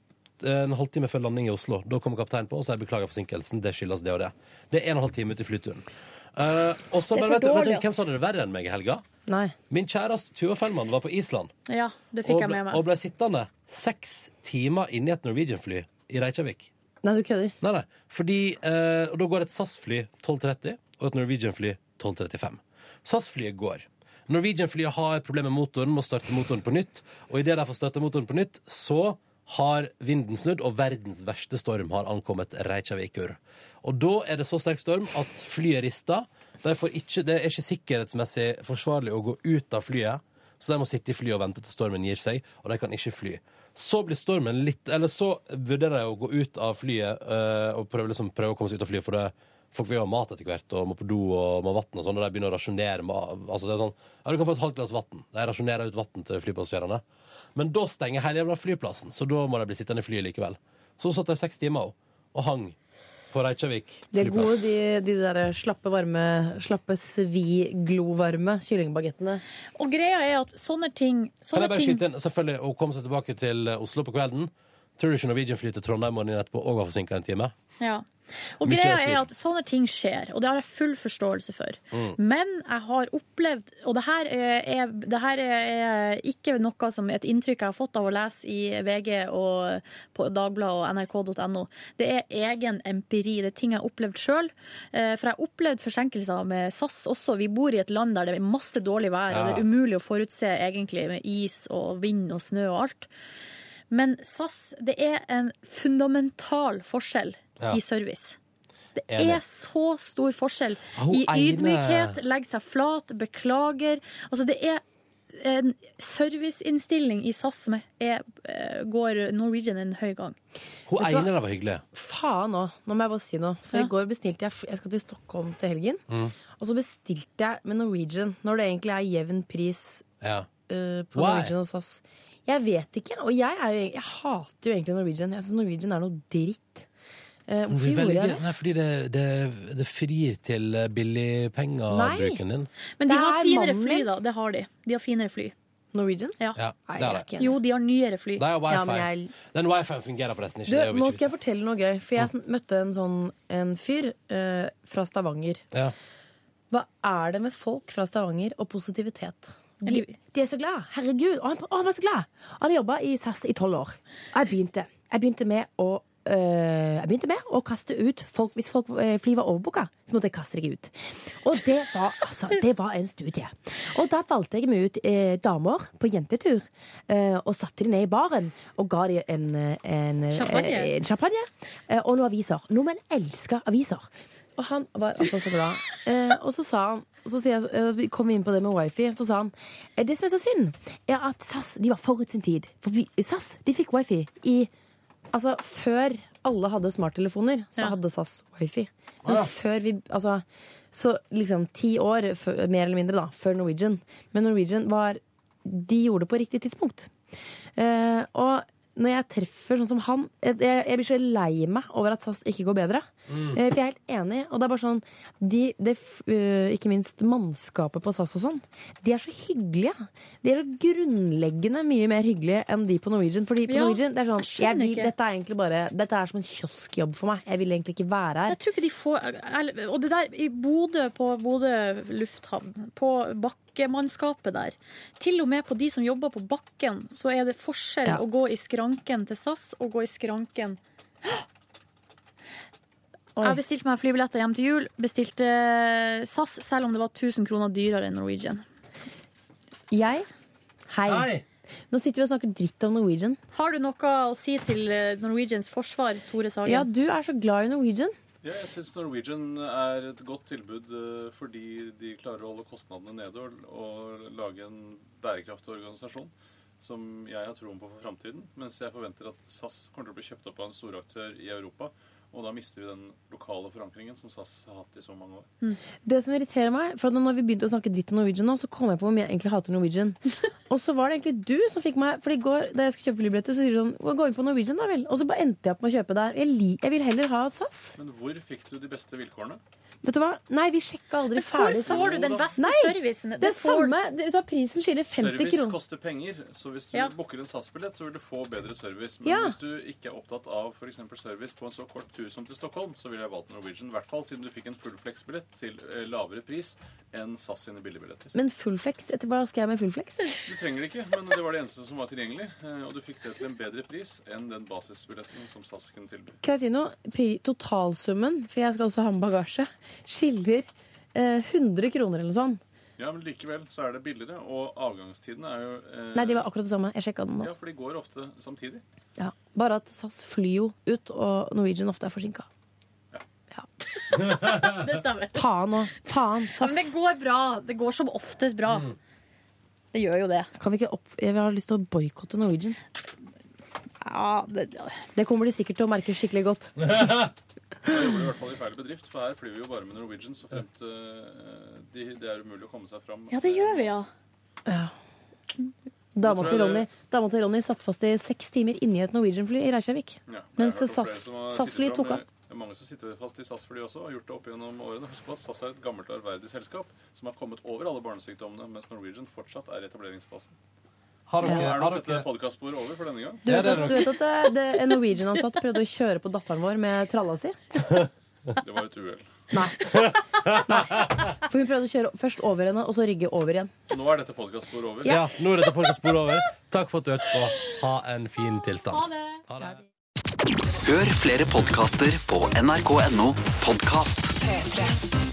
eh, en halvtime før landing i Oslo. Da kommer kapteinen på og sier 'beklager forsinkelsen', det skyldes det og det. Det er en og en halv time ut i flyturen. Eh, og så,
Det
men
er for
vet, du- vet
dårlig,
du
ass.
hvem som hadde det verre enn meg i helga?
Nei.
Min kjæreste Tuva Fellmann var på Island
Ja, det
og
fikk jeg
ble,
med
og
meg.
ble sittende seks timer inne i et Norwegian-fly i Reykjavik.
Nei, du kødder.
Nei, nei. Fordi, eh, og da går et SAS-fly 12.30 og et Norwegian-fly 12.35. SAS-flyet går. Norwegian-flyet har problemer med motoren, må starte motoren på nytt. Og idet de får starta motoren på nytt, så har vinden snudd, og verdens verste storm har ankommet Reykjavikur. Og da er det så sterk storm at flyet rister. De får ikke, det er ikke sikkerhetsmessig forsvarlig å gå ut av flyet, så de må sitte i flyet og vente til stormen gir seg, og de kan ikke fly. Så blir stormen litt Eller så vurderer de å gå ut av flyet eh, og prøve, liksom, prøve å komme seg ut av flyet, for det, folk vil jo ha mat etter hvert, og må på do og må ha vann og sånn, og de begynner å rasjonere med altså, det er sånn, Ja, du kan få et halvt glass vann. De rasjonerer ut vann til flypassasjerene. Men da stenger hele jævla flyplassen, så da må de bli sittende i flyet likevel. Så hun satt der seks timer og, og hang på Reykjavik
Det er gode,
flyplass.
de, de der slappe, varme, slappe svi-glovarme kyllingbagettene.
Og greia er at sånne ting,
Kan
sånne
jeg bare
ting
skyte inn, selvfølgelig, Hun kom seg tilbake til eh, Oslo på kvelden. Tror du ikke Norwegian flyr til Trondheim morgenen etterpå og var forsinka en time?
Ja. Og
Mye
greia
å snu.
er at sånne ting skjer, og det har jeg full forståelse for.
Mm.
Men jeg har opplevd, og det her er, er- det her er ikke noe som et inntrykk jeg har fått av å lese i VG og på Dagbladet og nrk.no. Det er egen empiri, det er ting jeg har opplevd sjøl. For jeg har opplevd forsinkelser med SAS også. Vi bor i et land der det er masse dårlig vær, og det
Ja.
er umulig å forutse egentlig med is og vind og snø og alt. Men SAS, det er en fundamental forskjell
Ja.
i service. Det
Enig.
er så stor forskjell
Hun
i
ene-
ydmykhet, legge seg flat, beklager. Altså, det er en serviceinnstilling i SAS som er, er, går Norwegian en høy gang.
Hun
Vet du hva?
ene der var hyggelig.
Faen òg. Nå må jeg bare si noe. For
Ja.
i går bestilte jeg fl- Jeg skal til Stockholm til helgen.
Mm.
Og så bestilte jeg med Norwegian, når det egentlig er jevn pris
Ja.
eh, på
Why?
Norwegian og SAS. Jeg vet ikke. Og jeg, er jo, egentlig- jeg hater jo egentlig Norwegian. Jeg syns Norwegian er noe dritt. Eh, hvorfor
Vi
gjorde jeg
velger-
det?
Nei, fordi det, det, det frir til eh, billigpengebruken din.
Men de
Det
har
er
finere
mannen
fly,
min.
da. Det har de. De har finere fly.
Norwegian?
Ja.
Ja, det er det.
Jo, de har nyere fly.
Det er jo
Ja,
wifi.
men jeg-
Den wifi-en fungerer forresten ikke.
Du,
det er jo
nå
ikke Mm.
skal jeg fortelle noe gøy. For jeg sn- møtte en sånn en fyr eh, fra Stavanger.
vits. ja.
Hva er det med folk fra Stavanger og positivitet? De, de er så glad. Herregud, å, han, å, han var så glad! Han hadde jobba i SAS i tolv år. Og jeg begynte. Jeg begynte med å eh, jeg begynte med å kaste ut folk Hvis folk eh, fly var overbooka, så måtte jeg kaste deg ut. Og det var, altså, det var en studie. Og da valgte jeg meg ut eh, damer på jentetur. Eh, og satte de ned i baren og ga de en, eh, en, eh,
Champagne.
en champagne eh, og noen aviser. Nordmenn elsker aviser. Og han var altså så (laughs) glad. Eh, og så sa han så sier jeg, eh, vi kom inn på det med wifi. Så sa han eh, det som er så synd, er at SAS de var forut sin tid. For vi, SAS de fikk wifi i Altså, før alle hadde smarttelefoner, så hadde SAS wifi. Men
Å ja.
før vi Altså, så liksom ti år, før, mer eller mindre, da, før Norwegian. Men Norwegian var De gjorde det på riktig tidspunkt. Eh, og når jeg treffer sånn som han Jeg, jeg jeg blir så lei meg over at SAS ikke går bedre.
Mm.
Eh, for jeg er helt enig. Og det er bare sånn de, det, f- eh, Ikke minst mannskapet på SAS og sånn. De er så hyggelige. De er så grunnleggende mye mer hyggelige enn de på Norwegian. Fordi på
Ja,
Norwegian det er sånn,
jeg
jeg
skjønner
vil,
ikke.
Dette er egentlig bare Dette er som en kioskjobb for meg. Jeg vil egentlig ikke være her.
Jeg tror ikke de får eller- Og det der i Bodø, på Bodø lufthavn, på bakkemannskapet der Til og med på de som jobber på bakken, så er det forskjell
Ja.
å gå i skranken til SAS og gå i skranken Jeg bestilte meg flybilletter hjem til jul, bestilte eh, SAS, selv om det var 1000 kroner dyrere enn Norwegian.
Jeg? Hei.
Hei.
Nå sitter vi og snakker dritt om Norwegian.
Har du noe å si til eh, Norwegians forsvar, Tore Sagen?
Ja, du er så glad i Norwegian.
Ja, jeg syns Norwegian er et godt tilbud eh, fordi de klarer å holde kostnadene nede og, og lage en bærekraftig organisasjon som jeg har troen på for framtiden. Mens jeg forventer at SAS kommer til å bli kjøpt opp av en storaktør i Europa. Og da mister vi den lokale forankringen som SAS har hatt i så mange år.
Det som irriterer meg, for at når vi begynte å snakke dritt om Norwegian nå, så kom jeg på hvor mye jeg egentlig hater
(laughs)
Norwegian. Og så var det egentlig du som fikk meg For i går da jeg skulle kjøpe flybilletter, så sier du sånn «Gå- Gå inn på Norwegian, da vel. Og så bare endte jeg opp med å kjøpe der. Jeg, li jeg vil heller ha SAS.
Men hvor fikk du de beste vilkårene?
Vet du hva? Nei, vi sjekka aldri
hvor
ferdig
får du den beste
Nei,
servicen?
Det,
Det får-
samme. Det, vet du hva, prisen skiller 50
Service
kroner.
koster penger, så hvis du
Ja.
booker en SAS-billett, så vil du få bedre service. Men
Ja.
hvis du ikke er opptatt av for eksempel service på en så kort tur som til Stockholm, så ville jeg valgt Norwegian, i hvert fall siden du fikk en fullflex-billett til eh, lavere pris enn SAS sine billigbilletter.
Men fullflex? Etter hva skal jeg med fullflex?
Du trenger det ikke, men det var det eneste som var tilgjengelig, eh, og du fikk det til en bedre pris enn den basisbilletten som SAS kunne tilby.
Kan jeg si noe? Pri- Totalsummen, for jeg skal også ha med bagasje, skiller eh, 100 kroner eller noe sånt.
Ja, men likevel så er det billigere, og avgangstiden er jo eh,
Nei, de var akkurat det samme. Jeg sjekka den nå.
Ja, for de går ofte samtidig.
Ja. Bare at SAS flyr jo ut, og Norwegian ofte er forsinka.
Det stemmer.
Faen òg. Faen,
Ja, men det
SAS.
går bra. Det går som oftest bra.
Mm.
Det gjør jo det.
Kan vi ikke opp... Jeg har lyst til å boikotte Norwegian.
Ja, det,
Det kommer de sikkert til å merke skikkelig godt.
Da jobber du i hvert fall i feil bedrift, for her flyr vi jo bare med Norwegian så fremt eh, de, det er umulig å komme seg fram.
Ja, det gjør vi, ja.
Dama
Jeg tror
til
det-
Ronny, dama til Ronny satt fast i seks timer inni et Norwegian-fly i Reykjavik.
Ja, og
mens
jeg har hørt om flere
SAS
som har
SAS-fly
sittet
tok
fram-
av.
Det er mange som sitter fast i SAS-fly også, og har gjort det opp gjennom årene. Husk på at SAS er et gammelt og ærverdig selskap som har kommet over alle barnesykdommene, mens Norwegian fortsatt er i etableringsfasen.
Har dere-
Er
har
nok dette
dere-
podcastsporet over for denne gang?
Du vet, at- du vet at det, det, en Norwegian-ansatt prøvde å kjøre på datteren vår med tralla si?
Det var et uhell.
For hun prøvde å kjøre først over henne, og så rygge over igjen.
Nå er dette podcastsporet over.
Ja, nå er dette podcastsporet over. Takk for at du hørte på. Ha en fin tilstand.
Hør flere podkaster på nrk.no podkast.
P3.